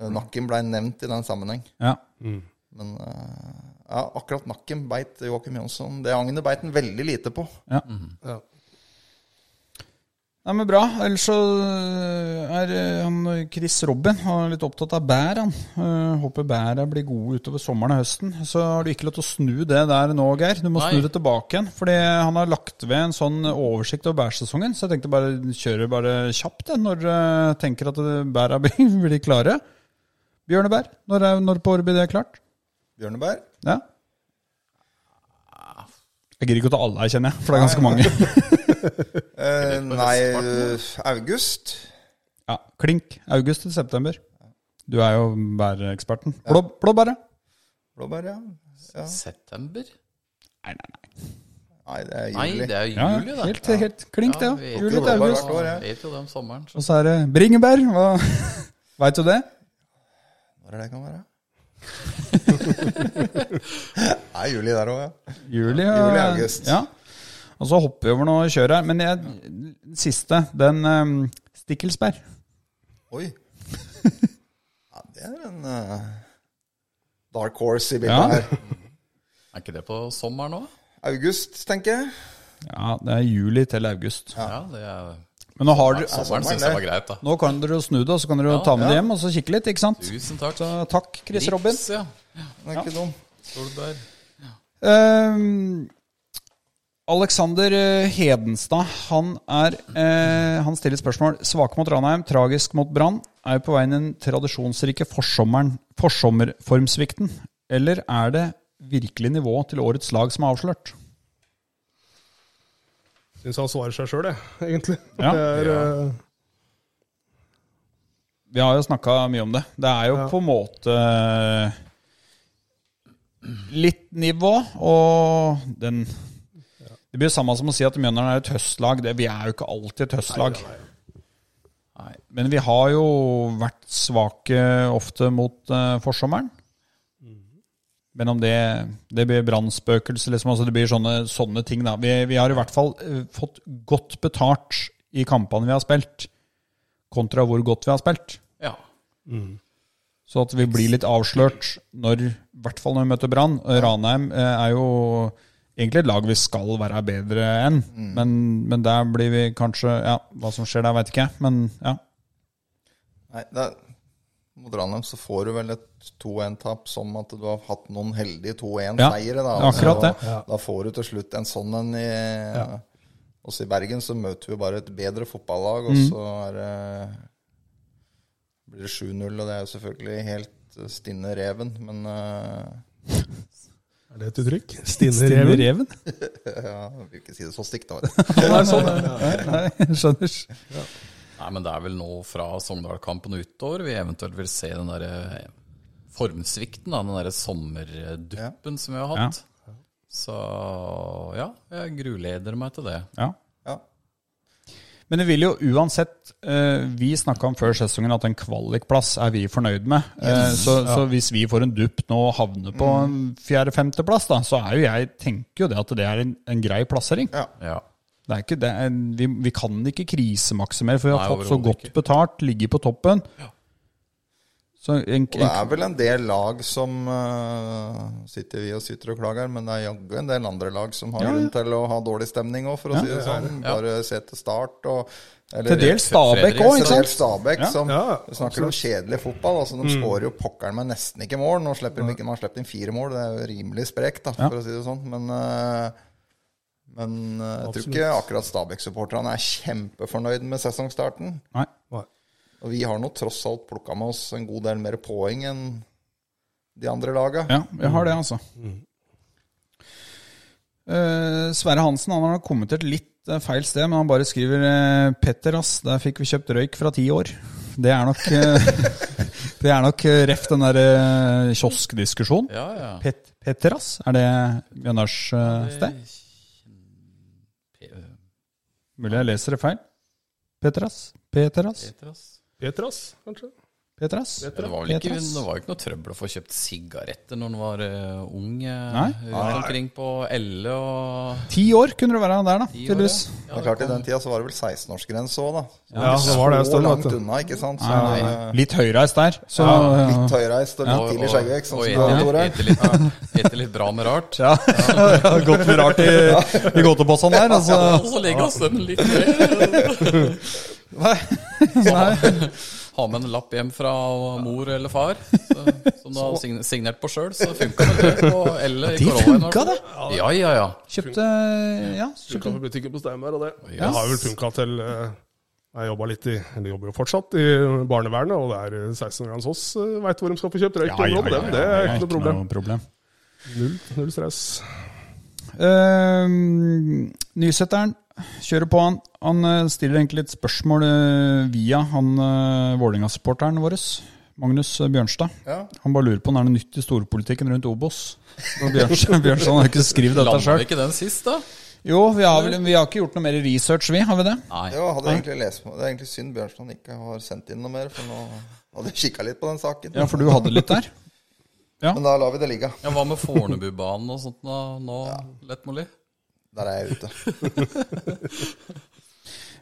[SPEAKER 5] Eh, Nakken blei nevnt i den sammenheng.
[SPEAKER 2] Ja.
[SPEAKER 5] Men eh, ja, akkurat nakken beit Joakim Jonsson. Det agnet beit han veldig lite på.
[SPEAKER 3] Ja.
[SPEAKER 2] Nei, men bra. Ellers så er eh, han Chris Robin han er litt opptatt av bær. han. Eh, Håper bæra blir gode utover sommeren og høsten. Så har du ikke lov til å snu det der nå, Geir. Du må
[SPEAKER 4] Nei.
[SPEAKER 2] snu det tilbake igjen. Fordi han har lagt ved en sånn oversikt over bærsesongen. Så jeg tenkte bare kjøre bare kjapt jeg, når jeg tenker at eh, bæra blir blir klare. Bjørnebær, når, er, når på året blir det klart?
[SPEAKER 5] Bjørneberg?
[SPEAKER 2] Ja. Jeg gidder ikke å ta alle her, kjenner jeg, for det er ganske mange.
[SPEAKER 5] Eh, nei, eh, august?
[SPEAKER 2] Ja, Klink. August til september. Du er jo bæreeksperten. Blå, blåbæret?
[SPEAKER 5] Blåbær, ja. ja.
[SPEAKER 4] September?
[SPEAKER 2] Nei, nei, nei.
[SPEAKER 5] Nei, det er
[SPEAKER 4] Nei,
[SPEAKER 5] juli.
[SPEAKER 4] det er
[SPEAKER 2] Ja,
[SPEAKER 4] juli, det.
[SPEAKER 2] helt, helt klink, det.
[SPEAKER 4] Ja,
[SPEAKER 2] Ja,
[SPEAKER 4] vi-
[SPEAKER 2] Juli til
[SPEAKER 5] Blåbær
[SPEAKER 2] august.
[SPEAKER 5] hvert år, ja.
[SPEAKER 4] Jeg vet jo det om sommeren. Så.
[SPEAKER 2] Og så er det bringebær. Hva Veit du det?
[SPEAKER 5] Når er det kan være? det er juli der òg, ja.
[SPEAKER 2] Juli,
[SPEAKER 5] Juli,
[SPEAKER 2] eh,
[SPEAKER 5] august.
[SPEAKER 2] Ja. Og så hopper vi over noe kjør her. Men jeg, den siste, den um, stikkelsbær.
[SPEAKER 5] Oi. Ja, det er en eh, dark horse
[SPEAKER 2] Ja.
[SPEAKER 5] i bildet her.
[SPEAKER 4] Er ikke det på sommeren òg?
[SPEAKER 5] August, tenker jeg.
[SPEAKER 2] Ja, det er juli til august.
[SPEAKER 4] Ja. det er
[SPEAKER 2] Men nå har dere
[SPEAKER 4] Sommeren
[SPEAKER 5] sommeren,
[SPEAKER 4] syns jeg
[SPEAKER 5] det.
[SPEAKER 4] var greit, da.
[SPEAKER 2] Nå kan dere jo snu det, og så kan dere jo
[SPEAKER 4] Ja,
[SPEAKER 2] ta med det hjem og så kikke litt, ikke sant?
[SPEAKER 4] Tusen takk.
[SPEAKER 2] Så takk, Chris Robin.
[SPEAKER 4] Rips, ja.
[SPEAKER 5] Den er ikke dum.
[SPEAKER 4] Solberg.
[SPEAKER 2] Ehm, Alexander eh, Hedenstad han, er, eh, han stiller spørsmål. Svake mot Ranheim, tragisk mot Brann. Er vi på vei inn i den tradisjonsrike forsommeren, forsommerformsvikten? Eller er det virkelig nivået til årets lag som er avslørt?
[SPEAKER 3] Syns han svarer seg sjøl, jeg, egentlig.
[SPEAKER 2] Ja.
[SPEAKER 3] Det er, eh,
[SPEAKER 2] Vi har jo snakka mye om det. Det er jo på en måte eh, litt nivå, og den Det blir jo samme som å si at Mjøndalen er et høstlag. Det, vi er jo ikke alltid et høstlag.
[SPEAKER 4] Nei.
[SPEAKER 2] Men vi har jo vært svake ofte mot eh, forsommeren. Men om det, det blir brannspøkelse, liksom, altså det blir sånne, sånne ting, da. Vi, vi har i hvert fall eh, fått godt betalt i kampene vi har spilt, kontra hvor godt vi har spilt.
[SPEAKER 4] Ja.
[SPEAKER 2] Så at vi blir litt avslørt når, i hvert fall når vi møter Brann. Ranheim eh, er jo egentlig et lag vi skal være bedre enn, men, men der blir vi kanskje Ja, hva som skjer der, veit ikke jeg, men ja.
[SPEAKER 5] Nei, det er, mot Ranheim så får du vel et 2-1-tap som at du har hatt noen heldige
[SPEAKER 2] Ja,
[SPEAKER 5] 2-1-seiere.
[SPEAKER 2] det
[SPEAKER 5] da.
[SPEAKER 2] er akkurat
[SPEAKER 5] Altså,
[SPEAKER 2] det.
[SPEAKER 5] Da, får du til slutt en sånn en i Også i Bergen så møter vi bare et bedre fotballag, og
[SPEAKER 2] Mm.
[SPEAKER 5] så er det blir det 7-0, og det er jo selvfølgelig helt eh, stinne reven, men eh,
[SPEAKER 3] er det et uttrykk? Stine Reven.
[SPEAKER 2] Reven?
[SPEAKER 5] ja, jeg vil ikke si det så stygt, da.
[SPEAKER 2] Nei, skjønner.
[SPEAKER 4] Nei, men det er vel nå fra Sogndal-kampen og utover vi eventuelt vil se den derre formsvikten, da, den derre sommerduppen som vi har hatt. Så ja, jeg gruleder meg til det.
[SPEAKER 2] Ja.
[SPEAKER 5] Ja.
[SPEAKER 2] Men det vil jo uansett eh, Vi snakka om før sesongen at en kvalikplass er vi fornøyd med. Eh, så, så hvis vi får en dupp nå og havner på en fjerde-femteplass, da, så er jo jeg tenker jo det at det er en, en grei plassering.
[SPEAKER 4] Ja.
[SPEAKER 2] Det er ikke, det er, vi, vi kan ikke krisemaksimere, for vi har
[SPEAKER 4] Nei,
[SPEAKER 2] fått så
[SPEAKER 4] overhodet
[SPEAKER 2] godt
[SPEAKER 4] ikke.
[SPEAKER 2] betalt, ligger på toppen. Så en,
[SPEAKER 5] Og det
[SPEAKER 2] en,
[SPEAKER 5] er vel en del lag som eh, sitter vi og syter og klager, men det er jaggu en del andre lag som har
[SPEAKER 2] Ja, ja.
[SPEAKER 5] grunn til å ha dårlig stemning òg, for å si det sånn.
[SPEAKER 4] Ja.
[SPEAKER 5] Bare se til start og eller-
[SPEAKER 2] til dels Stabæk
[SPEAKER 4] Fredriksen.
[SPEAKER 2] òg,
[SPEAKER 5] Til
[SPEAKER 2] ikke
[SPEAKER 5] dels
[SPEAKER 2] sant?
[SPEAKER 5] Stabæk,
[SPEAKER 2] Ja.
[SPEAKER 5] som
[SPEAKER 3] Ja, Mm.
[SPEAKER 5] vi snakker om kjedelig fotball. altså De skårer jo pokkeren meg nesten ikke mål. Nå slipper de ikke, man slipper inn fire mål, det er jo rimelig sprekt, da, for å si det sånn. Men, eh, men eh, jeg tror ikke akkurat Stabæk-supporterne er kjempefornøyd med sesongstarten.
[SPEAKER 2] Nei.
[SPEAKER 3] Nei.
[SPEAKER 5] Og vi har nå tross alt plukka med oss en god del mer poeng enn de andre laga.
[SPEAKER 2] Ja, jeg har det, altså. Eh, Sverre Hansen han har kommet til et litt eh, feil sted, men han bare skriver eh, 'Petter, ass, der fikk vi kjøpt røyk fra ti år'. Det er nok eh, Det er nok eh, ref den der eh, kioskdiskusjonen.
[SPEAKER 4] Ja, ja.
[SPEAKER 2] Pet, Petter, ass, er det Bjørnars eh, sted? Mulig jeg leser det feil. Petter, ass. Petter, ass.
[SPEAKER 4] Petras.
[SPEAKER 3] Petras, kanskje?
[SPEAKER 2] Petter, ass.
[SPEAKER 4] Det var vel ikke,
[SPEAKER 2] Petras.
[SPEAKER 4] det var jo ikke noe trøbbel å få kjøpt sigaretter når en var eh, ung eh,
[SPEAKER 2] Nei.
[SPEAKER 4] rundt omkring på Elle og
[SPEAKER 2] Ti år kunne du være der, da.
[SPEAKER 4] i
[SPEAKER 2] Tydeligvis.
[SPEAKER 4] året. Ja,
[SPEAKER 5] Men klart, I den tida så var det vel 16-årsgrense òg, da. Så
[SPEAKER 3] Ja, det var det
[SPEAKER 5] så
[SPEAKER 3] en stund.
[SPEAKER 5] langt
[SPEAKER 3] vet du.
[SPEAKER 5] unna, ikke sant? Så, eh,
[SPEAKER 2] Litt høyreist der. Så,
[SPEAKER 5] Litt høyreist og litt
[SPEAKER 4] og-
[SPEAKER 5] tidlig skjeggvekst, sånn
[SPEAKER 4] og
[SPEAKER 5] som du har,
[SPEAKER 4] ete-
[SPEAKER 5] Tore.
[SPEAKER 4] ete litt- Ete litt bra med rart.
[SPEAKER 2] Ja, ja godt med rart i, i gåtebossene der. Altså.
[SPEAKER 4] Og så legger oss den litt ned. Ha med en lapp hjem fra mor eller far, så, som du har sign- signert på sjøl, så funka det. på Elle i
[SPEAKER 2] De
[SPEAKER 4] koronaen,
[SPEAKER 2] funka, det.
[SPEAKER 4] Ja, ja, ja.
[SPEAKER 2] Kjøpte ja,
[SPEAKER 3] Funka på butikken på Steinberg, og det.
[SPEAKER 4] Yes.
[SPEAKER 3] Jeg har vel funka til eh, Jeg jobba litt i Eller jobber jo fortsatt i barnevernet, og det er 16-åringene hos oss eh, vet hvor de skal få kjøpt røyk. og blod, dem. Det er ikke noe problem. Null, null stress.
[SPEAKER 2] Ehm, nysetteren kjører på han. Han eh, stiller egentlig litt spørsmål eh, via han eh, Vålerenga-supporteren vår, Magnus eh, Bjørnstad.
[SPEAKER 5] Ja.
[SPEAKER 2] Han bare lurer på om det er noe nytt i storpolitikken rundt Obos. Og Bjørnstad, Bjørnstad har ikke skrevet dette
[SPEAKER 4] Landa vi
[SPEAKER 2] sjøl.
[SPEAKER 4] ikke den sist, da?
[SPEAKER 2] Jo, vi har, vel, vi har ikke gjort noe mer research, vi. Har vi det?
[SPEAKER 4] Nei.
[SPEAKER 5] Jo, jeg hadde egentlig lest på. Det er egentlig synd Bjørnstad ikke har sendt inn noe mer, for nå hadde jeg kikka litt på den saken.
[SPEAKER 2] Ja, for du hadde litt der.
[SPEAKER 5] Men da lar vi det ligge.
[SPEAKER 4] Ja, hva med Fornebubanen og sånt nå, nå lett mulig?
[SPEAKER 5] Der er jeg ute.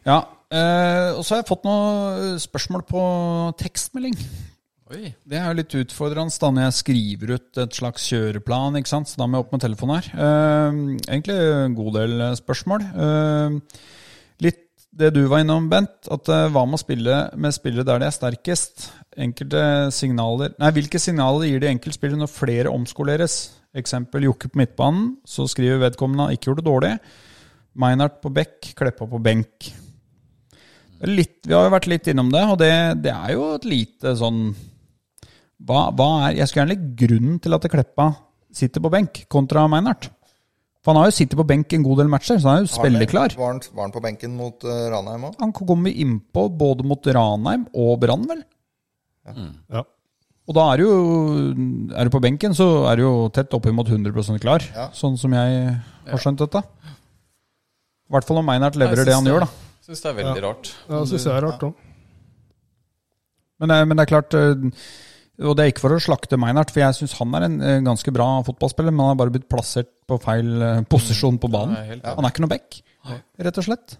[SPEAKER 2] Ja. Eh, og så har jeg fått noen spørsmål på tekstmelding.
[SPEAKER 4] Oi.
[SPEAKER 2] Det er jo litt utfordrende da når jeg skriver ut et slags kjøreplan, ikke sant? så da må jeg opp med telefonen her. Eh, egentlig en god del eh, spørsmål. Eh, litt det du var innom, Bent, at eh, hva med å spille med spillere der de er sterkest? Enkelte signaler Nei, hvilke signaler gir de enkeltspillere når flere omskoleres? Eksempel Jokke på midtbanen, så skriver vedkommende han ikke gjorde det dårlig. Meinert på bekk, Kleppa på benk. Litt, vi har jo vært litt innom det, og det, det er jo et lite sånn hva, hva er Jeg skulle gjerne litt grunnen til at Kleppa sitter på benk, kontra Meinhardt. For han har jo sittet på benk en god del matcher, så han er jo spilleklar.
[SPEAKER 5] Var han, var han på benken mot eh, Ranheim òg?
[SPEAKER 2] Han kommer innpå både mot Ranheim og Brann, vel.
[SPEAKER 3] Ja.
[SPEAKER 2] Og da er du jo Er du på benken, så er du jo tett oppimot 100 klar. Sånn som jeg har skjønt dette. I hvert fall om Meinhardt
[SPEAKER 4] Jeg
[SPEAKER 2] leverer
[SPEAKER 4] syns
[SPEAKER 2] det han gjør, da.
[SPEAKER 4] Syns det er veldig rart.
[SPEAKER 3] Ja, det syns jeg er rart òg.
[SPEAKER 2] Men, det- men det er klart eh, Og det er ikke for å slakte Meinhardt, for jeg syns han er en eh, ganske bra fotballspiller, men han har bare blitt plassert på feil eh, posisjon på banen.
[SPEAKER 4] Ja, jeg er helt
[SPEAKER 2] Han er ikke noe back, rett og slett.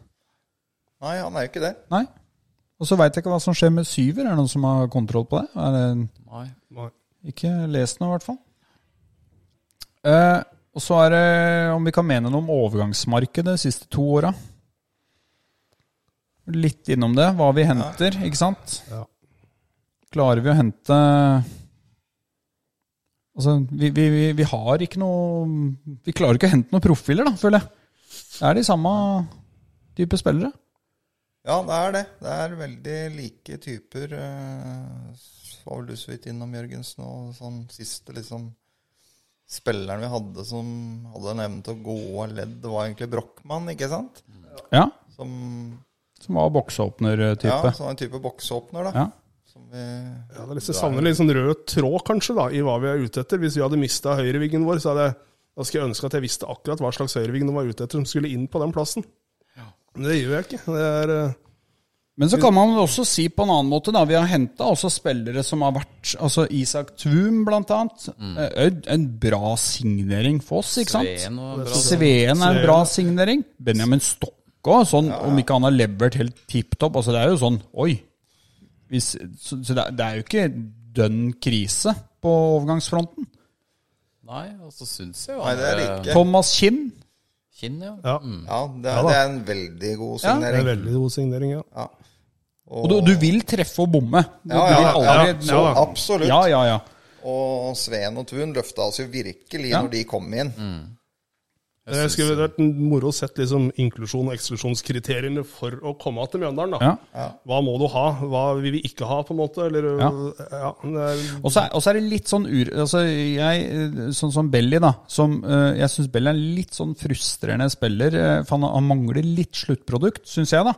[SPEAKER 5] Nei, han er jo ikke det.
[SPEAKER 2] Nei. Og så veit jeg ikke hva som skjer med syver. Er det noen som har kontroll på det? Er det
[SPEAKER 4] Nei.
[SPEAKER 2] ikke lest noe, i hvert fall. Eh, og så er det om vi kan mene noe om overgangsmarkedet de siste to åra. Litt innom det, hva vi henter, ikke sant?
[SPEAKER 3] Ja.
[SPEAKER 2] Klarer vi å hente Altså, vi, vi, vi, vi har ikke noe Vi klarer ikke å hente noen profiler, da, føler jeg. Det er de samme type spillere.
[SPEAKER 5] Ja, det er det. Det er veldig like typer. eh, Var vel du så vidt innom Jørgensen og sånn siste liksom Spilleren vi hadde som hadde en evne til å gå av ledd, det var egentlig Brochmann, ikke sant?
[SPEAKER 2] Ja,
[SPEAKER 5] Som
[SPEAKER 2] Som var eh,
[SPEAKER 5] Ja,
[SPEAKER 2] bokseåpner-type.
[SPEAKER 5] som var en type bokseåpner, da.
[SPEAKER 2] Ja.
[SPEAKER 5] Som vi
[SPEAKER 3] Ja, det er litt, jeg savner litt sånn rød tråd, kanskje, da, i hva vi er ute etter. Hvis vi hadde mista høyreviggen vår, så hadde jeg, da skulle jeg ønske at jeg visste akkurat hva slags høyrevigg de var ute etter, som skulle inn på den plassen. Men det gjør jeg ikke. Det er, eh,
[SPEAKER 2] Men så kan man vel også si på en annen måte, da. Vi har henta også spillere som har vært Altså Isak Tvum, blant annet. Eh, En, en bra signering for oss, ikke sant?
[SPEAKER 4] Sveen og bra.
[SPEAKER 2] Sveen er en bra signering. Benjamin Stokke òg, sånn om ikke han har levert helt tipp topp. Altså, det er jo sånn Oi. Hvis, så så det, er- det er jo ikke dønn krise på overgangsfronten.
[SPEAKER 4] Nei, og så syns jeg jo
[SPEAKER 5] Nei, det er det ikke.
[SPEAKER 2] Thomas Kinn.
[SPEAKER 4] Kinn, ja.
[SPEAKER 3] ja,
[SPEAKER 5] Ja, det er, det er en veldig god
[SPEAKER 2] Ja.
[SPEAKER 3] det er
[SPEAKER 5] signering.
[SPEAKER 3] en veldig god signering, ja.
[SPEAKER 2] Og du, du vil treffe og bomme. Du,
[SPEAKER 5] Ja,
[SPEAKER 2] du
[SPEAKER 5] ja,
[SPEAKER 2] vil aldri,
[SPEAKER 3] ja, ja, da.
[SPEAKER 5] Absolutt.
[SPEAKER 2] ja, ja, ja.
[SPEAKER 5] Og Sveen og Thun løfta oss jo virkelig
[SPEAKER 2] Ja.
[SPEAKER 5] når de kom inn.
[SPEAKER 3] Det skulle vært en moro å sett liksom, inklusjon- og eksklusjonskriteriene for å komme til Mjøndalen. da.
[SPEAKER 2] Ja.
[SPEAKER 3] Hva må du ha? Hva vil vi ikke ha, på en måte? Eller,
[SPEAKER 2] Ja.
[SPEAKER 3] ja, det er,
[SPEAKER 2] Og så er, og så er det litt sånn ur... Altså, jeg, eh, sånn som Belly, da. Som, eh, jeg syns Belly er en litt sånn frustrerende spiller. eh, For han, han mangler litt sluttprodukt, syns jeg, da.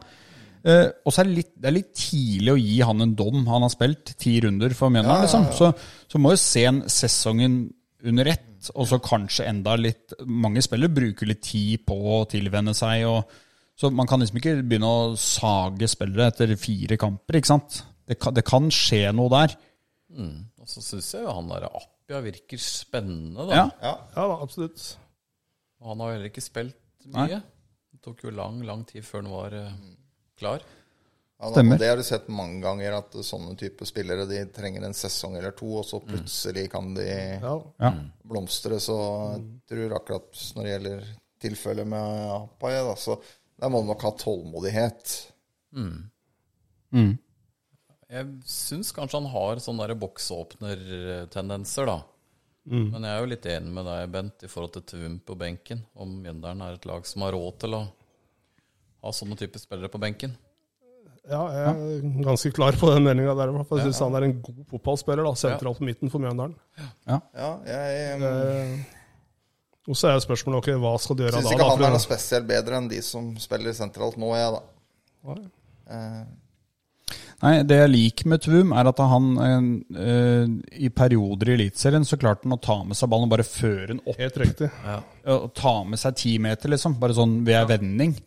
[SPEAKER 2] Eh, og så er det, litt, det er litt tidlig å gi han en dom. Han har spilt ti runder for Mjøndalen, liksom. Så, så må jo se en sesongen under ett, og så kanskje enda litt Mange spillere bruker litt tid på å tilvenne seg, og så man kan liksom ikke begynne å sage spillere etter fire kamper, ikke sant. Det kan, det kan skje noe der.
[SPEAKER 4] Og så syns jeg jo han der Appia virker spennende, da.
[SPEAKER 2] Ja.
[SPEAKER 3] ja da, absolutt.
[SPEAKER 4] Og han har heller ikke spilt
[SPEAKER 2] Nei.
[SPEAKER 4] mye. Det tok jo lang, lang tid før han var eh, klar.
[SPEAKER 5] Ja, da,
[SPEAKER 2] Stemmer.
[SPEAKER 5] og Det har du sett mange ganger, at sånne type spillere de trenger en sesong eller to, og så plutselig kan de
[SPEAKER 3] Ja.
[SPEAKER 2] Ja.
[SPEAKER 5] blomstre. Så jeg tror akkurat når det gjelder tilfellet med Apaye, da, så der må du nok ha tålmodighet.
[SPEAKER 4] Jeg syns kanskje han har sånne der boksåpnertendenser, da. Men jeg er jo litt enig med deg, Bent, i forhold til Tvum på benken. Om Mjøndalen er et lag som har råd til å ha sånne typer spillere på benken.
[SPEAKER 3] Ja, jeg er ganske klar på den meldinga der. i hvert fall. Jeg syns han er en god fotballspiller. da, Sentralt på midten for Mjøndalen.
[SPEAKER 5] Ja, jeg um,
[SPEAKER 3] Eh, Og så er jo spørsmålet ok, hva skal du gjøre
[SPEAKER 5] syns
[SPEAKER 3] da?
[SPEAKER 5] ikke
[SPEAKER 3] da
[SPEAKER 5] han er
[SPEAKER 3] for
[SPEAKER 5] noe spesielt bedre enn de som spiller sentralt nå, jeg, da.
[SPEAKER 3] å- Nei.
[SPEAKER 5] Eh,
[SPEAKER 2] Nei, det jeg liker med Tvum, er at han eh, eh, i perioder i Eliteserien så klarte han å ta med seg ballen og bare føre den opp. eh,
[SPEAKER 3] Helt riktig.
[SPEAKER 2] Og ta med seg ti meter, liksom. Bare sånn ved ei vending.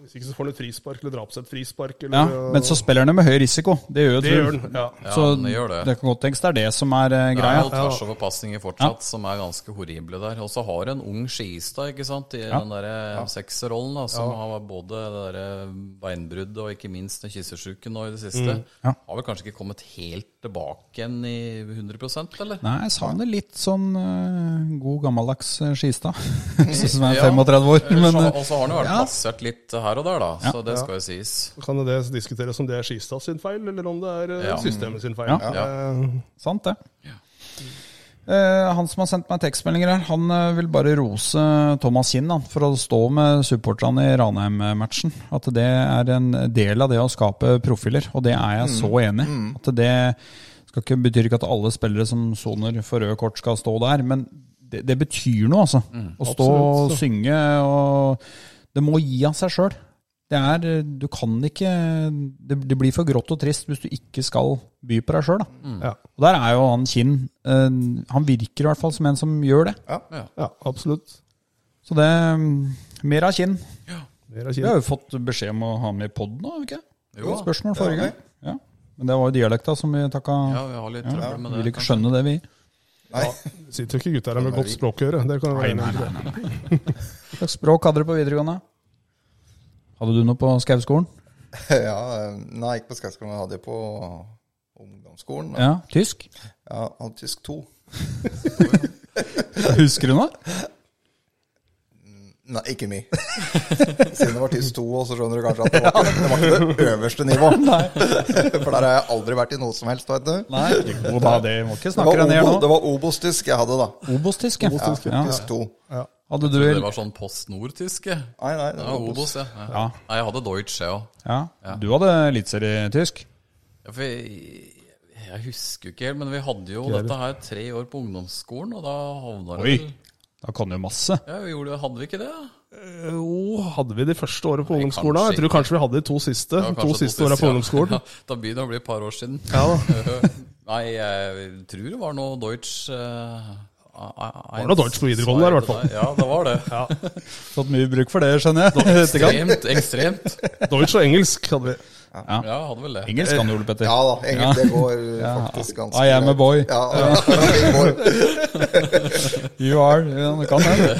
[SPEAKER 3] Hvis ikke så får han et frispark eller drapsett frispark.
[SPEAKER 2] Ja,
[SPEAKER 3] Eller,
[SPEAKER 2] men så spiller han jo med høy risiko. Det gjør jo
[SPEAKER 3] Det gjør
[SPEAKER 2] Tvum.
[SPEAKER 3] han. Ja.
[SPEAKER 4] Ja,
[SPEAKER 2] Så
[SPEAKER 4] men det gjør det.
[SPEAKER 2] det kan godt tenkes det er det som er eh,
[SPEAKER 4] Det er
[SPEAKER 2] greia.
[SPEAKER 4] jo tversoverpasninger fortsatt som er ganske horrible der. Og så har du en ung Skistad ikke sant, i den der eh, sekserrollen da, som har både det der beinbruddet og ikke minst den kyssesjuken nå i det siste.
[SPEAKER 2] Ja.
[SPEAKER 4] Har vel kanskje ikke kommet helt tilbake igjen i 100 eller?
[SPEAKER 2] Nei, jeg savner litt sånn eh, god gammeldags eh, Skistad, som er
[SPEAKER 4] Ja.
[SPEAKER 2] 35 år.
[SPEAKER 4] Ellers
[SPEAKER 2] Men,
[SPEAKER 4] så-
[SPEAKER 2] eh,
[SPEAKER 4] Og så altså, har han jo vært
[SPEAKER 2] ja.
[SPEAKER 4] plassert litt her og der, da. Så det skal jo sies.
[SPEAKER 3] Så kan det diskuteres om det er Skistad sin feil, eller om det er eh,
[SPEAKER 4] Ja.
[SPEAKER 3] systemet sin feil.
[SPEAKER 2] Ja.
[SPEAKER 3] Eh,
[SPEAKER 2] Sant det. Eh, han som har sendt meg tekstmeldinger her, han eh, vil bare rose Thomas Kinn han, for å stå med supporterne i Ranheim-matchen. At det er en del av det å skape profiler, og det er jeg så enig i. At det skal ikke, betyr ikke at alle spillere som soner for røde kort skal stå der, men det, det betyr noe, altså. å stå og synge og Det må gi av seg sjøl. Det er eh, Du kan ikke det, det blir for grått og trist hvis du ikke skal by på deg sjøl, da.
[SPEAKER 3] ja.
[SPEAKER 2] Og der er jo han Kinn eh, Han virker i hvert fall som en som gjør det.
[SPEAKER 3] ja, absolutt.
[SPEAKER 2] Så det mm, Mer av Kinn.
[SPEAKER 3] Mer av
[SPEAKER 2] Vi har
[SPEAKER 3] Kinn.
[SPEAKER 2] jo fått beskjed om å ha med i poden nå, har vi ikke? Det var
[SPEAKER 4] Jo,
[SPEAKER 2] et Spørsmål forrige gang. Ja. Men det var jo dialekta som vi takka
[SPEAKER 4] ja, vi har litt trøbbel med
[SPEAKER 2] Vi
[SPEAKER 4] det.
[SPEAKER 2] vil ikke
[SPEAKER 4] kanskje.
[SPEAKER 2] skjønne det, vi.
[SPEAKER 3] Sitter jo ikke gutta her med godt språk å gjøre. Det kan være enig i.
[SPEAKER 2] Hva slags språk hadde dere på videregående? Hadde du noe på Skauskolen?
[SPEAKER 5] ja, eh, nei, ikke på Skauskolen, jeg hadde det på ungdomsskolen. Ja.
[SPEAKER 2] Ja. Tysk?
[SPEAKER 5] Jeg hadde tysk 2.
[SPEAKER 2] Husker du noe?
[SPEAKER 5] Nei, ikke mye. Siden det var tysk 2, og så skjønner du kanskje at det var ikke det, var ikke det øverste nivå. For der har jeg aldri vært i noe som helst, vet du.
[SPEAKER 2] Nei. Jo da, det må ikke
[SPEAKER 5] Det
[SPEAKER 2] snakke
[SPEAKER 5] var,
[SPEAKER 2] deg ned
[SPEAKER 5] obo, det
[SPEAKER 2] nå.
[SPEAKER 5] var obostysk jeg hadde, da.
[SPEAKER 2] Obos-tysk, ja. ja.
[SPEAKER 5] Tysk 2.
[SPEAKER 2] Hadde du
[SPEAKER 4] Det var sånn Post Nord-tyske.
[SPEAKER 5] Nei, nei, det
[SPEAKER 4] Ja,
[SPEAKER 5] var obos.
[SPEAKER 4] Obos, ja. ja.
[SPEAKER 2] Ja.
[SPEAKER 4] Nei, jeg hadde Deutsch, jeg òg.
[SPEAKER 2] ja. Du hadde eliteserietysk?
[SPEAKER 4] Ja, for jeg, jeg husker jo ikke helt, men vi hadde jo dette her tre år på ungdomsskolen, og da havna det
[SPEAKER 2] Oi!
[SPEAKER 4] vel-
[SPEAKER 2] Da kan du jo masse.
[SPEAKER 4] Ja, vi gjorde, hadde vi ikke det?
[SPEAKER 3] Eh, Jo, hadde vi de første årene på ungdomsskolen? da? Jeg
[SPEAKER 4] kanskje
[SPEAKER 3] tror kanskje vi hadde de to siste.
[SPEAKER 4] Ja, kanskje
[SPEAKER 3] to siste årene på
[SPEAKER 4] ja.
[SPEAKER 3] ungdomsskolen.
[SPEAKER 4] Ja, da begynner det å bli et par år siden. Nei, jeg tror det var noe Deutsch eh, Var
[SPEAKER 3] Var noe Deutsch på videregående der, i hvert fall.
[SPEAKER 4] Ja, det var det.
[SPEAKER 2] Fått mye bruk for det, skjønner jeg. Etterkant.
[SPEAKER 4] Ekstremt, ekstremt.
[SPEAKER 3] Deutsch og engelsk hadde vi.
[SPEAKER 4] Ja, hadde vel det.
[SPEAKER 2] Engelsk kan du, Ole Petter.
[SPEAKER 5] Ja da, egentlig det går eh, faktisk ganske
[SPEAKER 2] I am a
[SPEAKER 5] greit.
[SPEAKER 2] boy.
[SPEAKER 5] Ja, det går.
[SPEAKER 2] You are. Ja, du kan det.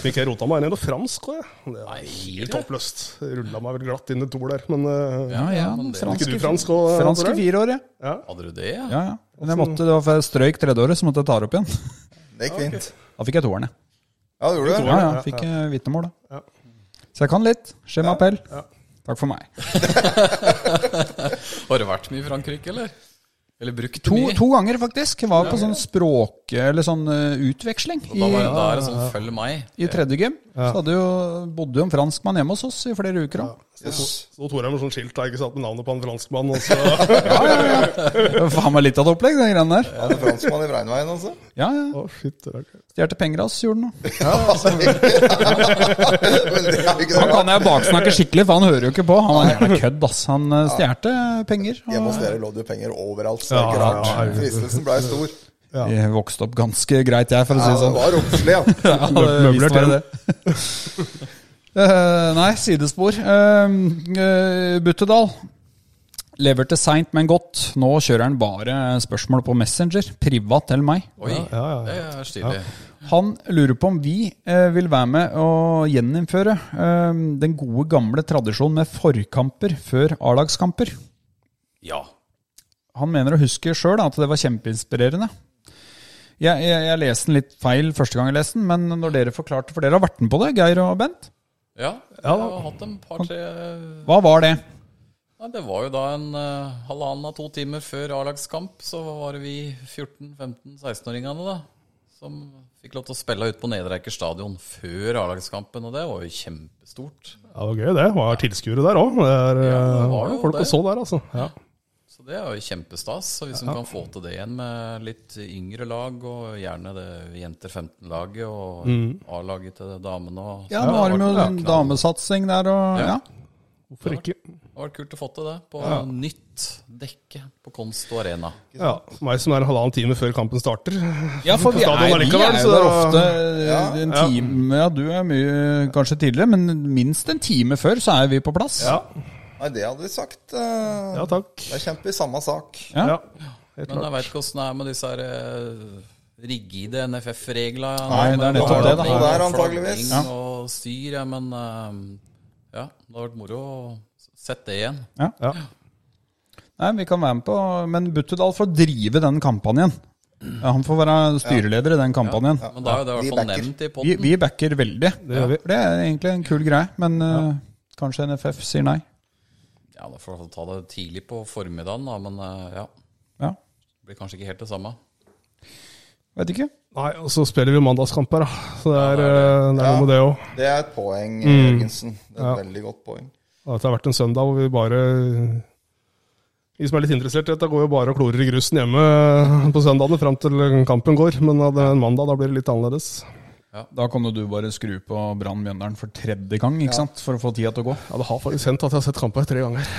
[SPEAKER 3] Fikk jeg rota meg inn i noe fransk også, jeg. Det var
[SPEAKER 4] helt
[SPEAKER 3] helt håpløst. Rulla meg vel glatt inn i to der. Men eh,
[SPEAKER 2] Ja, ja.
[SPEAKER 4] men det-
[SPEAKER 3] ikke
[SPEAKER 2] Franske,
[SPEAKER 3] du fransk og
[SPEAKER 2] franske fireår, ja.
[SPEAKER 4] Hadde du det?
[SPEAKER 2] ja, ja. Men jeg måtte, det var for jeg strøyk tredjeåret, så måtte jeg ta det opp igjen.
[SPEAKER 5] Det gikk fint.
[SPEAKER 2] Da fikk jeg toeren, jeg.
[SPEAKER 5] Ja, det gjorde du.
[SPEAKER 2] Ja, ja. Fikk jeg vitnemål, da. Så jeg kan litt. Skjem appell. Takk for meg.
[SPEAKER 4] Har det vært mye i Frankrike, eller? Eller brukt
[SPEAKER 2] To,
[SPEAKER 4] mye?
[SPEAKER 2] to ganger, faktisk. Jeg var på sånn språk... Eller sånn eh, utveksling i,
[SPEAKER 4] Da var det der sånn følg meg.
[SPEAKER 2] i tredje gym. Så hadde jo, bodde jo en franskmann hjemme hos oss i flere uker. da.
[SPEAKER 5] Jøss.
[SPEAKER 3] Så tok jeg med sånn skilt da, ikke sant, med navnet på en franskmann. Og så
[SPEAKER 2] Det var faen meg litt av et opplegg, den greiene der.
[SPEAKER 5] Hadde franskmann i Breinveien, altså.
[SPEAKER 2] Ja, ja.
[SPEAKER 3] Å, shit, det er ikke-
[SPEAKER 2] Stjal penger av oss, gjorde den nå.
[SPEAKER 5] Men det er jo ikke
[SPEAKER 2] Han
[SPEAKER 5] det.
[SPEAKER 2] kan jeg baksnakke skikkelig, for han hører jo ikke på. Han var en jævla kødd, ass. Han eh, stjerte penger. og-
[SPEAKER 5] Hjemme hos dere lå det jo penger overalt, så det er
[SPEAKER 3] Ja,
[SPEAKER 5] ikke
[SPEAKER 3] ja,
[SPEAKER 5] rart.
[SPEAKER 3] herregud.
[SPEAKER 5] Fristelsen blei stor.
[SPEAKER 2] Jeg vokste opp ganske greit, jeg, for å
[SPEAKER 5] Ja,
[SPEAKER 2] si det
[SPEAKER 5] det
[SPEAKER 2] sånn.
[SPEAKER 5] var romslig, ja.
[SPEAKER 2] Ja, det
[SPEAKER 3] Møbler
[SPEAKER 2] visste
[SPEAKER 3] til.
[SPEAKER 2] meg det. Eh, nei, sidespor. Uh, Buttedal. Lever til seint, men godt. Nå kjører han bare spørsmål på Messenger, privat til meg.
[SPEAKER 4] Oi,
[SPEAKER 3] ja, ja.
[SPEAKER 4] det er stilig.
[SPEAKER 2] Han lurer på om vi eh, vil være med å gjeninnføre eh, den gode, gamle tradisjonen med forkamper før A-lagskamper.
[SPEAKER 4] Ja.
[SPEAKER 2] Han mener å huske sjøl at det var kjempeinspirerende. Jeg, jeg, jeg leste den litt feil første gang jeg leste den, men når dere forklarte For dere har vært med på det, Geir og Bent.
[SPEAKER 4] Ja, jeg har hatt en par-tre
[SPEAKER 2] Hva var det?
[SPEAKER 4] Nei, Det var jo da en uh, halvannen av to timer før A-lagskamp, så var det vi 14-15-16-åringene da, som fikk lov til å spille ut på Nedreiker stadion før A-lagskampen, og det var jo kjempestort.
[SPEAKER 3] Ja, det var gøy, det. Det var tilskuere der òg. Det er, eh,
[SPEAKER 4] var
[SPEAKER 3] var jo
[SPEAKER 4] jo
[SPEAKER 3] folk
[SPEAKER 4] det.
[SPEAKER 3] og så der, altså. Ja.
[SPEAKER 4] Så det er jo kjempestas. Så hvis de kan få til det igjen med litt yngre lag, og gjerne det jenter 15-laget og A-laget til damene og
[SPEAKER 2] Mm. Ja, nå har de jo
[SPEAKER 4] Ja,
[SPEAKER 2] en damesatsing der og ja.
[SPEAKER 3] Hvorfor ikke?
[SPEAKER 4] Det hadde vært kult å få til det på nytt dekke på Konst og Arena.
[SPEAKER 3] Ja, Meg som er en halvannen time før kampen starter.
[SPEAKER 2] Ja, for vi
[SPEAKER 3] På stadion
[SPEAKER 2] er, vi er
[SPEAKER 3] allikevel,
[SPEAKER 2] jo
[SPEAKER 3] så-
[SPEAKER 2] der ofte eh,
[SPEAKER 5] Ja,
[SPEAKER 2] en time Ja, du er mye kanskje tidligere, men minst en time før så er vi på plass.
[SPEAKER 3] Ja,
[SPEAKER 5] Nei, det hadde vi sagt. eh,
[SPEAKER 3] ja takk.
[SPEAKER 5] Da kjemper vi samme sak.
[SPEAKER 2] Ja.
[SPEAKER 3] Ja, helt
[SPEAKER 4] Men
[SPEAKER 3] klart.
[SPEAKER 4] jeg veit ikke åssen det er med disse her eh, rigide NFF-regla.
[SPEAKER 2] Nei, det er
[SPEAKER 4] Med
[SPEAKER 2] nettopp det, da.
[SPEAKER 4] flagg
[SPEAKER 5] Det er antageligvis.
[SPEAKER 4] og flagging Og styr, ja, men eh, ja, det hadde vært moro å sette det igjen.
[SPEAKER 3] Ja.
[SPEAKER 2] Nei, vi kan være med på Men Buttedal får drive den kampanjen. Ja, han får være styreleder i den kampanjen.
[SPEAKER 4] Men da er jo det i
[SPEAKER 5] Vi
[SPEAKER 4] hvert fall
[SPEAKER 5] backer.
[SPEAKER 4] nevnt i
[SPEAKER 2] Vi,
[SPEAKER 4] potten.
[SPEAKER 2] vi backer veldig.
[SPEAKER 3] gjør vi.
[SPEAKER 2] For det er egentlig en kul greie, men eh, kanskje NFF sier nei.
[SPEAKER 4] Ja, da får vi ta det tidlig på formiddagen, da, men eh, ja.
[SPEAKER 2] Ja,
[SPEAKER 4] Det blir kanskje ikke helt det samme.
[SPEAKER 2] Vet ikke.
[SPEAKER 3] Nei, og så spiller vi mandagskamper, da. Så det er, eh, det er noe med det òg.
[SPEAKER 5] Det er et poeng, Jørgensen. Det er et veldig godt poeng.
[SPEAKER 3] At det har vært en søndag hvor vi bare Vi som er litt interessert i dette, går jo bare og klorer i grusen hjemme eh, på søndagene fram til kampen går. Men eh, det er en mandag, da blir det litt annerledes.
[SPEAKER 2] Da kan jo du bare skru på Brann Mjøndalen for tredje gang, ikke sant? For å få tida til å gå.
[SPEAKER 3] Ja, det har faktisk hendt at jeg har sett kamper tre ganger.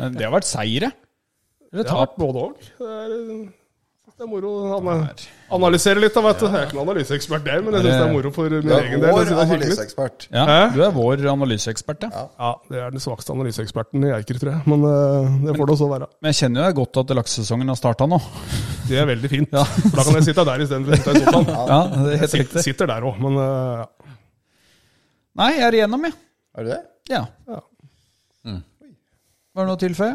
[SPEAKER 2] Men det har vært seire. Eller
[SPEAKER 3] Det har
[SPEAKER 2] tap.
[SPEAKER 3] vært både og. Det er, eh, det er moro å ana- analysere litt, da, vet du. Jeg er ikke noen analyseekspert der, men jeg syns det er moro for min
[SPEAKER 5] Du er
[SPEAKER 3] egen del. Jeg
[SPEAKER 5] vår
[SPEAKER 3] synes det er hyggelig.
[SPEAKER 5] analyseekspert.
[SPEAKER 2] Ja,
[SPEAKER 3] Hæ?
[SPEAKER 2] du er vår analyseekspert, ja.
[SPEAKER 3] Ja, det er den svakeste analyseeksperten i Eiker, tror jeg. Men eh, det får det også være.
[SPEAKER 2] Men jeg kjenner jo godt at laksesesongen har starta nå.
[SPEAKER 3] Det er veldig fint. For Da kan jeg sitte der istedenfor å sitte i sofaen.
[SPEAKER 2] Ja, det er helt
[SPEAKER 3] Jeg
[SPEAKER 2] riktig.
[SPEAKER 3] sit- sitter der òg, men eh, ja.
[SPEAKER 2] Nei, jeg er igjennom, jeg.
[SPEAKER 5] Er du det?
[SPEAKER 2] Ja.
[SPEAKER 3] Ja.
[SPEAKER 2] Var det noe å tilføye?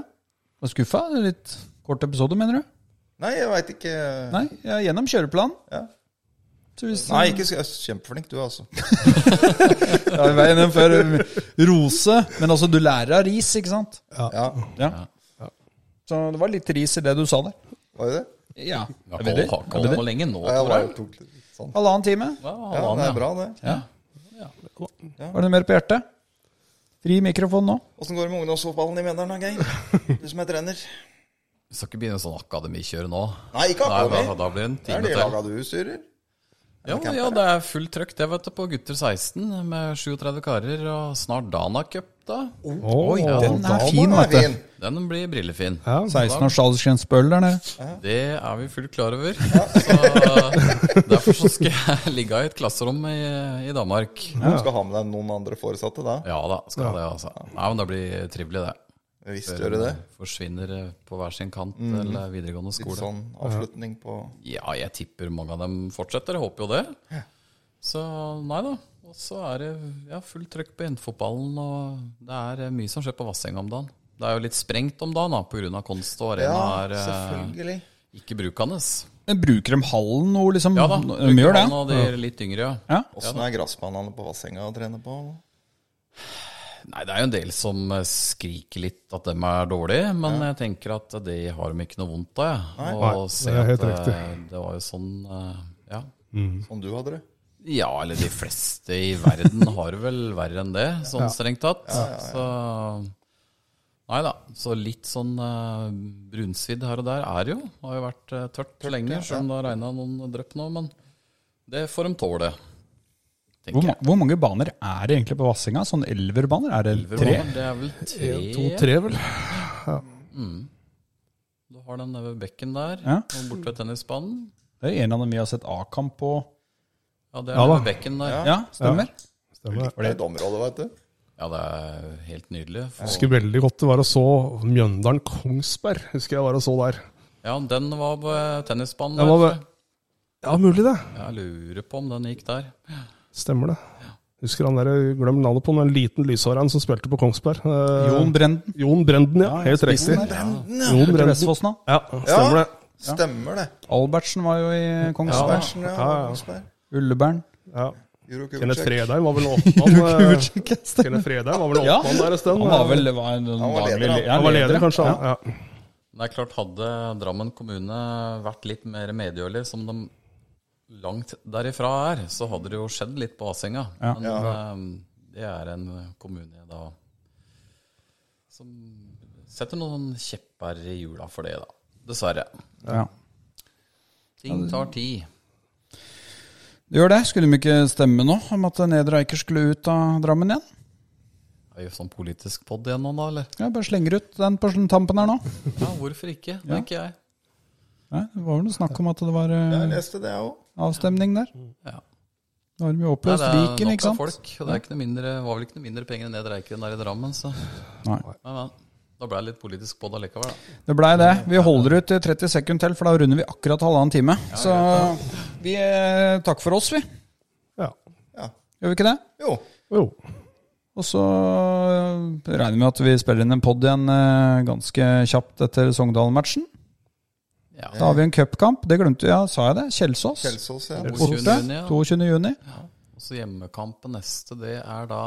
[SPEAKER 2] Var skuffa? Litt kort episode, mener du?
[SPEAKER 5] Nei, jeg veit ikke.
[SPEAKER 2] Nei, jeg er gjennom kjøreplanen.
[SPEAKER 5] Ja.
[SPEAKER 2] Så hvis,
[SPEAKER 5] Nei, ikke sk- kjempeflink du, altså.
[SPEAKER 2] Ja, vi var gjennom før. Rose. Men altså, du lærer av ris, ikke sant?
[SPEAKER 5] Ja,
[SPEAKER 2] Ja. Så det var litt ris i det du sa der.
[SPEAKER 5] var det det?
[SPEAKER 2] Ja.
[SPEAKER 4] Vi
[SPEAKER 2] Er vi der?
[SPEAKER 4] har ikke
[SPEAKER 2] Er vi
[SPEAKER 4] holdt
[SPEAKER 2] der?
[SPEAKER 4] på lenge nå,
[SPEAKER 5] Ja, jeg
[SPEAKER 4] tror
[SPEAKER 5] var
[SPEAKER 4] jeg.
[SPEAKER 5] jo tok det litt sånn.
[SPEAKER 2] Halvannen time.
[SPEAKER 4] Ja,
[SPEAKER 5] Ja, det er
[SPEAKER 4] halvannen, ja.
[SPEAKER 5] bra, det.
[SPEAKER 2] Var det noe mer på hjertet? Fri mikrofon nå.
[SPEAKER 5] Åssen går det med ungdomsfotballen i Mjøndalen, da, Geir? Du som er trener.
[SPEAKER 4] Vi skal ikke begynne sånn akademikjør nå.
[SPEAKER 5] Nei, ikke
[SPEAKER 4] Nei, da,
[SPEAKER 5] akkurat.
[SPEAKER 4] da blir det en
[SPEAKER 5] Det er
[SPEAKER 4] time
[SPEAKER 5] de
[SPEAKER 4] til.
[SPEAKER 5] laga du styrer.
[SPEAKER 4] Ja, ja, det er fullt trøkk det, vet du, på gutter 16 med 37 karer og snart Dana Cup, da.
[SPEAKER 2] Oi, den er
[SPEAKER 5] Den
[SPEAKER 2] fin,
[SPEAKER 5] er
[SPEAKER 2] vet du.
[SPEAKER 5] fin.
[SPEAKER 4] Den blir brillefin.
[SPEAKER 2] 16 års aldersgrensebøl der nede.
[SPEAKER 4] Det er vi fullt klar over. Så eh, derfor så skal jeg ligge i et klasserom i, i Danmark.
[SPEAKER 5] Du skal ha med deg noen andre foresatte da.
[SPEAKER 4] Ja da, skal det, altså. Nei, men det blir trivelig, det.
[SPEAKER 5] Visst gjør du det.
[SPEAKER 4] Forsvinner eh, på hver sin kant
[SPEAKER 5] Mm.
[SPEAKER 4] eller videregående
[SPEAKER 5] Litt
[SPEAKER 4] skole.
[SPEAKER 5] sånn avslutning på
[SPEAKER 4] Ja, jeg tipper mange av dem fortsetter. Jeg håper jo det. Så nei da. Og så er det ja, fullt trøkk på jentefotballen, og det er eh, mye som skjer på Vassenga om dagen. Det er jo litt sprengt om dagen da, pga. konst og arena
[SPEAKER 5] Ja,
[SPEAKER 4] er eh,
[SPEAKER 5] selvfølgelig.
[SPEAKER 4] ikke brukende.
[SPEAKER 2] Men Bruker de hallen noe, liksom?
[SPEAKER 4] Ja da.
[SPEAKER 3] Mm,
[SPEAKER 2] de gjør det.
[SPEAKER 4] brukerne Og de litt yngre, ja.
[SPEAKER 2] Ja.
[SPEAKER 5] Åssen er gressbanene på Vassenga å trene på?
[SPEAKER 4] Nei, det er jo en del som eh, skriker litt at dem er dårlige, men jeg tenker at det har de ikke noe vondt av, jeg.
[SPEAKER 3] Nei,
[SPEAKER 4] Og se
[SPEAKER 3] det er
[SPEAKER 4] at
[SPEAKER 3] helt
[SPEAKER 4] eh,
[SPEAKER 3] riktig.
[SPEAKER 4] det var jo sånn eh, Ja.
[SPEAKER 5] Som du hadde det?
[SPEAKER 4] Ja, eller de fleste i verden har det vel verre enn det, sånn strengt tatt. Så Nei da. Så litt sånn eh, brunsvidd her og der er det jo. Det har jo vært eh, tørt, lenge, selv om det har regna noen drypp nå. Men det får de tåle.
[SPEAKER 2] Hvor,
[SPEAKER 4] tenker
[SPEAKER 2] ma hvor mange baner er det egentlig på Vassinga? Sånn elverbaner? Er det
[SPEAKER 4] jeg.
[SPEAKER 2] tre?
[SPEAKER 4] Det er vel tre.
[SPEAKER 3] To-tre, vel.
[SPEAKER 4] Du har den nede ved bekken der,
[SPEAKER 2] Ja.
[SPEAKER 4] og borte ved tennisbanen.
[SPEAKER 2] Det er en av dem vi har sett A-kamp på.
[SPEAKER 4] Ja, det er
[SPEAKER 3] Ja
[SPEAKER 4] nede
[SPEAKER 3] da.
[SPEAKER 4] ved bekken der. Ja.
[SPEAKER 2] Ja, stemmer.
[SPEAKER 3] Stemmer.
[SPEAKER 5] Det er et område, vet du.
[SPEAKER 4] det er helt nydelig.
[SPEAKER 3] Jeg husker veldig godt det var og så Mjøndalen-Kongsberg. husker jeg var og så der.
[SPEAKER 4] Ja, den var på eh, tennisbanen.
[SPEAKER 3] Den
[SPEAKER 4] der,
[SPEAKER 3] var
[SPEAKER 4] tror jeg.
[SPEAKER 3] ved- Ja, mulig det.
[SPEAKER 4] Jeg lurer på om den gikk der.
[SPEAKER 3] Stemmer det. Husker han der, eh, glem navnet på han, en liten lyshåra han som spilte på Kongsberg. Eh,
[SPEAKER 2] Jon Brenden.
[SPEAKER 3] Jon Brenden, ja. Helt riktig.
[SPEAKER 2] Spissen der.
[SPEAKER 3] Jon
[SPEAKER 2] Til
[SPEAKER 3] Brenden.
[SPEAKER 2] Vestfossen, da.
[SPEAKER 3] Ja, stemmer det.
[SPEAKER 5] Stemmer det.
[SPEAKER 2] Albertsen var jo i Kongsberg.
[SPEAKER 5] Berntsen, ja.
[SPEAKER 3] Ja, ja.
[SPEAKER 5] Kongsberg.
[SPEAKER 2] Ullebern.
[SPEAKER 3] Ja.
[SPEAKER 5] Juro
[SPEAKER 3] Kenneth
[SPEAKER 5] Kubicek.
[SPEAKER 3] Fredheim var vel åttmann eh, Kenneth Fredheim var vel
[SPEAKER 2] Ja.
[SPEAKER 3] åttmann der en stund. eh,
[SPEAKER 2] Han var vel var en
[SPEAKER 5] var leder,
[SPEAKER 2] daglig
[SPEAKER 5] han.
[SPEAKER 2] le- ja,
[SPEAKER 3] Han var leder,
[SPEAKER 2] leder, ja.
[SPEAKER 3] kanskje. han. Ja.
[SPEAKER 4] Det er klart, hadde Drammen kommune vært litt mer medgjørlig, som de langt derifra er, så hadde det jo skjedd litt på Asenga.
[SPEAKER 2] Ja.
[SPEAKER 4] Men eh, det er en kommune da som setter noen kjepper i hjula for det, da. Dessverre.
[SPEAKER 2] Ja.
[SPEAKER 4] Ting tar tid.
[SPEAKER 2] Det gjør det. Skulle de ikke stemme nå om at Nedre Eiker skulle ut av Drammen igjen?
[SPEAKER 4] Er vi sånn politisk pod igjen nå, da? eller?
[SPEAKER 2] Jeg bare slenger ut den på tampen her nå.
[SPEAKER 4] Ja, hvorfor ikke, tenker jeg.
[SPEAKER 2] Nei, det var vel noe snakk om at det var
[SPEAKER 5] Jeg
[SPEAKER 2] eh,
[SPEAKER 5] leste det, jeg òg.
[SPEAKER 2] avstemning der.
[SPEAKER 4] Ja.
[SPEAKER 2] Da har de jo
[SPEAKER 4] Nei,
[SPEAKER 2] oppløst Viken, ikke
[SPEAKER 4] av
[SPEAKER 2] sant?
[SPEAKER 4] folk. og Det er ikke noe mindre, var vel ikke noe mindre penger enn det det reiker der i Drammen, så
[SPEAKER 2] Nei.
[SPEAKER 4] Nei, men, da ble jeg litt politisk på det allikevel, da.
[SPEAKER 2] Det blei det. Vi holder ut i 30 sekunder til, for da runder vi akkurat halvannen time. Så vi eh, Takk for oss, vi.
[SPEAKER 3] Ja.
[SPEAKER 5] Ja.
[SPEAKER 2] Gjør vi ikke det?
[SPEAKER 5] Jo.
[SPEAKER 3] Jo.
[SPEAKER 2] Og så eh, regner vi med at vi spiller inn en pod igjen eh, ganske kjapt etter Sogndal-matchen.
[SPEAKER 4] Ja.
[SPEAKER 2] Da har vi en cupkamp. Det glemte jeg, ja, sa jeg det? Kjelsås.
[SPEAKER 5] Kjelsås, ja.
[SPEAKER 4] Kjelsås.
[SPEAKER 2] Borte.
[SPEAKER 4] 22. juni, ja.
[SPEAKER 2] 22. juni.
[SPEAKER 4] Og så hjemmekampen neste, det er da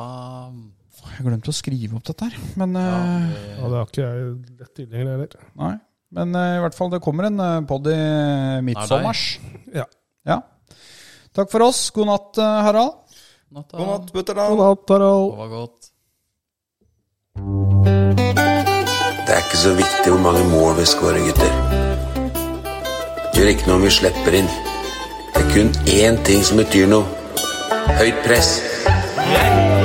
[SPEAKER 2] Jeg glemte å skrive opp dette her, men
[SPEAKER 4] ja,
[SPEAKER 2] eh,
[SPEAKER 4] det-
[SPEAKER 3] Ja, det har ikke jeg lett tilhenger heller.
[SPEAKER 2] Nei. Men eh, i hvert fall, det kommer en uh, pod i midtsommers.
[SPEAKER 3] Ja.
[SPEAKER 2] Ja. Takk for oss. God natt, eh, Harald.
[SPEAKER 4] natt, da.
[SPEAKER 5] God natt, Butterdal.
[SPEAKER 3] God natt, Harald.
[SPEAKER 4] Det var godt.
[SPEAKER 1] Det er ikke så viktig hvor mange mål vi scorer, gutter. Det gjør ikke noe om vi slipper inn. Det er kun én ting som betyr noe. Høyt press.
[SPEAKER 7] Yeah.